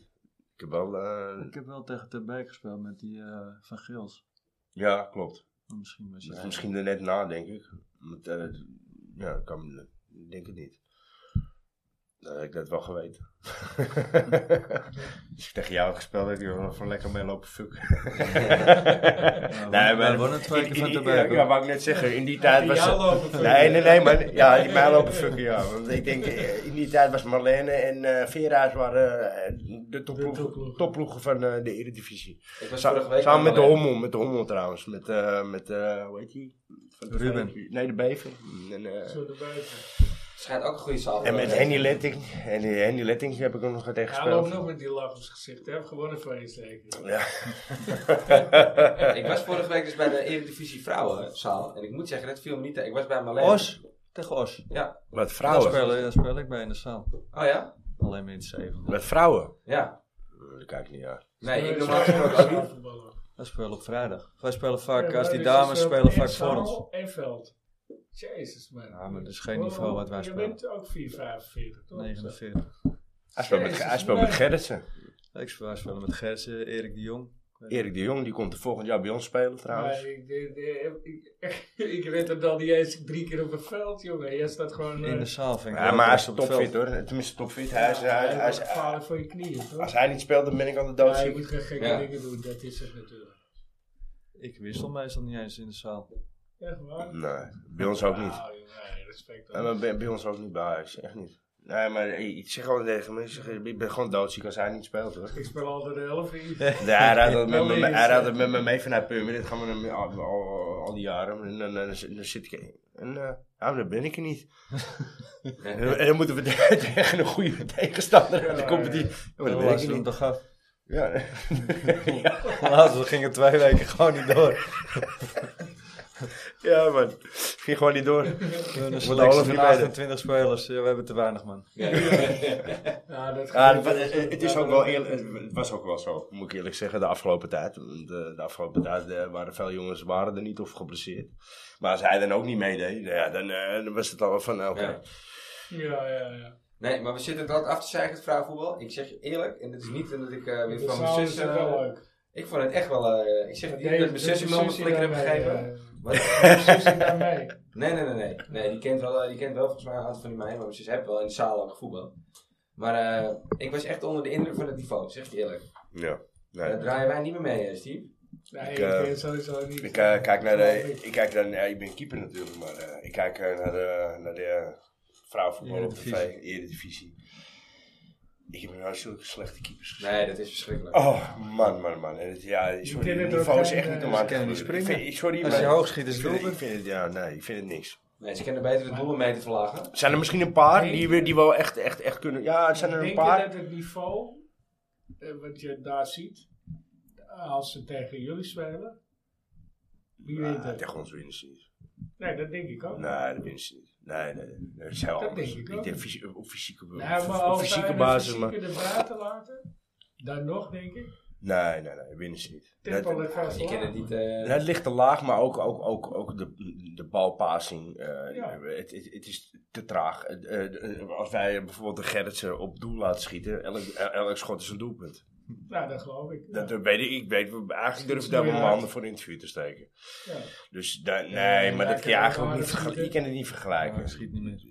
D: Ik heb wel... eh,
E: Ik heb wel tegen Ter Beek gespeeld met die eh, Van Gils.
D: ja, klopt.
E: Misschien was je
D: Dus Misschien er net na, denk ik. Met, eh, ja, ik kan, ik denk het niet. Dan had ik dat wel geweten. Als ik tegen jou had gespeeld, heb ik er wel voor lekker mee lopen (laughs) fucken.
E: wij wonnen twee
D: in-
E: keer
D: in
E: van
D: die-
E: Ter Beek,
D: Ja,
E: hoor.
D: wou ik net zeggen. In die tijd was...
B: Ja, lopen voor-
D: Nee, nee, nee, maar ja, die mij lopen fucken, ja. Want ik denk, eh, in die tijd was Marlene en eh Vera's waren eh, de topploeg-
B: topploegen.
D: topploegen van eh, de Eredivisie.
A: Ik was
D: Sa-
A: vorige week eh,
D: samen met de
A: alleen.
D: Hommel, met de Hommel trouwens. Met, eh, met eh, hoe heet die? Van de
E: Ruben.
D: Vijf- Nee, de Bever. En, eh,
B: Zo erbuiten.
A: Schijnt ook een goede zaal.
D: en met Henny Letting. En die Henny Letting heb ik ook nog tegen
B: Hij loopt nog
D: gespeeld.
B: met die lach op zijn gezicht. Hij heeft gewonnen van je zeker.
D: Ja.
A: Ik was vorige week dus bij de Eredivisie Vrouwenzaal. En ik moet zeggen, dat viel me niet tegen. Ik was bij Marleen.
E: Os. Tegen Os.
A: Ja.
D: Met
E: Daar
D: vrouwen.
E: speel, daar speel ik bij in de zaal.
A: Oh ja?
E: Alleen maar in het zeven.
D: Met vrouwen.
A: Ja.
D: Dat kijk ik niet aan.
A: Nee, ik
B: Zo-
A: normaal
B: zo-
A: gesproken ook niet.
B: voetballen.
E: Wij spelen op vrijdag. Wij spelen vaak,
B: Ja,
E: als die
B: dus
E: dames
B: ze
E: spelen
B: in
E: vaak voor
B: zaal
E: ons.
B: En veld. Jezus man. Oh,
E: Ja, maar dat is geen niveau wat wij
B: Je
E: spelen.
B: bent ook 4,45 toch?
E: 49.
D: Hij speelt met, hij
B: Jezus,
D: speelt met
B: nee.
D: Gerritsen.
E: Ik speel, wij spelen met Gertsen, Erik de Jong.
D: Erik de Jong, die komt er volgend jaar bij ons spelen
B: Maar
D: trouwens.
B: ik, de- de- ik, ik red hem dan niet eens drie keer op het veld, jongen. Jij staat gewoon...
E: In de
B: eh,
E: zaal vind ik
D: Ja,
E: wel
D: maar hij
E: best
D: is
E: op het
D: topfit
E: veld.
D: hoor. Tenminste topfit. Hij is, hij, hij is,
B: falen voor je knieën, toch?
D: als hij niet speelt, dan ben ik aan de
B: Ja,
D: dood.
B: je moet geen gekke
A: Ja.
B: dingen doen, dat is het natuurlijk.
E: Ik wissel meestal niet eens in de zaal.
B: Echt waar?
D: Nee, bij ons ook niet.
B: Nou, jongen, nee, respect.
D: Ja, maar bij, bij ons ook niet bij huis, echt niet. Nee, maar ik zeg gewoon tegen me, ik, zeg, ik ben gewoon doodziek als hij niet speelt hoor.
B: Ik speel altijd de helft in.
D: (laughs) Ja, hij raadt dat met, (laughs)
B: Wel
D: me-
B: eens,
D: hij
B: hè?
D: raadt dat met me mee vanuit Purmer, dit gaan we hem al, al, al die jaren. En dan, dan, dan, zit ik, en eh, nou, dan ben ik er niet. En, en dan moeten we (laughs) te- tegen een goede tegenstander uit de competitie. Ja,
E: Dan
D: maar dan ben ik
E: was
D: er
E: Oh, hem
D: niet.
E: toch af.
D: Ja.
E: (laughs) Laatst gingen twee weken gewoon niet door.
D: (laughs) ja man, ging gewoon niet door.
E: We hebben een
D: Wordt alles
E: selectie van
D: niet beter.
E: 28 spelers. Ja, we hebben te weinig man.
B: Ja, dat
D: Ja,
B: gebeurt
D: het, wa-
B: wel eens.
D: eh, het is ook wel eerlijk, het was ook wel zo, moet ik eerlijk zeggen, de afgelopen tijd. Want, eh, De, afgelopen tijd eh, waren veel jongens waren er niet of geblesseerd. Maar als hij dan ook niet meedeed, nou ja, dan, eh, dan was het al van, eh, oké.
A: Ja.
B: Ja, ja, ja.
A: Nee, maar we zitten het altijd af te zeiken, het vrouwenvoetbal. Ik zeg je eerlijk, en dat is niet omdat ik eh,
B: De
A: weer van mijn
B: zaal is
A: zus...
B: ook
A: eh,
B: wel leuk.
A: ik vond het echt wel... eh, ik zeg het niet
B: Nee,
A: dat mijn zus me een flikker heb
B: eh.
A: gegeven. Maar-
B: Mijn zus is daar
D: (laughs)
B: mee.
A: Nee, nee, nee, nee. nee die, kent wel, eh, die kent wel volgens mij een aantal van die meiden, maar mijn zus heeft wel in de zaal ook voetbal. Maar eh, ik was echt onder de indruk van het niveau, zeg je eerlijk.
D: Ja. Nee.
A: Daar draaien wij niet meer mee, eh, Steve.
B: Nee,
D: Ik,
B: ik
D: eh,
B: ben sowieso niet.
D: Ik eh, kijk naar de, ik kijk dan, ja, ik ben keeper natuurlijk, maar eh, ik kijk eh, naar de, naar de eh, vrouwenvoetbal op
E: Eredivisie.
D: tv, Eredivisie. Ik heb nou zulke slechte keepers gezien.
A: Nee, dat is verschrikkelijk.
D: Oh, man, man, man. En het- Ja, sorry,
B: kunnen
D: het
B: het ook
D: niveau is
B: geen,
D: echt niet
B: eh,
D: om aan te
E: kunnen niet
D: gluren. Ik
E: springen.
D: vind- Sorry,
E: Als je
D: maar-
E: hoog schiet is
D: ik
E: het
D: vind,
E: doelpunt.
D: ik vind het, ja, nee, ik vind het niks.
A: Nee, ze kunnen beter de doelen mee te verlagen.
D: Zijn er misschien een paar die, we- die wel echt, echt, echt kunnen... Ja, het zijn er een
B: Denk
D: paar.
B: je dat het niveau, eh, wat je daar ziet, eh, als ze tegen jullie spelen, wie weet
D: Ah,
B: dat?
D: tegen ons winnen ze niet.
B: Nee, dat denk ik ook.
D: Nee, dat winnen ze niet. Nee, nee, nee. Dat is heel
B: Dat
D: anders.
B: denk ik
D: Ik
B: ook.
D: denk fysi- op fysieke,
B: Nee,
D: op-
B: maar
D: op
B: als
D: fysieke
B: zij
D: basis,
B: de
D: maar...
B: fysieke de buiten laten, dan nog denk ik,
D: Nee, nee, nee, winnen ze niet.
B: tempo
D: Dat,
B: ligt vast
A: Ik ken
B: laag.
A: het niet. eh,
D: het ligt te laag, maar ook, ook, ook, ook de, de balpassing. eh,
B: Ja.
D: het, het, het is te traag. Eh, eh, als wij bijvoorbeeld de Gerritsen op doel laten schieten, elk, elk schot is een doelpunt.
B: Nou, dat geloof ik.
D: Dat
B: ja.
D: eh, weet ik, ik weet, eigenlijk durf ik daar wel mijn handen voor in het vuur te steken.
B: Ja.
D: Dus daar- nee,
B: ja, ja,
D: maar
B: ik
D: dat kan je
B: heb
D: eigenlijk
B: wel
D: ook niet
B: aardig
D: vergelijken. Je
B: gekeken.
D: kan het niet
E: Maar
D: vergelijken.
E: hij schiet niet meer.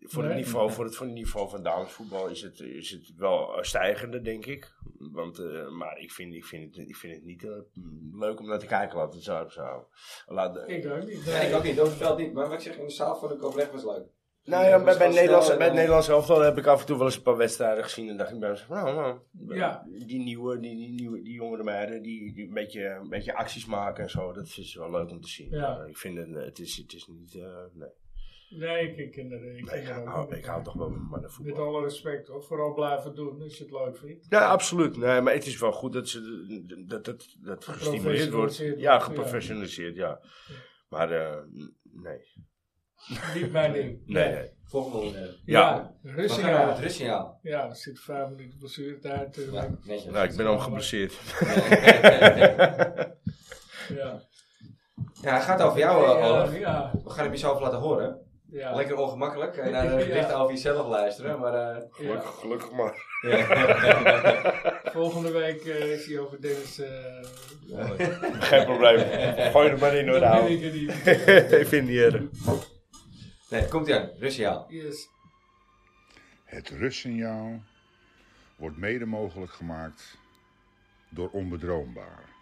D: Voor, het
B: Nee.
D: niveau, voor, het, voor het niveau van damesvoetbal is het, is het wel eh, stijgende, denk ik. Want, eh, maar ik vind, ik, vind het, ik vind het niet eh, leuk om naar te kijken, laten we het zo even zo. Laat, de-
B: Ik ook niet.
A: Ja,
B: nee.
A: ik ook niet, dat vertelt niet. Maar wat ik zeg, in de zaal vond ik ook echt was leuk.
D: nou ja,
A: Dat
D: bij,
A: was
D: bij,
A: wel
D: Nederlands,
A: snel en,
D: bij het
A: eh,
D: Nederlands elftal heb ik af en toe wel eens een paar wedstrijden gezien. En dacht ik bij mezelf, nou, nou
B: Ja.
D: die nieuwe, die, die, nieuwe, die jongere meiden, die, die een, beetje, een beetje acties maken en zo. Dat is wel leuk om te zien.
B: Ja.
D: Maar ik vind het, eh, het is, het is niet, eh, nee.
B: Nee, ik ken er ik ken
D: Nee, ik,
B: er ook
D: hou,
B: niet.
D: ik hou toch wel van mannenvoetbal.
B: Met alle respect hoor, vooral blijven doen als je het leuk vindt.
D: Ja, absoluut. Nee, maar het is wel goed dat ze, dat, dat, dat gestimuleerd wordt.
B: Geprofessionaliseerd
D: Ja,
B: wordt, ja.
D: geprofessionaliseerd, ja. Maar eh, n- nee.
B: Niet mijn ding.
D: Nee, nee.
A: Volgende. eh,
D: Ja.
A: we gaan naar het
B: Russia.
A: Russiaal.
B: Ja, er zit vijf minuten blessuretijd. eh,
A: Ja, netjes.
D: Nou, ik ben al geblesseerd.
B: Ja.
A: (laughs) ja, het gaat over jou, eh, Olaf.
B: ja, ja,
A: We gaan het jezelf laten horen.
B: ja.
A: Lekker ongemakkelijk. En naar
B: (laughs) Ja.
A: de berichten over jezelf luisteren. Maar eh,
B: Ja.
D: gelukkig maar.
B: Volgende week eh, is hij over Dennis. eh
D: Geen probleem. Gooi er maar in hoor,
B: dan ben
D: ouwe.
B: ik er niet.
A: (laughs)
D: (laughs) Ik vind het niet erg.
A: nee, komt ie aan. Russiaal.
B: Yes.
H: Het rustsignaal wordt mede mogelijk gemaakt door onbedroombaar.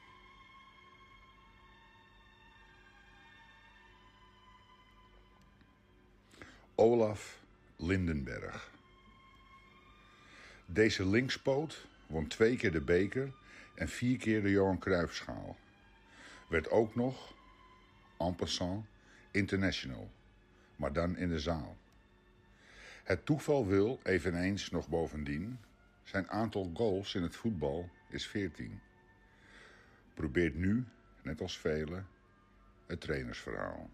H: Olaf Lindenberg. Deze linkspoot won twee keer de beker en vier keer de Johan Cruijffschaal. Werd ook nog, en passant, international, maar dan in de zaal. Het toeval wil eveneens nog bovendien. Zijn aantal goals in het voetbal is 14. Probeert nu, net als velen, het trainersverhaal.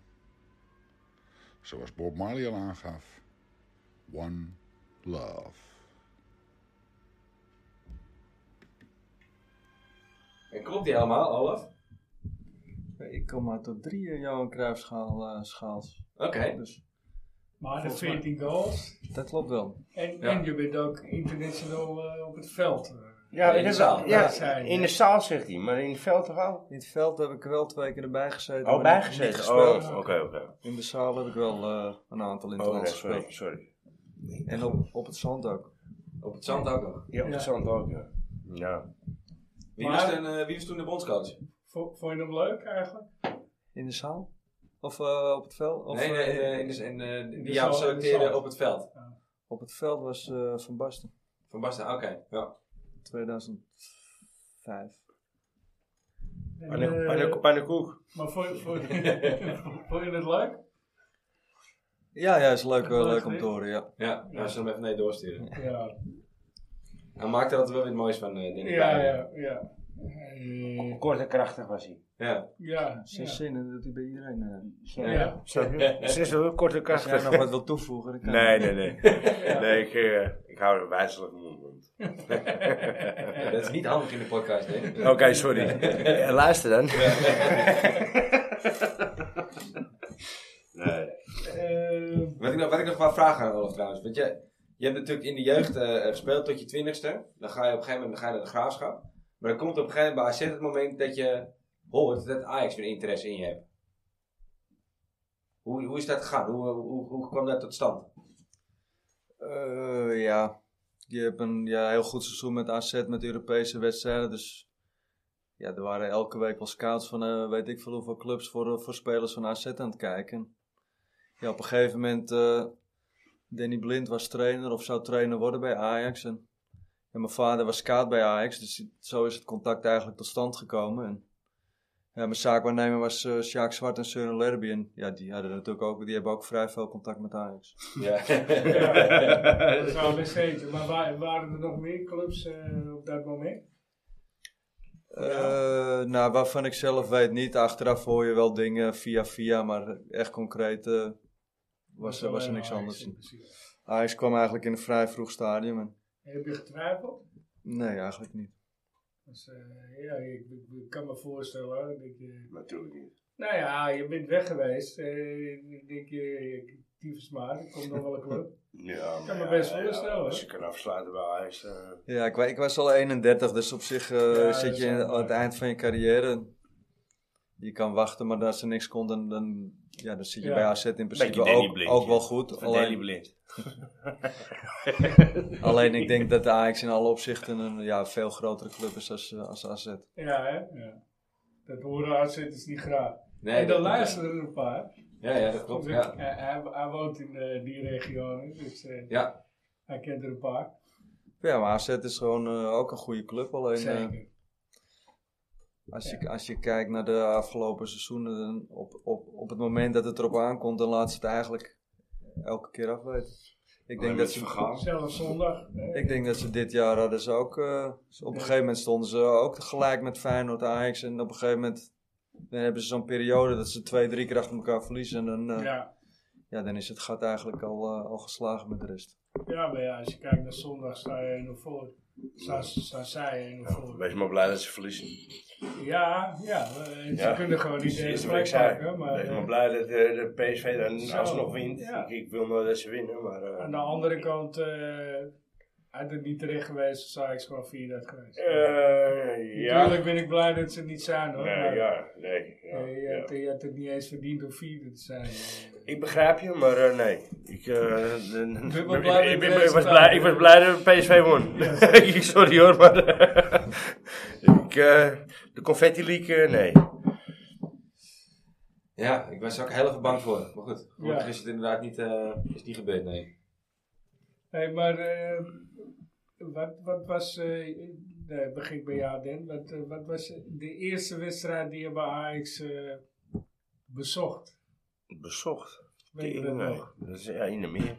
H: Zoals Bob Marley al aangaf: One Love.
A: En klopt die allemaal, Olaf?
C: Ik kom maar tot drie eh, Johan Cruijffschaal eh, schaals.
A: Oké.
C: Dus
B: Maar de
C: Volgens mij.
B: 14 goals.
C: dat klopt wel.
B: En,
A: Ja.
B: en je bent ook international eh, op het veld.
D: Ja,
A: In de zaal.
D: Ja, in de zaal zegt hij, maar in het veld toch al?
C: In het veld heb ik er wel twee keer erbij gezeten.
D: Al
C: maar niet
D: bijgezet. Oh,
C: gespeeld.
D: oké, oké.
C: In de zaal heb ik wel eh, een aantal
D: Oh, nee,
C: internationals
D: sorry,
C: gespeeld.
D: sorry.
C: En op, op het zand ook.
A: Op het zand ook nog.
D: Ja,
B: Ja.
D: interessant ook, ja. Ja.
A: Wie,
B: Maar-
A: was, toen, eh, wie was toen de bondscoach?
B: Vo- Vond je hem leuk eigenlijk?
C: In de zaal? Of eh, op het veld? Of,
A: nee, nee,
C: eh,
A: eh, in de, in, eh, die
B: de
A: jou
B: zaal, in de
A: selecteerde
B: zaal.
A: op het veld.
C: Op het veld was eh, Van Basten.
A: Van Basten, oké. Ja.
C: 2005.
B: En, eh,
D: Pannenkoek.
B: maar vond, je-
A: (laughs)
B: (laughs) vond, je- vond je het leuk?
C: Ja, ja, is leuk, eh,
B: Leuk
C: leuk om
B: weer.
C: te horen, ja.
A: Ja, ja. zullen hem even nee doorsturen.
B: Ja,
A: Hij maakte er altijd wel weer moois van, eh denk ik.
B: ja, ja. ja. Eh,
D: Kort en krachtig was hij.
A: Ja.
B: ja,
C: Zes
B: ja.
C: zinnen, dat hij bij iedereen. eh.
D: Snap je?
B: Ja.
D: Snap je? Ze is wel kort en
C: als jij
D: (laughs) krachtig.
C: nog wat wil toevoegen, dan kan
D: Nee, nee, nee. Nee, ik, eh, ik hou er wijzelijk mijn mond.
A: Ja, Dat is niet handig in de podcast, denk ik.
B: (laughs)
D: Oké, sorry. Eh, luister dan. (laughs) nee.
B: Eh,
A: Wat ik, nog- wat ik nog wel vraag aan Olaf trouwens. Want je, je hebt natuurlijk in de jeugd eh, gespeeld tot je twintigste. Dan ga je op een gegeven moment dan ga je naar de graafschap. Maar dan komt op een gegeven moment bij AZ het moment dat je hoort dat Ajax weer interesse in je hebt. Hoe, hoe is dat gegaan? Hoe, eh, hoe, hoe kwam dat tot
B: (laughs)
A: stand?
C: Eh, ja, je hebt een ja, heel goed seizoen met AZ, met Europese wedstrijden. Dus ja, er waren elke week wel scouts van eh, weet ik veel hoeveel clubs voor, eh, voor spelers van AZ aan het kijken. Ja, op een gegeven moment, eh Danny Blind was trainer of zou trainer worden bij Ajax. En, en mijn vader was scout bij Ajax, dus zo is het contact eigenlijk tot stand gekomen. En, ja, mijn zaakwaarnemer was eh Sjaak Zwart en Søren Lerby. En ja, die, hadden natuurlijk ook, die hebben ook vrij veel contact met Ajax.
A: Ja.
B: dat zou best weten. Maar wa- waren er nog meer clubs eh, op dat moment?
C: Eh, nou, waarvan ik zelf weet niet. Achteraf hoor je wel dingen via via, maar echt concreet eh, was, er- was er niks
B: Alleen
C: anders.
B: Ajax in principe.
C: Ajax kwam eigenlijk in een vrij vroeg stadium. En...
B: Heb je getwijfeld?
C: Nee, eigenlijk niet.
B: Dus, eh, ja, ik, ik- ik kan me voorstellen dat je...
D: Natuurlijk niet.
B: Nou ja, je bent weg geweest. eh, ik denk, eh, tyfus maar, ik kom nog wel een
C: (laughs)
B: club.
D: Ja,
B: kan me
D: ja,
B: best
D: ja,
B: voorstellen,
D: Als
B: hoor.
D: je kan afsluiten bij Ajax. eh,
C: Ja, ik, wa- ik was al 31, dus op zich eh,
B: dat
C: zit
B: is
C: je in-
B: wel
C: aan het
B: mooi.
C: eind van je carrière. Je kan wachten, maar als er niks komt, dan, dan, ja, dan zit je
B: Ja.
C: bij AZ in principe
D: Danny
C: ook,
D: Blind,
C: ook
D: ja.
C: wel goed.
D: van Daily
C: Alleen,
D: Blind.
C: alleen
D: (laughs)
C: ik denk dat de Ajax in alle opzichten een ja, veel grotere club is als, eh, als AZ.
B: Ja, hè? Ja. Dat horen uitzitters niet graag.
A: Nee,
B: en
A: dat-
B: dan luisteren er een paar. Dus
A: Ja, ja, dat klopt. Ja.
B: Hij, hij- hij woont in eh, die regio, hè, dus eh,
A: Ja,
B: hij kent er een paar.
C: Ja, maar AZ is gewoon eh, ook een goede club. Alleen eh,
B: Zeker.
C: als, je, als je kijkt naar de afgelopen seizoenen, dan op, op, op het moment dat het erop aankomt, dan laat ze het eigenlijk elke keer afweten. Ik denk, dat ze,
D: vergaan.
B: Zelfs zondag. hè.
C: ik denk dat ze dit jaar hadden ze ook, eh, op een gegeven moment stonden ze ook gelijk met Feyenoord Ajax. En op een gegeven moment dan hebben ze zo'n periode dat ze twee, drie keer achter elkaar verliezen. En dan, eh, ja.
B: ja.
C: ja, dan is het gat eigenlijk al, eh, al geslagen met de rest.
B: Ja, maar ja, als je kijkt naar zondag, sta je 1-0 voor. Staan sta zij 1-0 voor.
D: Wees maar blij dat ze verliezen.
B: Ja, ja, eh, ze
D: Ja.
B: kunnen gewoon niet
D: Dus
B: de
D: is
B: eerste
D: wat ik
B: plek
D: zei.
B: pakken. Maar
D: Wees maar
B: eh,
D: blij dat de, de PSV dan
B: Zo.
D: alsnog wint.
B: Ja.
D: Ik, ik wil nog dat ze winnen, maar... eh,
B: aan de andere kant, eh had het niet terecht geweest, zou ik gewoon 4 dat geweest.
D: eh, ja.
B: Natuurlijk ben ik blij dat ze het niet zijn hoor.
D: Nee,
B: maar,
D: ja, nee. Ja,
B: eh, je,
D: ja.
B: Had, je had het niet eens verdiend om vierde te zijn. eh.
D: Ik begrijp je, maar eh, nee. Ik, eh, n-
B: Ik ben
D: (laughs)
B: wel blij
D: ik,
B: met
D: ben-
B: het
D: ik was
B: resultaat.
D: blij, ik was blij dat PSV won. (laughs) Ik- Sorry hoor, maar... (laughs) eh, ik, eh, de confetti league, eh, nee.
A: Ja, ik was er ook heel even bang voor. Maar goed, gelukkig
B: Ja.
A: is het inderdaad niet, eh, is niet gebeurd, nee.
B: Hey, maar eh, wat, wat was, eh nee, begin ik bij jou Den, wat, eh, wat was de eerste wedstrijd die je bij Ajax eh, bezocht?
D: Bezocht.
B: Weet je dat
D: Tering,
B: nog?
D: nee. Dat is, ja, in de meer.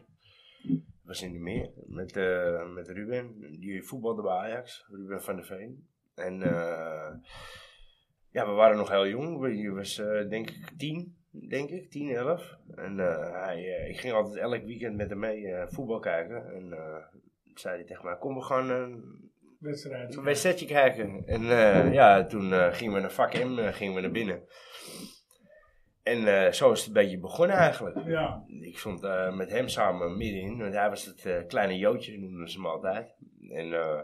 D: Dat was in de meer. Met, eh, met Ruben, die voetbalde bij Ajax. Ruben van der Veen. En eh, ja, we waren nog heel jong. We- Je was eh, denk ik tien, denk ik. Tien, elf. En eh, hij, eh, ik ging altijd elk weekend met hem mee eh, voetbal kijken. En eh, zei hij tegen mij, kom we gaan eh,
B: Wedstrijd.
D: een wc'tje krijgen. En eh, ja, toen eh, gingen we naar vak M, eh, gingen we naar binnen. En eh, zo is het een beetje begonnen eigenlijk.
B: Ja,
D: Ik stond eh, met hem samen middenin, want hij was het eh, kleine joodje, noemden ze hem altijd. En eh,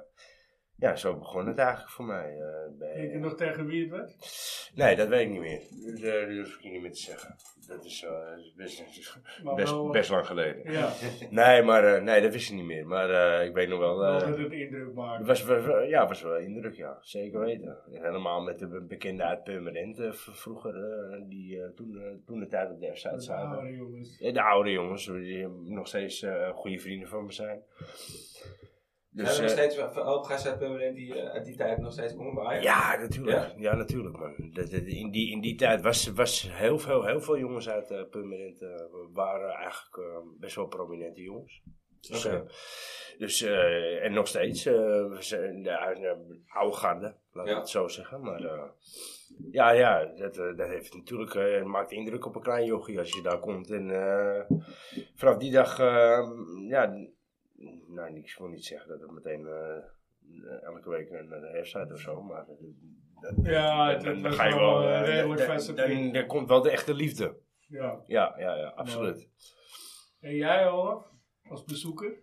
D: ja, zo begon het eigenlijk voor mij. eh, bij-
B: weet je nog tegen wie het was?
D: Nee, dat weet ik niet meer. Dus, eh, Dat durf ik je niet meer te zeggen. Dat is eh, best,
B: Maar wel- eh,
D: best, best lang geleden.
B: Ja,
D: Nee, maar eh, nee, dat wist ik niet meer. Maar eh, ik weet nog (laughs) wel...
B: wel
D: eh,
B: dat het indruk maakte.
D: het was, wel- wel- ja, was wel indruk, ja. Zeker weten. Helemaal met de be- bekende uit Purmerend eh, v- vroeger, eh, die eh, toen, eh, toen de tijd op de F-site
B: Met de
D: zaten.
B: oude Oh, jongens.
D: Eh, De oude jongens, die nog steeds eh, goede vrienden van me zijn.
A: Dus, Hebben
D: eh,
A: we nog steeds wel- ook gaan zetten permanent die eh, uit die tijd nog steeds komen bij Ajax?
D: ja, natuurlijk. Ja, natuurlijk, man. Dat- dat- in, die, in die tijd was, was heel, veel, heel veel jongens uit eh Purmerend, eh, waren eigenlijk eh, best wel prominente jongens. Dus,
A: Oké.
D: eh, dus eh, en nog steeds, eh, we zijn de oude- de oude garde, laat ik
A: Ja.
D: het zo zeggen. Maar eh, ja, ja dat, eh, dat heeft natuurlijk, eh, het maakt indruk op een klein jochie als je daar komt. En eh, vanaf die dag, eh, ja, nou, ik wil niet zeggen dat het meteen eh, elke week een eh, website of zo, maar... dat-
B: Ja, het- het was wel, eh,
D: eh,
B: redelijk
D: dan-
B: vaste
D: dan-
B: prik.
D: dan komt wel de echte liefde.
B: Ja.
D: Ja, ja, ja, absoluut.
B: En jij Olaf, als bezoeker?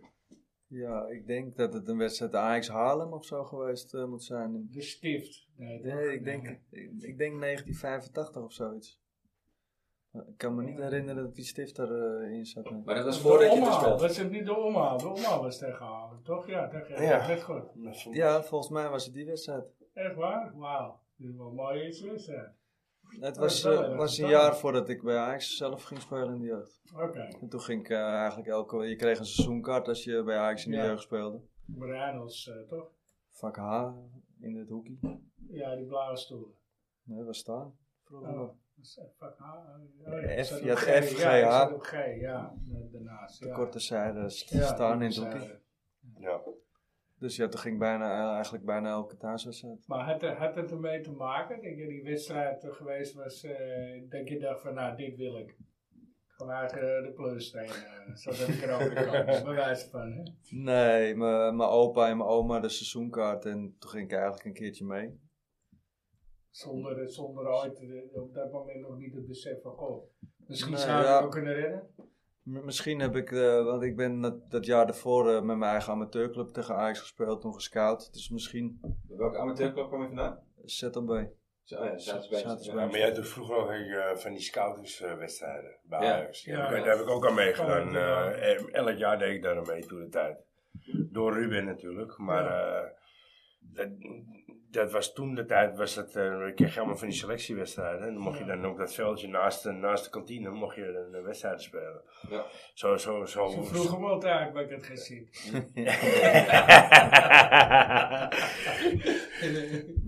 C: Ja, ik denk dat het een wedstrijd Ajax Haarlem of zo geweest eh, moet zijn.
B: De stift. Nee,
C: Nee, ik denk, ik, ik denk 1985 of zoiets. Ik kan me niet herinneren dat die stift daarin in zat. nee.
A: Maar dat was
B: De
A: voordat je het
B: omhaal,
A: speelde.
B: was het niet de omhaal? De omhaal was tegenhalen, toch? Ja, tegen
D: Ja.
B: Net goed.
C: Ja, volgens mij was het die wedstrijd.
B: Echt waar? Wauw. Dit is wel een mooie eerste wedstrijd.
C: Het
B: dat is
C: was,
B: wel
C: eh,
B: erg.
C: was een
B: Dat-
C: jaar voordat ik bij Ajax zelf ging spelen in de jeugd.
B: Oké.
C: En toen ging ik eh, eigenlijk elke... Je kreeg een seizoenkaart als je bij Ajax in de
B: Ja.
C: jeugd speelde.
B: Brianels, eh, toch?
C: Vak H in het hoekie.
B: Ja, die blauwe stoelen.
C: Nee, waar staan? Vroeger nog.
B: Oh. dat is Fuck H. Oh,
C: F,
B: ik zat
C: je
B: op
C: had
B: G.
C: F, G,
B: Ja, ik
C: H.
B: zat op G, ja. eh, Daarnaast.
C: De
B: ja.
C: korte zijde st-
B: Ja, dus, eh,
C: staan in het
B: korte
C: hoekie.
B: zijde.
D: Ja.
C: Dus ja, toen ging bijna, eh, eigenlijk bijna elke thuiswedstrijd.
B: Maar had, er- had het ermee te maken dat je die wedstrijd er geweest was, eh, dat je dacht van, nou, dit wil ik. Graag eh, de plus trainen, zodat ik er ook in
C: (laughs)
B: kan. Bij wijze van, hè?
C: Nee, mijn mijn opa en mijn oma hadden seizoenkaart en toen ging ik eigenlijk een keertje mee.
B: Zonder, zonder ooit eh, op dat moment nog niet het besef van, goh, misschien
C: Nee,
B: zou ik
C: ja.
B: het ook kunnen redden.
C: M- misschien heb ik, eh, want ik ben dat, dat jaar daarvoor eh, met mijn eigen amateurclub tegen Ajax gespeeld, toen gescout. Dus misschien
A: Welke amateurclub kwam je vandaan?
C: ZMB.
A: Z- oh ja, Zatersbeek.
C: Zatersbeek.
D: Ja, maar jij doet vroeger ook eh, van die scoutingswedstrijden bij
A: Ja.
D: Ajax. Ja,
B: Ja.
D: daar heb ik- Daar heb ik ook aan meegedaan.
B: Ja.
D: Eh, el- elk jaar deed ik daar aan mee toen de tijd. Door Ruben natuurlijk, maar eh, dat, dat was toen de tijd, was dat, eh, ik kreeg helemaal van die selectiewedstrijden. En dan mocht je
B: Ja.
D: dan ook dat veldje naast de, naast de kantine, mocht je een eh, wedstrijd spelen.
A: Ja.
D: Zo, zo, zo.
B: Ze vroeg hem altijd uit, maar ik had geen zin.
D: (laughs)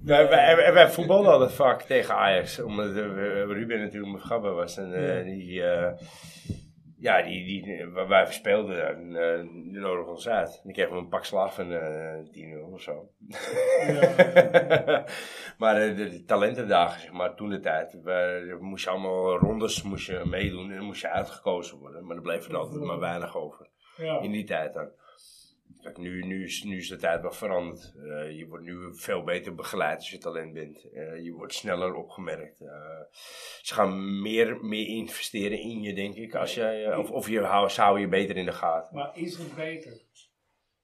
D: Wij, wij, wij- wij voetbalden altijd vaak tegen Ajax, omdat eh, Ruben natuurlijk mijn gabber was. En eh, die, eh, Ja, die, die, waar wij verspeelden, ja, en, eh, die nodig ons uit. Dan kregen we een pak slaag van eh 10-0 of zo. (laughs) maar eh, de, de talentendagen, zeg maar, toen de tijd, we- moest je allemaal rondes moest je meedoen en dan moest je uitgekozen worden. Maar er bleef er altijd maar weinig over.
B: Ja.
D: In die tijd dan. Kijk, nu, nu, is, nu is de tijd wel veranderd. Eh, je wordt nu veel beter begeleid als je talent bent. Eh, je wordt sneller opgemerkt. Eh, ze gaan meer, meer investeren in je, denk ik. Als jij, eh, of of je, hou- ze houden je beter in de gaten.
B: Maar is het beter?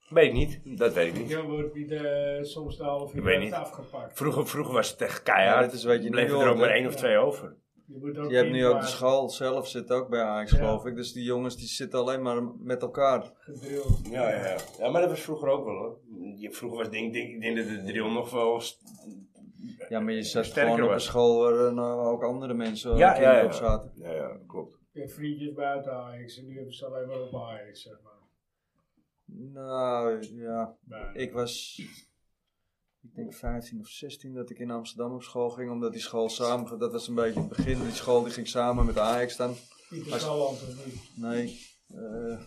D: Weet ik niet. Dat weet ik niet.
B: Je wordt niet de, soms de halve
D: Ik weet
B: uur
D: niet.
B: afgepakt.
D: Vroeger, vroeger was het echt
C: Ja,
D: keihard.
C: dat is wat je
D: bleef
C: nu
D: er ook
C: hoort,
D: maar
C: hè?
D: één of
B: Ja.
D: twee over.
B: Je, wordt ook
C: Je hebt nu ook de
B: inwaarts
C: school zelf zit ook bij Ajax,
B: Ja.
C: geloof ik. Dus die jongens die zitten alleen maar met elkaar.
B: gedrild.
D: Ja, ja, ja. ja, maar dat was vroeger ook wel hoor. Je- Vroeger was denk, denk, ik denk dat de drill nog wel st-
C: Ja, maar je zat
D: Sterker
C: gewoon op een
D: was.
C: school waar eh, nou ook andere mensen eh,
D: Ja,
C: kinderen
D: ja, ja.
C: op zaten.
D: Ja, ja, klopt.
B: Je hebt vriendjes buiten Ajax en nu hebben ze alleen maar op Ajax, zeg maar.
C: Nou ja,
B: Bijna.
C: ik was ik denk 15 of 16 dat ik in Amsterdam op school ging. Omdat die school samen, dat was een beetje het begin. Die school die ging samen met Ajax dan.
B: Pieter Salland of niet?
C: Nee, eh,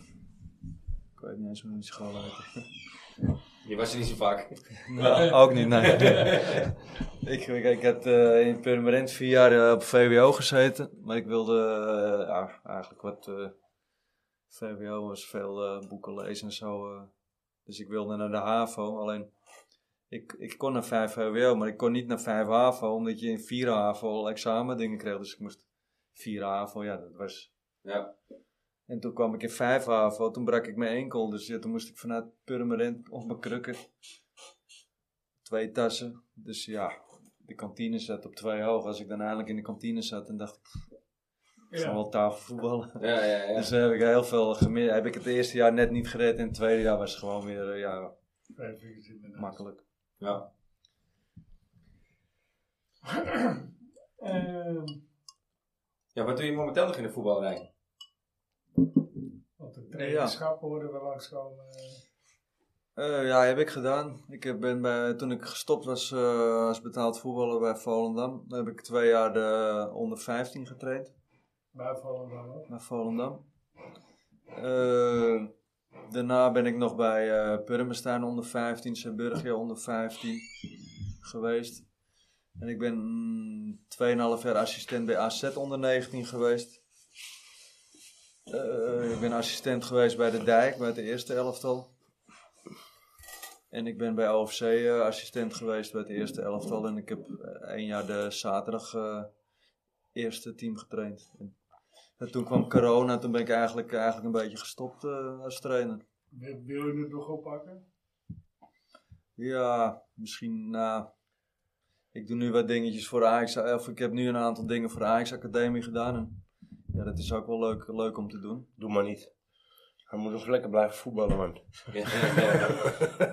C: ik weet niet eens hoe die school heette.
A: Die was er niet zo vaak.
C: Nou, ook niet, nee. (laughs) ik, ik, ik had eh, in Purmerend vier jaar eh, op VWO gezeten. Maar ik wilde eh, ja, eigenlijk wat... eh, VWO was veel eh, boeken lezen en zo. eh. dus ik wilde naar de HAVO. Alleen, ik, ik kon naar vijf VWO, maar ik kon niet naar vijf HAVO. Omdat je in vier HAVO al examen dingen kreeg. Dus ik moest vier HAVO, ja, dat was...
A: Ja.
C: En toen kwam ik in Vijfhaven, toen brak ik mijn enkel. Dus ja, toen moest ik vanuit Purmerend op mijn krukken. Twee tassen. Dus ja, de kantine zat op twee hoog. Als ik dan eindelijk in de kantine zat, dan dacht ik, ik ga
B: Ja.
C: wel tafelvoetballen.
A: Ja, ja, ja.
C: (laughs) Dus daar heb ik heel veel gemist. Heb ik het eerste jaar net niet gered en het tweede jaar was het gewoon weer eh, ja,
B: Vijf vingers in de naam.
C: makkelijk.
A: ja.
B: Ehm,
A: ja wat doe je momenteel nog in de
D: (laughs)
A: voetballerij?
B: Want de trainingschappen worden we langskomen. eh,
C: Eh, ja, heb ik gedaan. Ik heb- ben bij, toen ik gestopt was eh, als betaald voetballer bij Volendam, heb ik twee jaar de onder 15 getraind.
B: bij Volendam ook.
C: naar Volendam. Eh, daarna ben ik nog bij eh Purmerstein onder 15, Zeeburgia onder 15 geweest. En ik ben mm, 2,5 jaar assistent bij AZ onder 19 geweest. Eh, ik ben assistent geweest bij de Dijk, bij de eerste elftal. En ik ben bij OFC eh, assistent geweest bij het eerste elftal. En ik heb eh, één jaar de zaterdag eh, eerste team getraind. En ja, toen kwam corona, toen ben ik eigenlijk, eigenlijk een beetje gestopt eh, als trainer.
B: Wil wil je het nog oppakken?
C: Ja, misschien, nou, ik doe nu wat dingetjes voor Ajax, of ik heb nu een aantal dingen voor de Ajax Academie gedaan. En, ja, dat is ook wel leuk, leuk om te doen.
D: Doe maar niet. Hij moet nog lekker blijven voetballen, man.
A: Ja, ja, ja.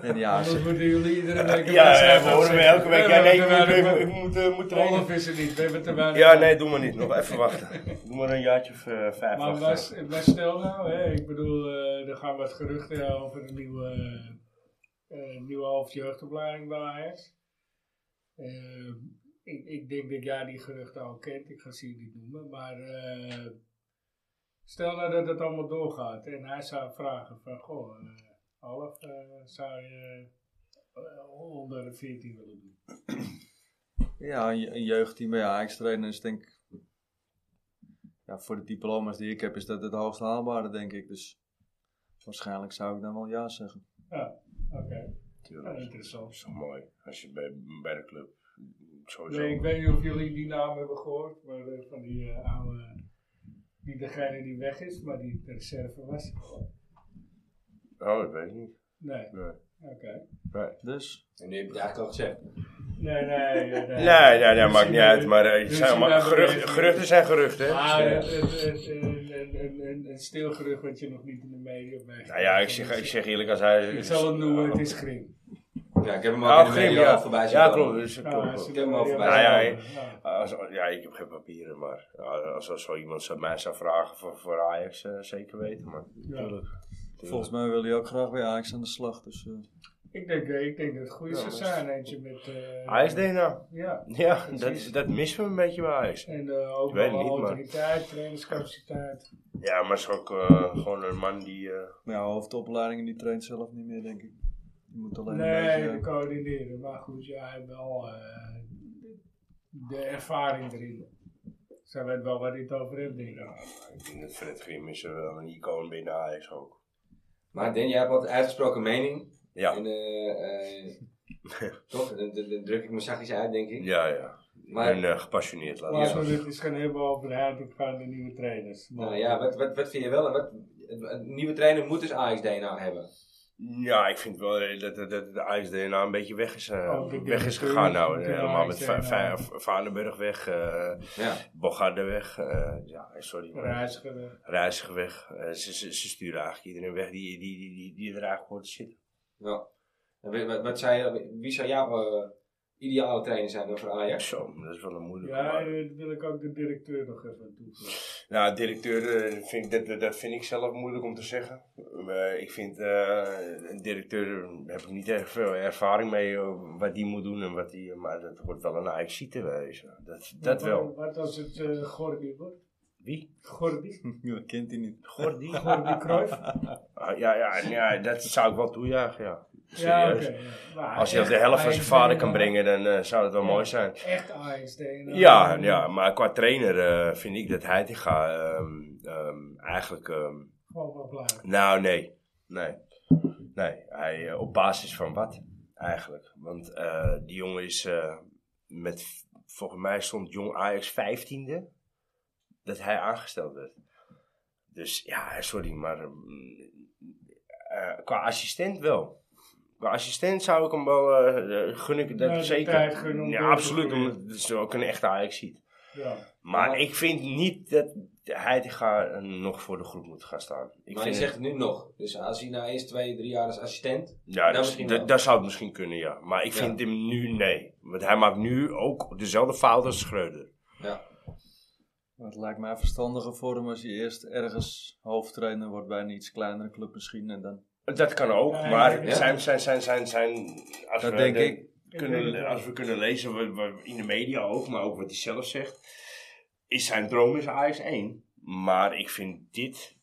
C: En ja,
B: Anders
C: ze-
B: moeten jullie iedere week een
D: Ja,
B: wedstrijd
D: we horen we
B: afzeggen.
D: elke week.
B: Nee,
D: Ja,
B: we
D: nee,
B: hebben
D: ik moet,
B: te weinig-
D: ik moet, eh, moet
B: Olaf
D: trainen.
B: is er niet, we hebben te weinig.
D: Ja, nee, doe maar niet. Nog even wachten. (laughs) Doe maar een jaartje of eh, vijf
B: Maar was,
D: wachten.
B: was stel nou, hè, ik bedoel, eh, er gaan wat geruchten over een nieuwe, eh, eh, nieuwe hoofdjeugdopleiding bij Ajax. Eh, ik, ik denk dat jij die geruchten al kent, ik ga ze hier niet noemen, maar eh, stel nou dat het allemaal doorgaat en hij zou vragen van, goh, eh Alf, eh, zou je eh, onder de 14 willen doen?
C: ja, een je- een jeugdteam bij Ajax trainen is denk ik, ja, voor de diploma's die ik heb, is dat het hoogst haalbare, denk ik. Dus waarschijnlijk zou ik dan wel ja zeggen.
B: Ja, oké,
D: Tuurlijk.
B: Nou,
D: Dat
B: interessant.
D: is toch mooi. Als je bij, bij de club. Sowieso.
B: Nee, ik weet niet of jullie die naam hebben gehoord, maar eh, van die eh, oude, niet degene die weg is, maar die de reserve was.
D: Oh, dat weet ik niet.
B: Nee,
D: Nee.
B: oké.
C: Dus...
A: En nu heb je het eigenlijk al gezegd.
B: Nee, nee, nee.
D: Nee, (laughs) nee, nee, maakt niet uit. Maar eh,
B: Dus
D: het zijn allemaal
B: je bent
D: geruchten,
B: bezig.
D: geruchten zijn geruchten. hè.
B: Maar
D: Dus, eh,
B: het, het, het, Ah, een, een, een, een, een stil gerucht wat je nog niet in de media meegemaakt
D: nou ja, ik zeg, ik zeg eerlijk als hij...
B: Ik zal het noemen, het is Grim. Ah,
A: Ja, ik heb hem ook
D: Oh,
A: in de
D: Grim,
A: media al
D: ja.
A: voorbij zien
D: Ja,
A: komen.
D: klopt. Dus, klopt, klopt.
A: Ik heb hem al voorbij
D: Nou ja,
A: zien
D: ik- Als, ja, ik heb geen papieren, maar als, als zo iemand zou- mij zou vragen voor, voor Ajax, eh, zeker weten. Maar,
B: Ja.
C: Volgens mij wil je ook graag bij Ajax aan de slag. Dus, eh,
B: Ik denk, eh, ik denk dat het goede
D: Ja,
B: zou
D: dat is-
B: zijn, eentje met... eh,
D: Ajax DNA.
B: Ja.
D: Ja, dat,
B: Precies.
D: is- dat missen we een beetje bij Ajax.
B: En eh ook
D: Ik weet het
B: wel
D: niet, maar-
B: autoriteit, trainingscapaciteit.
D: Ja, maar is ook eh, gewoon een man die... eh,
C: Ja, hoofdopleidingen die traint zelf niet meer, denk ik. Je moet alleen een
B: Nee,
C: beetje...
B: de coördineren. Maar goed, ja, hij heeft wel eh, de ervaring erin. Zij weet wel waar hij het over heeft, denk ik.
D: ik denk dat Fred Grim is eh, wel een icoon binnen Ajax ook.
A: Maar Den, jij hebt altijd uitgesproken mening.
D: Ja,
A: En, eh, eh, toch? Dan, dan- dan druk ik me zachtjes uit, denk ik.
D: ja, ja. Ik
A: Maar-
D: ben eh, gepassioneerd, laat ik
B: Maar
D: het
B: als
D: zo
B: we
D: zeggen.
B: het eens gaan hebben over de huidige nieuwe trainers. Maar
A: Nou ja, wat, wat, wat vind je wel? Wat, een nieuwe trainer moet dus Ajax-DNA hebben.
D: Ja, ik vind wel eh, dat, dat, dat de Ajax DNA een beetje weg is, eh,
B: Oh, ik
D: weg
B: denk
D: is
B: dat-
D: gegaan nou.
B: dat
D: eh,
B: de
D: Helemaal
B: Ajax
D: met Va-
B: DNA.
D: Va- Va- Vaneburg weg, eh
A: Ja.
D: Bogarde weg, eh, ja, sorry. maar-
B: Reiziger, eh,
D: Reiziger weg. Eh, ze, ze, ze sturen eigenlijk iedereen weg die, die, die, die, die er eigenlijk hoort te zitten.
A: ja. En wie- wat, wat zou je- wie zou jouw eh, ideale trainer zijn dan voor Ajax?
D: Zo, dat is wel een moeilijke.
B: Ja,
D: maar-
B: en dat wil ik ook de directeur nog even toevoegen.
D: Nou, directeur, eh, vind ik, dat- dat, dat vind ik zelf moeilijk om te zeggen. Eh, ik vind, eh, een directeur daar heb ik niet erg veel ervaring mee eh, wat die moet doen en wat die, eh, maar dat wordt wel een ajax te wezen. Dat, dat
B: Maar
D: wel.
B: Wat als het eh Gordy wordt?
D: Wie?
B: Gordy?
C: Dat kent hij niet.
D: (laughs) Gordy?
B: Gordy Cruyff?
D: Ah, ja, ja, ja, dat zou ik wel toejuichen, ja.
B: Ja,
D: (laughs) Serieus.
B: oké. ja. Maar
D: Als je
B: echt
D: de helft van zijn
B: Ajax
D: vader
B: DNA.
D: kan brengen, dan eh, zou dat wel mooi zijn.
B: Echt Ajax DNA.
D: Ja, ja, maar qua trainer eh, vind ik dat Heitinga ehm ehm, eigenlijk... ehm,
B: Gewoon wel blij.
D: nou, nee. Nee. Nee, hij, eh, op basis van wat eigenlijk? Want eh, die jongen is eh, met... Volgens mij stond jong Ajax 15e dat hij aangesteld werd. Dus ja, sorry, maar mm, eh, qua assistent wel. Qua assistent zou ik hem wel eh, eh, gun ik dat
B: Ja, de tijd gunnen
D: zeker.
B: om
D: Ja,
B: door te
D: absoluut,
B: groeien.
D: omdat het is ook een echte Ajax ziet.
B: Ja.
D: Maar
A: Maar-
D: ik vind niet dat Heitinga nog voor de groep moet gaan staan.
A: maar
D: Ik
A: je
D: vind
A: zegt het nu nog. Dus als hij na eerst twee, drie jaar als assistent.
D: ja,
A: nou,
D: dat,
A: misschien
D: dat-
A: wel.
D: dat zou het misschien kunnen, ja. Maar ik
A: Ja.
D: vind hem nu nee. Want hij maakt nu ook dezelfde fout als Schreuder.
A: Ja.
C: Maar het lijkt mij verstandiger voor hem als hij eerst ergens hoofdtrainer wordt bij een iets kleinere club misschien. En dan,
D: Dat kan ook,
B: Ja,
D: maar
B: ja.
D: zijn, zijn, zijn, zijn, zijn, als
C: dat
D: we
C: denk
D: de-
C: ik.
B: Ik
D: kunnen,
B: denk-
D: als we kunnen lezen wat, wat in de media ook, maar ook wat hij zelf zegt, is zijn droom is Ajax 1. Maar ik vind dit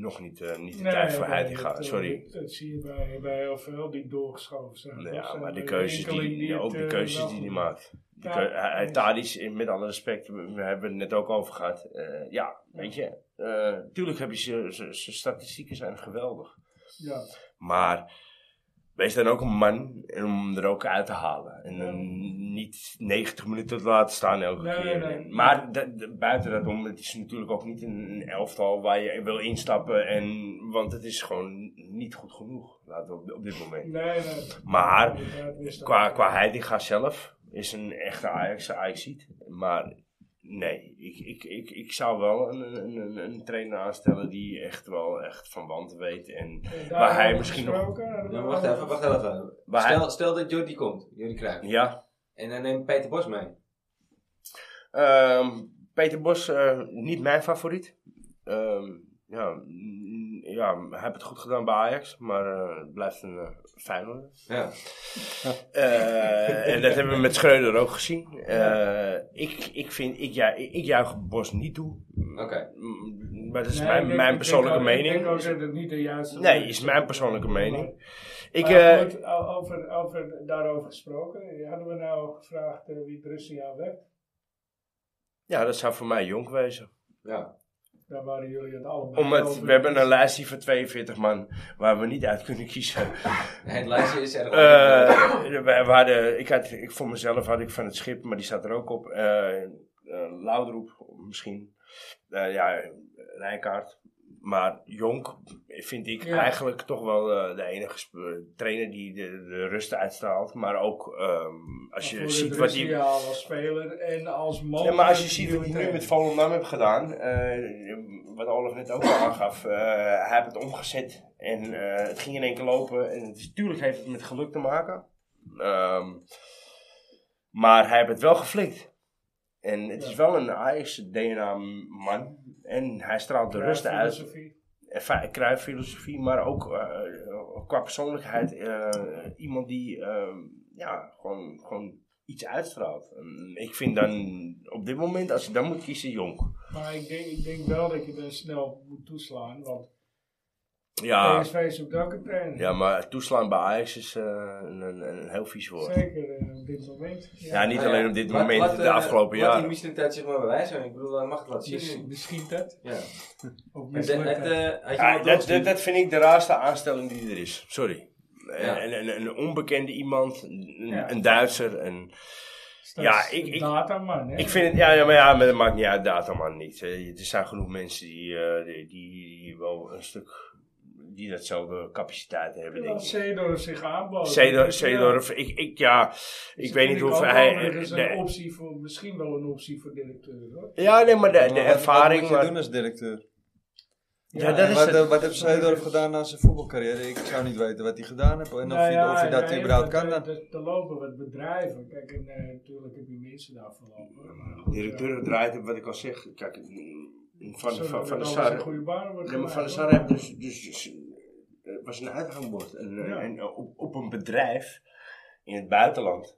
D: nog niet, eh, niet de tijd voor
B: nee,
D: hij gaat.
B: dat, eh,
D: Sorry.
B: Dat, zie je bij, bij heel veel die doorgeschoven zijn.
D: Nou
B: Dat
D: Ja,
B: zijn
D: maar de
B: bij
D: keuzes
B: eh, enkeling
D: die, ja,
B: het,
D: ook de
B: eh,
D: keuzes
B: wel
D: die hij
B: goed
D: maakt. De
B: Ja,
D: keu- hij- hij-
B: eens.
D: Tadic, eh, met alle respect, we we hebben het net ook over gehad. Eh, ja, weet je, eh, tuurlijk heb je ze- ze- zijn statistieken zijn geweldig.
B: Ja.
D: Maar wees dan ook een man om er ook uit te halen. En dan niet 90 minuten te laten staan elke
B: Nee,
D: keer.
B: nee.
D: En- Maar dat- dat- buiten dat om, het is natuurlijk ook niet een een elftal waar je wil instappen. En, want het is gewoon niet goed genoeg, laten we op, op dit moment.
B: Nee, nee.
D: Maar
B: Inderdaad, wist dat
D: Qua,
B: ook.
D: qua Heidinga zelf is een echte Ajax, Ajaxiet. Maar nee, ik, ik, ik, ik zou wel een, een, een, een trainer aanstellen die echt wel echt van wanten weet. En
B: Eh,
D: waar
B: daarover
D: hij misschien nog-
B: gesproken, eh,
A: Ja, maar wacht even, wacht even.
D: waar hij-
A: Stel, stel dat Jordi komt, Jordi Cruijff.
D: ja,
A: En dan neemt Peter Bos mee.
D: ehm, Peter Bos, eh, niet mijn favoriet. Ehm, ja, mm, ja, hij heeft het goed gedaan bij Ajax, maar eh, het blijft een eh Feyenoord.
A: Ja.
D: Eh, en dat hebben we met Schreuder ook gezien. Eh, ik, ik, vind, ik, ja, ik, ik juich Bos niet toe.
A: Oké.
D: Mm, Maar dat is
B: Nee,
D: mijn,
B: ik denk-
D: mijn
B: ik
D: persoonlijke
B: denk ook- Ik denk
D: mening.
B: ook dat het niet de juiste
D: Nee, is mijn persoonlijke mening. Ik,
B: Ik,
D: eh,
B: goed, o- over, over, daarover gesproken. Hadden we nou gevraagd eh, wie Drussia werd?
D: ja, dat zou voor mij jong wezen.
A: Ja.
B: Daar waren jullie het allemaal
D: Om het,
B: over.
D: we hebben een lijstje van 42 man waar we niet uit kunnen kiezen.
A: Het lijstje is erg.
B: Oh,
D: Eh, we, we hadden, ik had, ik, voor mezelf had ik van het schip, maar die staat er ook op. eh eh, Laudroep misschien. Eh, ja, Rijkaard. Maar Jonk vind ik
B: Ja.
D: eigenlijk toch wel eh, de enige sp- trainer die de, de rust uitstraalt. Maar ook ehm, als je
B: Voor
D: ziet
B: de
D: wat hij...
B: Drussia als speler en als man. eh,
D: Ja, maar als je ziet wat hij nu met Volendam heeft gedaan, eh, wat Olaf net ook al aangaf, eh, hij heeft het omgezet en eh, het ging in één keer lopen. En het is- tuurlijk heeft het met geluk te maken, Ehm, maar hij heeft het wel geflikt. En het
B: Ja.
D: is wel een Ajax-DNA-man en hij straalt de rust uit.
B: Filosofie.
D: erva- kruiffilosofie, maar ook eh, qua persoonlijkheid eh, iemand die eh, ja, gewoon, gewoon iets uitstraalt. En ik vind dan op dit moment, als je dan moet kiezen, jong.
B: Maar ik denk, ik denk wel dat je dan snel moet toeslaan. Want
D: Ja,
B: PSV zoekt ook een trainer.
D: Ah. ja maar toeslaan bij Ajax is eh, een, een, een heel vies woord.
B: Zeker eh, op dit moment.
D: Ja, niet
A: Nou ja,
D: alleen op dit
A: laat-
D: moment,
A: laat,
D: de
A: eh,
D: afgelopen
A: Laat die
D: jaren.
A: misselijkheid zich maar bij wijze. Ik bedoel, dan mag ik het laten
B: Miss-
A: zien.
B: Misschien dat.
A: Ja.
B: Of
A: Het, het,
B: mislukt dat.
A: eh, had je
D: Ja,
A: wel
D: dat,
A: doorgezien?
D: dat, dat vind ik de raarste aanstelling die er is. Sorry.
A: Ja.
D: En, en, een onbekende iemand, een,
B: Ja.
D: een Duitser. En,
B: Dus dat
D: ja,
B: is
D: ik,
B: een
D: ik,
B: dataman, hè?
D: ik vind het, ja, ja, maar ja, maar dat maakt niet uit, dataman niet. Eh, Er zijn genoeg mensen die, eh, die, die wel een stuk, die datzelfde capaciteit hebben, denk
B: dat
D: ik.
B: Seedorf zich aanbood.
D: Zedor-
B: Dus ja,
D: Zeedorf, ik, ik, ja,
B: dus
D: ik weet niet
B: vind
D: of
B: ook
D: hij...
B: wel, Er is
D: de-
B: een optie voor, misschien wel een optie voor directeur, hoor.
D: ja, nee, maar de, de
C: Maar wat-
D: ervaring...
C: Wat moet
D: maar-
C: je doen als directeur?
D: ja, dat is
C: wat,
D: het.
C: eh, wat heeft Seedorf gedaan na zijn voetbalcarrière? Ik zou niet weten wat hij gedaan heeft.
D: Nou
C: En of,
B: Nou
C: hij, of hij dat überhaupt kan
D: eh,
C: dan.
B: Er lopen wat bedrijven. Kijk, en eh, natuurlijk heb je mensen daarvoor lopen. maar goed,
D: directeur
B: eh,
D: draait op wat ik al zeg. Kijk, van,
B: zorg
D: van,
B: dat
D: van de
B: alles
D: Sar...
B: in goede banen wordt
D: Ja, maar Van der
B: gemaakt,
D: Sar
B: hoor.
D: heeft dus, dus, dus, eh, was een uithangbord. En, eh,
B: Ja.
D: en op, op een bedrijf in het buitenland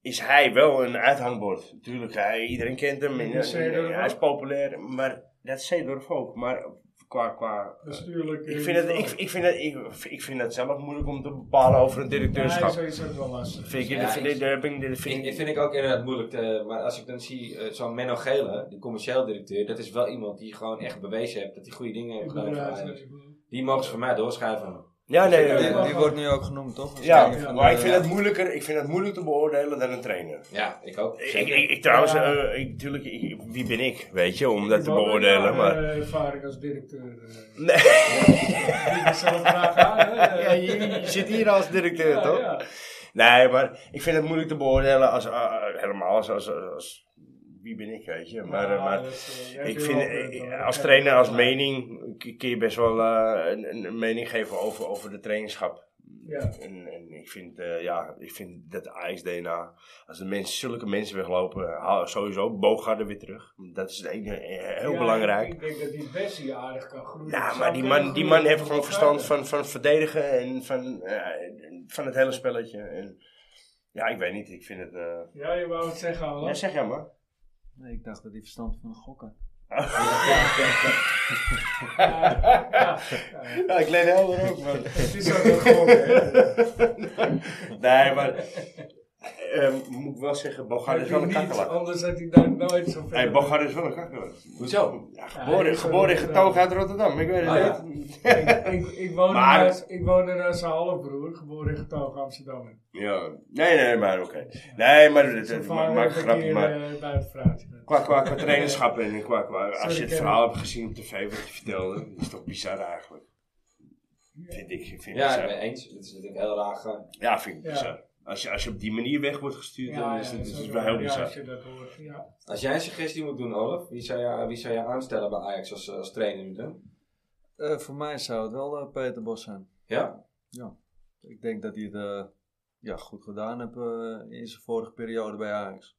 D: is hij wel een uithangbord. Natuurlijk, hij, iedereen kent hem. En,
B: En
D: eh,
B: Seedorf
D: hij is
B: ook.
D: populair, maar dat is Seedorf ook. Maar qua... qua eh,
B: Bestuurlijk.
D: ik vind, het, ik, ik, vind het, ik, ik vind het zelf moeilijk om te bepalen over
B: Ja,
D: een directeurschap.
B: sowieso is wel lastig.
D: Vind ik,
A: Ja,
D: dat vind ik-
A: ik-
D: dat heb ik- dat
A: Ik,
D: vind
A: ik
D: ik-
A: vind ik ook inderdaad moeilijk, te- maar als ik dan zie eh, zo'n Menno Gele, de commercieel directeur, dat is wel iemand die gewoon echt bewezen heeft dat hij goede dingen heeft
B: Ik
A: gedaan.
B: bedoel,
A: voor
B: ja,
A: Ajax.
B: ik bedoel,
A: Die mogen ze voor mij doorschrijven.
D: Ja, nee,
A: ik-
D: nee,
C: Die,
D: nee.
C: die wordt nu ook genoemd, toch? Als
D: Ja,
C: trainer van
D: maar
C: de-
D: ik vind, het moeilijker, ik vind het moeilijk te beoordelen dan een trainer.
A: Ja, ik ook.
D: Dus Ik,
A: zeker.
D: ik, ik trouwens,
B: Ja.
D: eh, ik, tuurlijk, ik- wie ben ik, weet je, om dat
B: ik
D: te
B: heb ook
D: beoordelen,
B: een
D: maar...
B: jaren ervaring eh, als directeur. eh.
D: Nee,
B: Ik ben zelf graag aan. hè.
D: (laughs) ja, je, je zit hier als directeur,
B: Ja,
D: toch?
B: ja.
D: Nee, maar ik vind het moeilijk te beoordelen als, eh, helemaal als, als, als, als- Wie ben ik, weet je, maar... eh,
B: Ja,
D: maar
B: dat is, eh, jij
D: ik
B: hebt
D: vind,
B: heel veel
D: eh,
B: punt, hoor.
D: als
B: Ja,
D: trainer, als
B: ja.
D: mening, k- kun je best wel eh, een, een mening geven over, over de trainingschap.
B: Ja.
D: En, en ik, vind, eh, ja, ik vind dat Ajax-DNA, als de mensen, zulke mensen weglopen, haal sowieso Bogarde weer terug. Dat is het ene- eh, heel
B: Ja,
D: belangrijk.
B: Ik denk dat die best hier aardig kan groeien.
D: Nou,
B: Zou
D: maar die
B: kunnen
D: man, die
B: groeien
D: man heeft
B: tot
D: gewoon
B: een
D: verstand
B: trainer.
D: van, van verdedigen en van, eh, en van het hele spelletje. En, ja, ik weet niet, ik vind het... eh
B: Ja, je wou het zeggen al.
D: ja, zeg jij maar.
E: Nee, ik dacht dat hij verstand van gokken.
D: Ja, ik leen helder ook, man.
B: Het is ook een gok, hè.
D: nee, maar... eh, moet ik wel zeggen, Bogarde is
B: Hij
D: wel een
B: doet niets,
D: kakkelak.
B: Anders had hij daar nooit zo
D: Hey,
B: ver.
D: Bogarde is wel een kakkelak.
A: Hoezo?
D: Ja,
B: Ja, hij
D: geboren,
B: is
D: geboren en
B: wel-
D: getogen uit Rotterdam, ik weet het
A: Ah,
D: niet.
B: ik, ik woonde
D: Maar-
B: naast- ik woonde naast zijn halfbroer, geboren in getogen Amsterdam.
D: Ja, nee, nee, maar oké. Nee, Eh, maar het,
B: Zijn
D: het,
B: vader
D: maakt maakt
B: heeft
D: een
B: een
D: grapje,
B: keer,
D: maar...
B: eh, buiten verhuisd.
D: Qua, qua, qua trainerschap en qua, qua...
B: Sorry,
D: Als je het
B: Kevin.
D: verhaal hebt gezien op tv, wat je vertelde, is toch bizar eigenlijk. Vind ik, vind ik
A: Ja, ik
D: bizar.
A: ben het eens. Dat is natuurlijk heel raar. gegaan.
D: Ja, vind ik
B: Ja.
D: bizar. Als je, als je op die manier weg wordt gestuurd, dan is het
B: dat
D: het is
B: ook
D: wel heel
B: Ja,
D: bizar.
B: als je dat hoort, ja.
A: Als jij een suggestie moet doen, Olaf, wie zou jij, wie zou jij aanstellen bij Ajax als, als trainer nu dan?
E: Eh, voor mij zou het wel eh, Peter Bos zijn.
A: Ja?
E: Ik denk dat hij het eh, ja, goed gedaan heeft eh, in zijn vorige periode bij Ajax.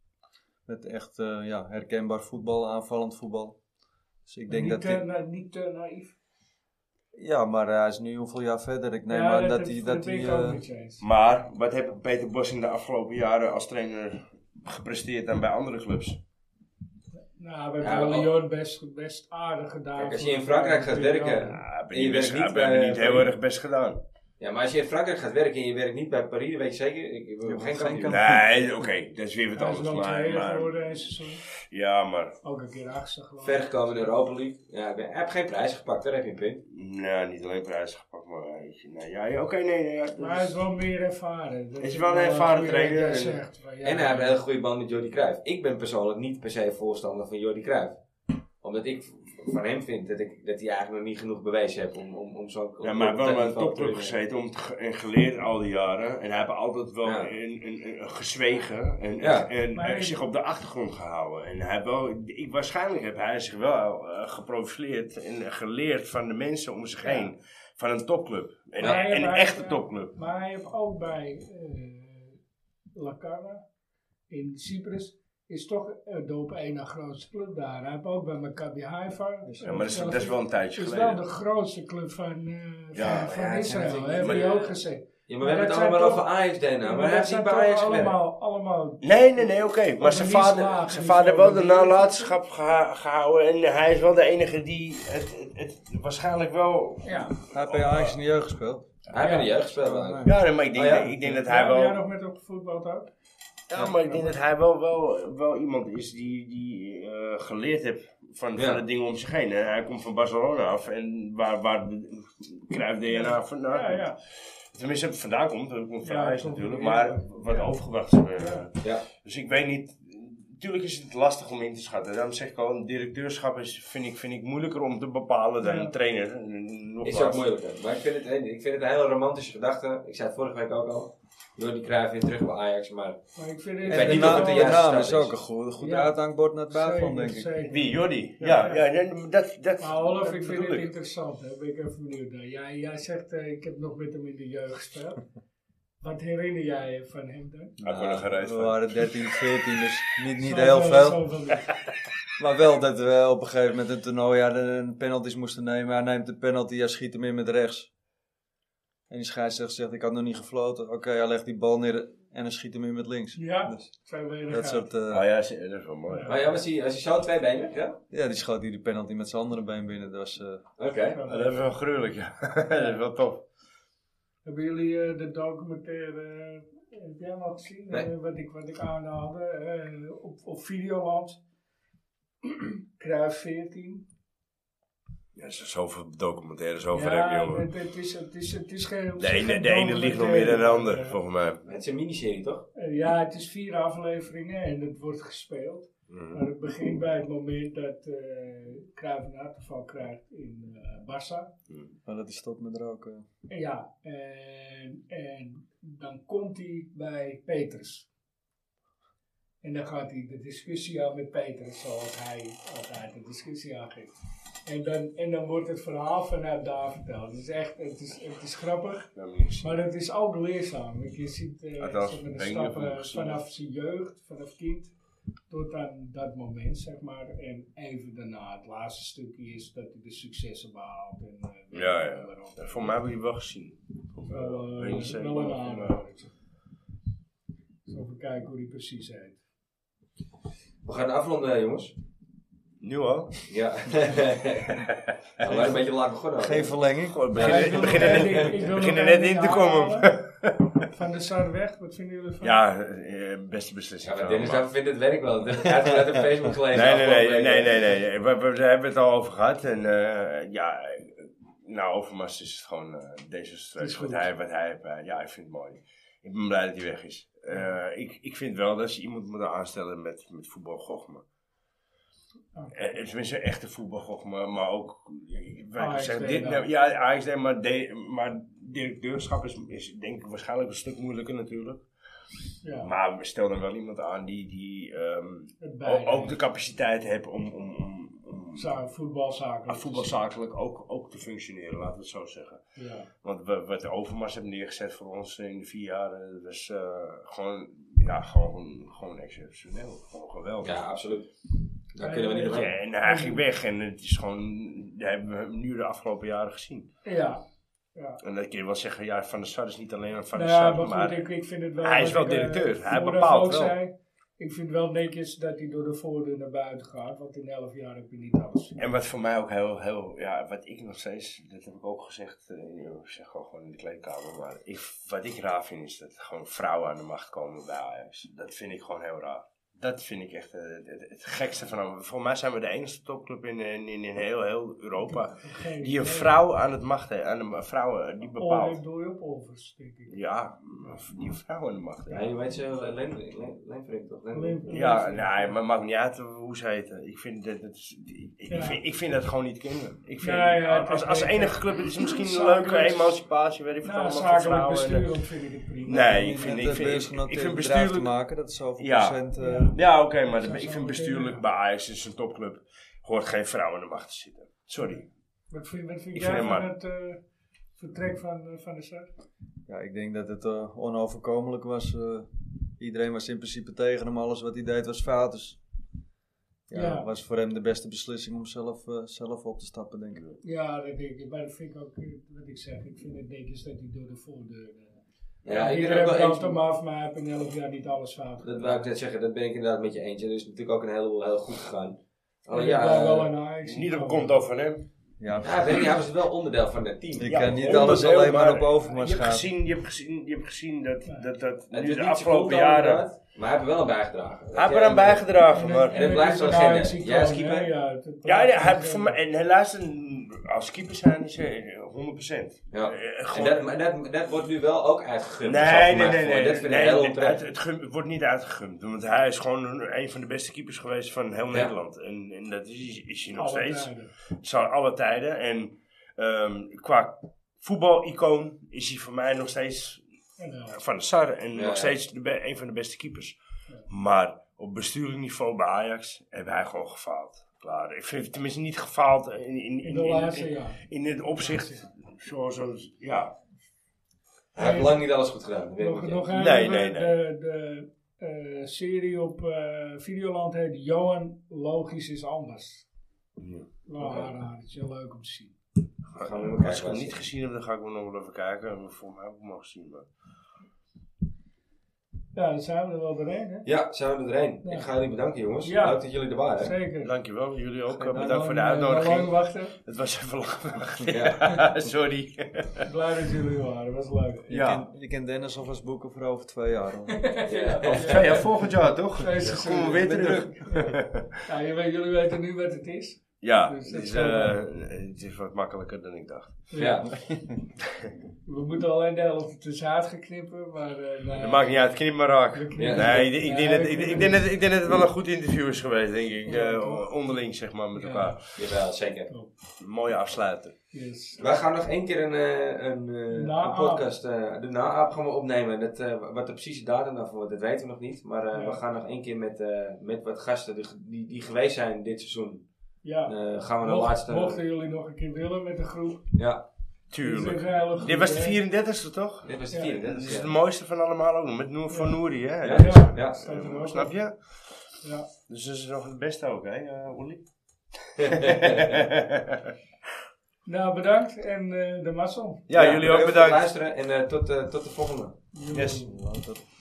E: Met echt eh, ja, herkenbaar voetbal, aanvallend voetbal. Dus ik denk
B: niet, eh,
E: dat
B: te,
E: hij...
B: na- niet te naïef.
E: Ja, maar hij is nu hoeveel jaar verder. Ik neem
B: Ja,
E: aan dat hij...
B: heb-
E: Dat hij
B: ben ik ook
E: eh,
B: met je eens. Nou,
D: Maar, wat heeft Peter Bos in de afgelopen jaren als trainer gepresteerd dan bij andere clubs?
B: Nou, we
A: Ja,
B: hebben
A: wel-
B: Lyon best, best aardig gedaan.
A: Kijk, als
B: voor
A: je in Frankrijk gaat
B: Lyon.
A: werken...
D: Ja,
A: En
D: hebben
A: je
D: die best,
A: bent niet eh,
D: hebben die
A: bij-
D: niet heel
A: bij-
D: erg best gedaan.
A: Ja, maar als je in Frankrijk gaat werken en je werkt niet bij Paris, dan weet je zeker... Ik, ik,
E: wordt
A: geen
E: geen
A: kampioen.
E: kampioen.
D: Nee, oké, dat is weer wat
B: Hij is
D: anders.
B: wel
D: Maar,
B: tweede
D: maar,
B: geworden in seizoen.
D: ja, maar...
B: Ook een keer achtste geloof ik.
A: Ver gekomen in de Europa League. Ja, ik ben- heb geen prijs gepakt, daar heb je een punt.
D: Nou, niet alleen prijzen gepakt, maar... eh, Nee, ja, ja, oké, nee, nee. Ja, dat
B: Maar hij
D: is-
B: is wel meer ervaren. Dat
D: Hij is wel een ervaren
B: goeie-
D: trainer.
B: jij zegt van, ja,
A: En hij heeft een hele goede band met Jordi Cruijff. Ik ben persoonlijk niet per se voorstander van Jordi Cruijff. Omdat ik v- van hem vind dat, ik, dat hij eigenlijk nog niet genoeg bewezen heeft om, om, om zo'n...
D: Ja, maar hij heeft wel
A: om-
D: bij een
A: om-
D: topclub gezeten om te ge- en geleerd al die jaren. En hij heeft altijd wel
A: Ja.
D: een, een, een- gezwegen en,
A: Ja.
D: en, en
B: Maar-
D: zich op de achtergrond gehouden. En hij heeft wel, ik, waarschijnlijk heeft hij zich wel eh, geprofileerd en geleerd van de mensen om zich heen. Van een topclub. En,
B: Maar hij-
D: en een
B: maar-
D: echte topclub.
B: Maar hij heeft ook bij eh Lacana in Cyprus is toch eh, de op één na grootste club daar. Hij heeft ook bij Maccabi Haifa.
D: Ja, maar dat is, dat is wel een tijdje
B: Het is wel
D: geleden.
B: de grootste club van, eh,
D: Ja,
B: van, van
A: ja, het zijn
B: Israël,
A: natuurlijk-
B: heb
D: maar- Nou,
B: je ook gezegd.
A: Ja,
B: Maar
A: maar we hebben
B: dat
A: het
B: zijn
A: allemaal
B: toch-
A: over Ajax, Dana. Maar hij
B: dat
A: heeft
B: zijn
A: niet bij
B: toch
A: Ajax gewerkt.
B: allemaal, allemaal
D: Nee, nee, nee, oké. Maar
B: Maar
D: zijn
B: niet
D: vader,
B: slagen,
D: zijn
B: niet
D: vader heeft wel
B: slagen.
D: de nalatenschap geha- gehouden. En hij is wel de enige die het, het, het waarschijnlijk wel...
B: ja.
C: Hij heeft bij
B: Oh.
C: Ajax in de jeugd gespeeld.
A: Hij heeft in de jeugd gespeeld.
B: Ja.
A: maar-
D: Ja, nee, maar ik denk,
A: Oh, ja?
D: ik denk dat hij
B: Heb jij
D: wel...
B: nog met op voetbal ook?
D: Ja, maar ik denk dat hij wel, wel, wel iemand is die, die eh, geleerd heeft van,
A: Ja.
D: van de dingen om zich heen. En hij komt van Barcelona af. En waar, waar kruipt DNA vandaan
B: Ja,
D: komt.
B: ja.
D: Tenminste, het vandaan komt. Het komt van
B: Ja,
D: Ajax
B: het komt
D: natuurlijk.
B: van-
D: Maar
B: ja.
D: wat overgebracht is. eh,
B: Ja.
A: Ja.
D: Dus ik weet niet. Natuurlijk is het lastig om in te schatten. Daarom zeg ik al, een directeurschap is, vind, ik, vind ik moeilijker om te bepalen dan
B: Ja.
D: een trainer. N- Nog
A: Is
D: maar.
A: ook moeilijker. Maar ik vind, het, ik vind het een hele romantische gedachte. Ik zei het vorige week ook al. Jordi Cruijff weer terug bij Ajax. Maar
B: Maar ik vind het
A: weet
C: En de,
A: niet
C: naam-
A: of het de
C: de
A: juiste
C: naam
A: stap
C: is
A: is.
C: ook een goed, goed
B: Ja.
C: uithangbord naar het buitenland, denk ik.
B: Zeker.
D: Wie, Jordi? Ja, ja.
B: Ja.
D: nee, dat, dat,
B: Maar Nou, Olaf,
D: dat
B: ik vind
D: bedoel
B: het
D: ik.
B: interessant. Daar ben ik even benieuwd naar. Jij, jij zegt, eh, ik heb nog met hem in de jeugd gespeeld. Wat herinner jij je van hem dan?
D: Hij wordt Ah, nog gereisd
C: we
D: van.
C: waren 13, 14, dus niet, niet
B: Zoveel-
C: heel veel.
B: zoveel niet.
C: Maar wel dat we op een gegeven moment een toernooi hadden en penalties moesten nemen. Hij neemt de penalty, hij schiet hem in met rechts. En die scheidsrechter zegt, ik had nog niet gefloten. Oké, hij legt die bal neer en hij schiet hem in met links.
B: Ja,
C: Dus
B: zijn weinig
C: dat
B: uit.
C: soort... eh,
D: Ah ja, ze- dat is wel mooi.
A: Maar Oh ja, was hij, was hij zo twee benen? Ja?
C: ja, die schoot die de penalty met zijn andere been binnen. Dat was... eh,
A: Oké.
D: Ah, Dat is wel gruwelijk, ja. (laughs) dat is wel tof.
B: Hebben jullie eh, de documentaire, eh, heb jij hem al gezien,
A: Nee.
B: Eh, wat, ik, wat ik aanhaalde, eh, op, op Videoland, Kruif 14.
D: Ja, er zijn zoveel documentaires over
B: ja,
D: hem, jongen.
B: het, het is, het, is, het is geen...
D: De ene, de ene ligt nog meer dan de ander, volgens mij.
A: Het is een miniserie, toch?
B: Eh, Ja, het is vier afleveringen en het wordt gespeeld.
D: Mhm.
B: Maar het begint bij het moment dat eh Cruijff een hartaanval krijgt in eh Barça.
C: maar dat is stop met roken.
B: En ja, en, en dan komt hij bij Peters. En dan gaat hij de discussie aan met Peters, zoals hij altijd de discussie aangeeft. En dan, en dan wordt het verhaal vanuit daar verteld. Het is echt, het is, het is grappig,
D: Dat heb ik niet gezien.
B: maar het is ook leerzaam. Want je ziet eh,
D: Althans,
B: zeg maar,
D: ik
B: de
D: weet niet of ik hem
B: stappen
D: nog gezien
B: vanaf zijn jeugd, vanaf kind, tot aan dat moment, zeg maar. En even daarna, het laatste stukje is dat hij de successen behaalt. En, eh, weet
D: Ja,
B: ik
D: ja.
B: veel waarom.
D: Voor mij heb ik die wel gezien. Of, eh,
B: Wel,
D: weet
B: eh,
D: niet zeker,
B: wel een
D: maar-
B: aanrader. Zo even kijken hoe die precies heet.
A: We gaan afronden, jongens.
D: Nu al? (laughs)
A: Ja. Ja, we waren een beetje laat begonnen.
C: Geen verlenging.
D: Goh, het
B: Ja, ik wil nog
D: begint- begint er
B: één
D: net-
B: ding- ik
D: het
B: wil
D: begint er
B: nog
D: net
B: één
D: in te
B: ding
D: komen.
B: aanhalen. Van de Sarweg, wat vinden jullie van?
D: Ja, eh, beste beslissing.
A: Ja, maar Dennis
D: allemaal.
A: hij vindt het werk wel. Hij heeft het
D: (laughs)
A: uit op Facebook gelezen.
D: Nee, nee, nee,
A: afgelopen
D: nee,
A: week.
D: nee, nee, nee. We, we- we hebben het al over gehad. En eh, ja, eh, nou, Overmars is het gewoon eh, deze
B: Het
D: strijd.
B: is
D: Wat
B: goed.
D: hij, wat hij heeft, eh, ja, ik vind het mooi. Ik ben blij dat hij weg is. Eh, ik, ik vind wel dat ze iemand moeten aanstellen met, met voetbalgochme.
B: Oké.
D: Eh, Tenminste, echte voetbalgochme, maar ook... eh, wat ik
B: AXD
D: zeg, dit,
B: dan.
D: nou, ja, AXD, maar, de- maar directeurschap is, is denk ik waarschijnlijk een stuk moeilijker natuurlijk.
B: Ja,
D: Maar stel dan wel iemand aan die, die ehm,
B: het
D: ook,
B: beide.
D: ook de capaciteit heb om, om, om, om
B: Zou- voetbalzaken.
D: ah, voetbalzakelijk ook, ook te functioneren, laten we het zo zeggen.
B: Ja.
D: Want we, wat de Overmars hebben neergezet voor ons in de vier jaar, eh, dat was eh, gewoon, ja, gewoon, gewoon exceptioneel. Gewoon geweldig.
A: Ja, absoluut. Daar kunnen we niet
B: Ja,
A: op
D: Ja,
A: aan.
D: en hij ging weg en het is gewoon, dat hebben we nu de afgelopen jaren gezien.
B: ja.
D: En dat kun je wel zeggen, ja, Van der Sar is niet alleen Van der
B: Nou ja,
D: Sar,
B: maar
D: maar...
B: goed, ik, ik vind het wel...
D: hij is
B: wat
D: wel
B: ik, eh,
D: directeur. Hij
B: vooraf
D: bepaalt
B: ook
D: wel.
B: zei, ik vind wel netjes dat hij door de voordeur naar buiten gaat, want in elf jaar heb je niet alles.
D: En wat voor mij ook heel, heel, ja, wat ik nog steeds, dat heb ik ook gezegd, eh, ik zeg gewoon gewoon in de kleedkamer, maar ik, wat ik raar vind is dat gewoon vrouwen aan de macht komen bij Ajax. Dat vind ik gewoon heel raar. Dat vind ik echt eh, het, het gekste van allemaal. Voor mij zijn we de enige topclub in, eh, in, in, in heel, heel Europa
B: Geen,
D: die een vrouw aan het macht heeft, aan de vrouwen die
B: Bepaald.
D: bepaalt.
B: doe je op overs, denk ik.
D: Ja, die een vrouw aan de macht heeft.
A: Ja, je weet ze, Lenfrink toch? Len-
B: Alleen-
D: Ja,
B: Nou,
D: nee, maar maakt niet uit hoe ze heten. Ik vind dat, dat is- ik, ik
B: Ja.
D: vind, ik vind dat gewoon niet kunnen. Ik vind,
B: Nee, ja,
D: als,
B: ik-
D: als
B: ik-
D: enige club, het is misschien een
B: Zakelijk-
D: leuke emancipatie, weet ik veel,
B: Nou,
D: allemaal voor
B: zakelijk
D: vrouwen. en-
B: bestuur ook vind ik het prima.
D: Nee, ik
C: Om
D: vind,
C: met
D: ik
C: de
D: vind, ik,
C: beursgenoteerd
D: ik vind
C: bedrijf te
D: bestuurlijk...
C: maken, dat is zoveel
D: Ja.
C: procent... eh,
B: Ja.
D: Ja, oké, maar
B: Zou
D: dat- ik
B: zo
D: vind
B: meteen,
D: bestuurlijk
B: ja.
D: bij Ajax, het is een topclub, hoort geen vrouw aan de macht te zitten. Sorry.
B: Wat vind, wat vind
D: Ik
B: jij
D: vind
B: van
D: hem
B: het eh, vertrek van, eh, van de Sar?
C: Ja, ik denk dat het eh, onoverkomelijk was. eh, Iedereen was in principe tegen hem. Alles wat hij deed was fout. Dus ja,
B: Ja.
C: was voor hem de beste beslissing om zelf, eh, zelf op te stappen, denk ik.
B: Ja, dat denk ik. Maar dat vind ik ook, eh, wat ik zeg, ik vind het netjes dat hij door de voordeur... eh,
A: Ja, ik ben
B: iedereen
A: ook wel
B: brandt
A: eens-
B: hem af, maar hij heeft een elf jaar niet alles fout
A: Dat
B: gedaan.
A: wou ik net zeggen, dat ben ik inderdaad met je eens. En er is natuurlijk ook een heleboel heel goed gegaan.
B: En
A: Alleen
B: ik
A: ja,
B: blijf wel
A: eh,
B: aan Ajax.
D: Niet op konto van hem.
C: Ja,
A: ja, weet ik, hij was wel onderdeel van het team.
C: ik
D: Ja,
C: kan niet
D: onderdeel,
C: alles alleen maar op
D: maar
C: Overmars
D: je, hebt
C: gaan.
D: gezien, je, hebt gezien, je hebt gezien dat, dat, dat
A: Het
D: nu
A: is
D: de
A: niet
D: afgelopen
A: zijn schuld
D: jaren...
A: allemaal, Maar hij heeft er wel aan bijgedragen.
D: Hij heeft eraan bijgedragen, maar...
A: En het blijft zo'n legende. Jij als keeper?
D: Ja, ja, hij heeft voor mij, en helaas, een- als keeper zijn is hij 100%.
A: Ja.
D: Eh,
A: En
D: gewoon-
A: dat, maar dat, dat wordt nu wel ook uitgegund.
D: Nee, nee,
A: Maar
D: nee,
A: voor-
D: nee.
A: Dat vind
D: nee,
A: ik heel
D: het- het,
A: onterecht.
D: het gun- het wordt niet uitgegumd. Want hij is gewoon een, een van de beste keepers geweest van heel Nederland. En, en dat is, is hij nog steeds. Zal alle tijden. En ehm, qua voetbalicoon is hij voor mij nog steeds nou, van de Sar. En
A: Ja, ja.
D: nog steeds de be- een van de beste keepers. Maar op bestuurlijk niveau bij Ajax heeft hij gewoon gefaald. Klaar. Ik vind het tenminste niet gefaald in, in, in,
B: In de
D: in-
B: laatste
D: in-
B: jaar.
D: in het opzicht. Zoals, zoals- ja.
A: Hij heeft lang niet alles goed gedaan. dat weet ik
B: Nog,
A: niet.
B: nog
D: Nee,
B: nee,
D: nee,
B: De, de eh, serie op eh, Videoland heet Johan Logisch is Anders.
D: Ja.
B: Nou,
A: Oké.
B: haar, haar, het is heel leuk om te zien.
A: We gaan hem
D: Als ik
A: kijken.
D: hem niet gezien heb, dan ga ik hem nog wel even kijken. Maar Voor mij heb ik hem al gezien. Maar...
B: Ja, dan zijn we er wel doorheen, hè?
A: Ja, zijn we erheen.
B: Ja.
A: Ik ga jullie bedanken, jongens.
B: Ja.
A: Leuk dat jullie er waren.
B: Zeker.
D: Dankjewel, jullie ook. eh,
B: Nou,
D: Bedankt voor de
B: lang, eh, Lang
D: uitnodiging.
B: wachten.
D: Het was even lang. (laughs)
A: Ja.
D: Sorry.
B: Blij dat jullie er waren, was leuk.
C: Je,
D: Ja.
C: kan, je kan Dennis alvast boeken voor over twee jaar. hoor.
D: Of twee jaar volgend jaar, toch?
B: Twee
D: Dan
B: seizoenen.
D: komen we weer terug.
B: Ja, je weet- jullie weten nu wat het is.
D: Ja,
B: Dus
D: het
B: dat
D: is,
B: zal
D: eh, het is wat makkelijker dan ik dacht.
A: Ja.
B: We moeten alleen de helft tussenuit gaan knippen, maar... eh, nou,
D: Dat maakt niet uit, knip maar raak.
A: Ja.
D: Nee, ik, ik, denk
B: Ja,
D: dat, ik, ik denk dat, ik denk dat het wel een goed interview is geweest, denk ik.
B: Ja,
D: eh,
B: toch?
D: onderling, zeg maar, met
B: Ja.
D: elkaar.
A: Jawel, zeker.
D: Een mooie afsluiter.
B: Yes.
A: Wij gaan nog één keer een, eh, een, eh,
B: Na-aap.
A: een podcast, eh, de na-aap gaan we opnemen. Dat, eh, wat de precieze datum daarvoor wordt, dat weten we nog niet. Maar eh,
B: Ja.
A: we gaan nog één keer met, eh, met wat gasten die, die, die geweest zijn dit seizoen,
B: Ja.
A: eh, gaan we de
B: Mocht-
A: laatste...
B: Mochten jullie nog een keer willen met de groep.
A: Ja,
D: Tuurlijk.
B: Tuurlijk.
D: Dit was de 34ste, toch?
A: dit was de
B: Ja.
A: vierde.
D: Dat is
A: ja.
D: het mooiste van allemaal ook. nog, Met Noor van
B: Ja.
D: Nouri, hè?
A: Ja.
B: Ja,
A: Ja.
B: staat er ook op.
D: Snap je?
B: Ja.
D: Dus dat is nog het beste ook, hè, eh, Olly?
B: Nou, bedankt en eh, de mazzel.
D: ja, jullie ook
A: voor het
D: bedankt.
A: luisteren en eh, tot, eh, tot de volgende.
D: Yes.
C: Later.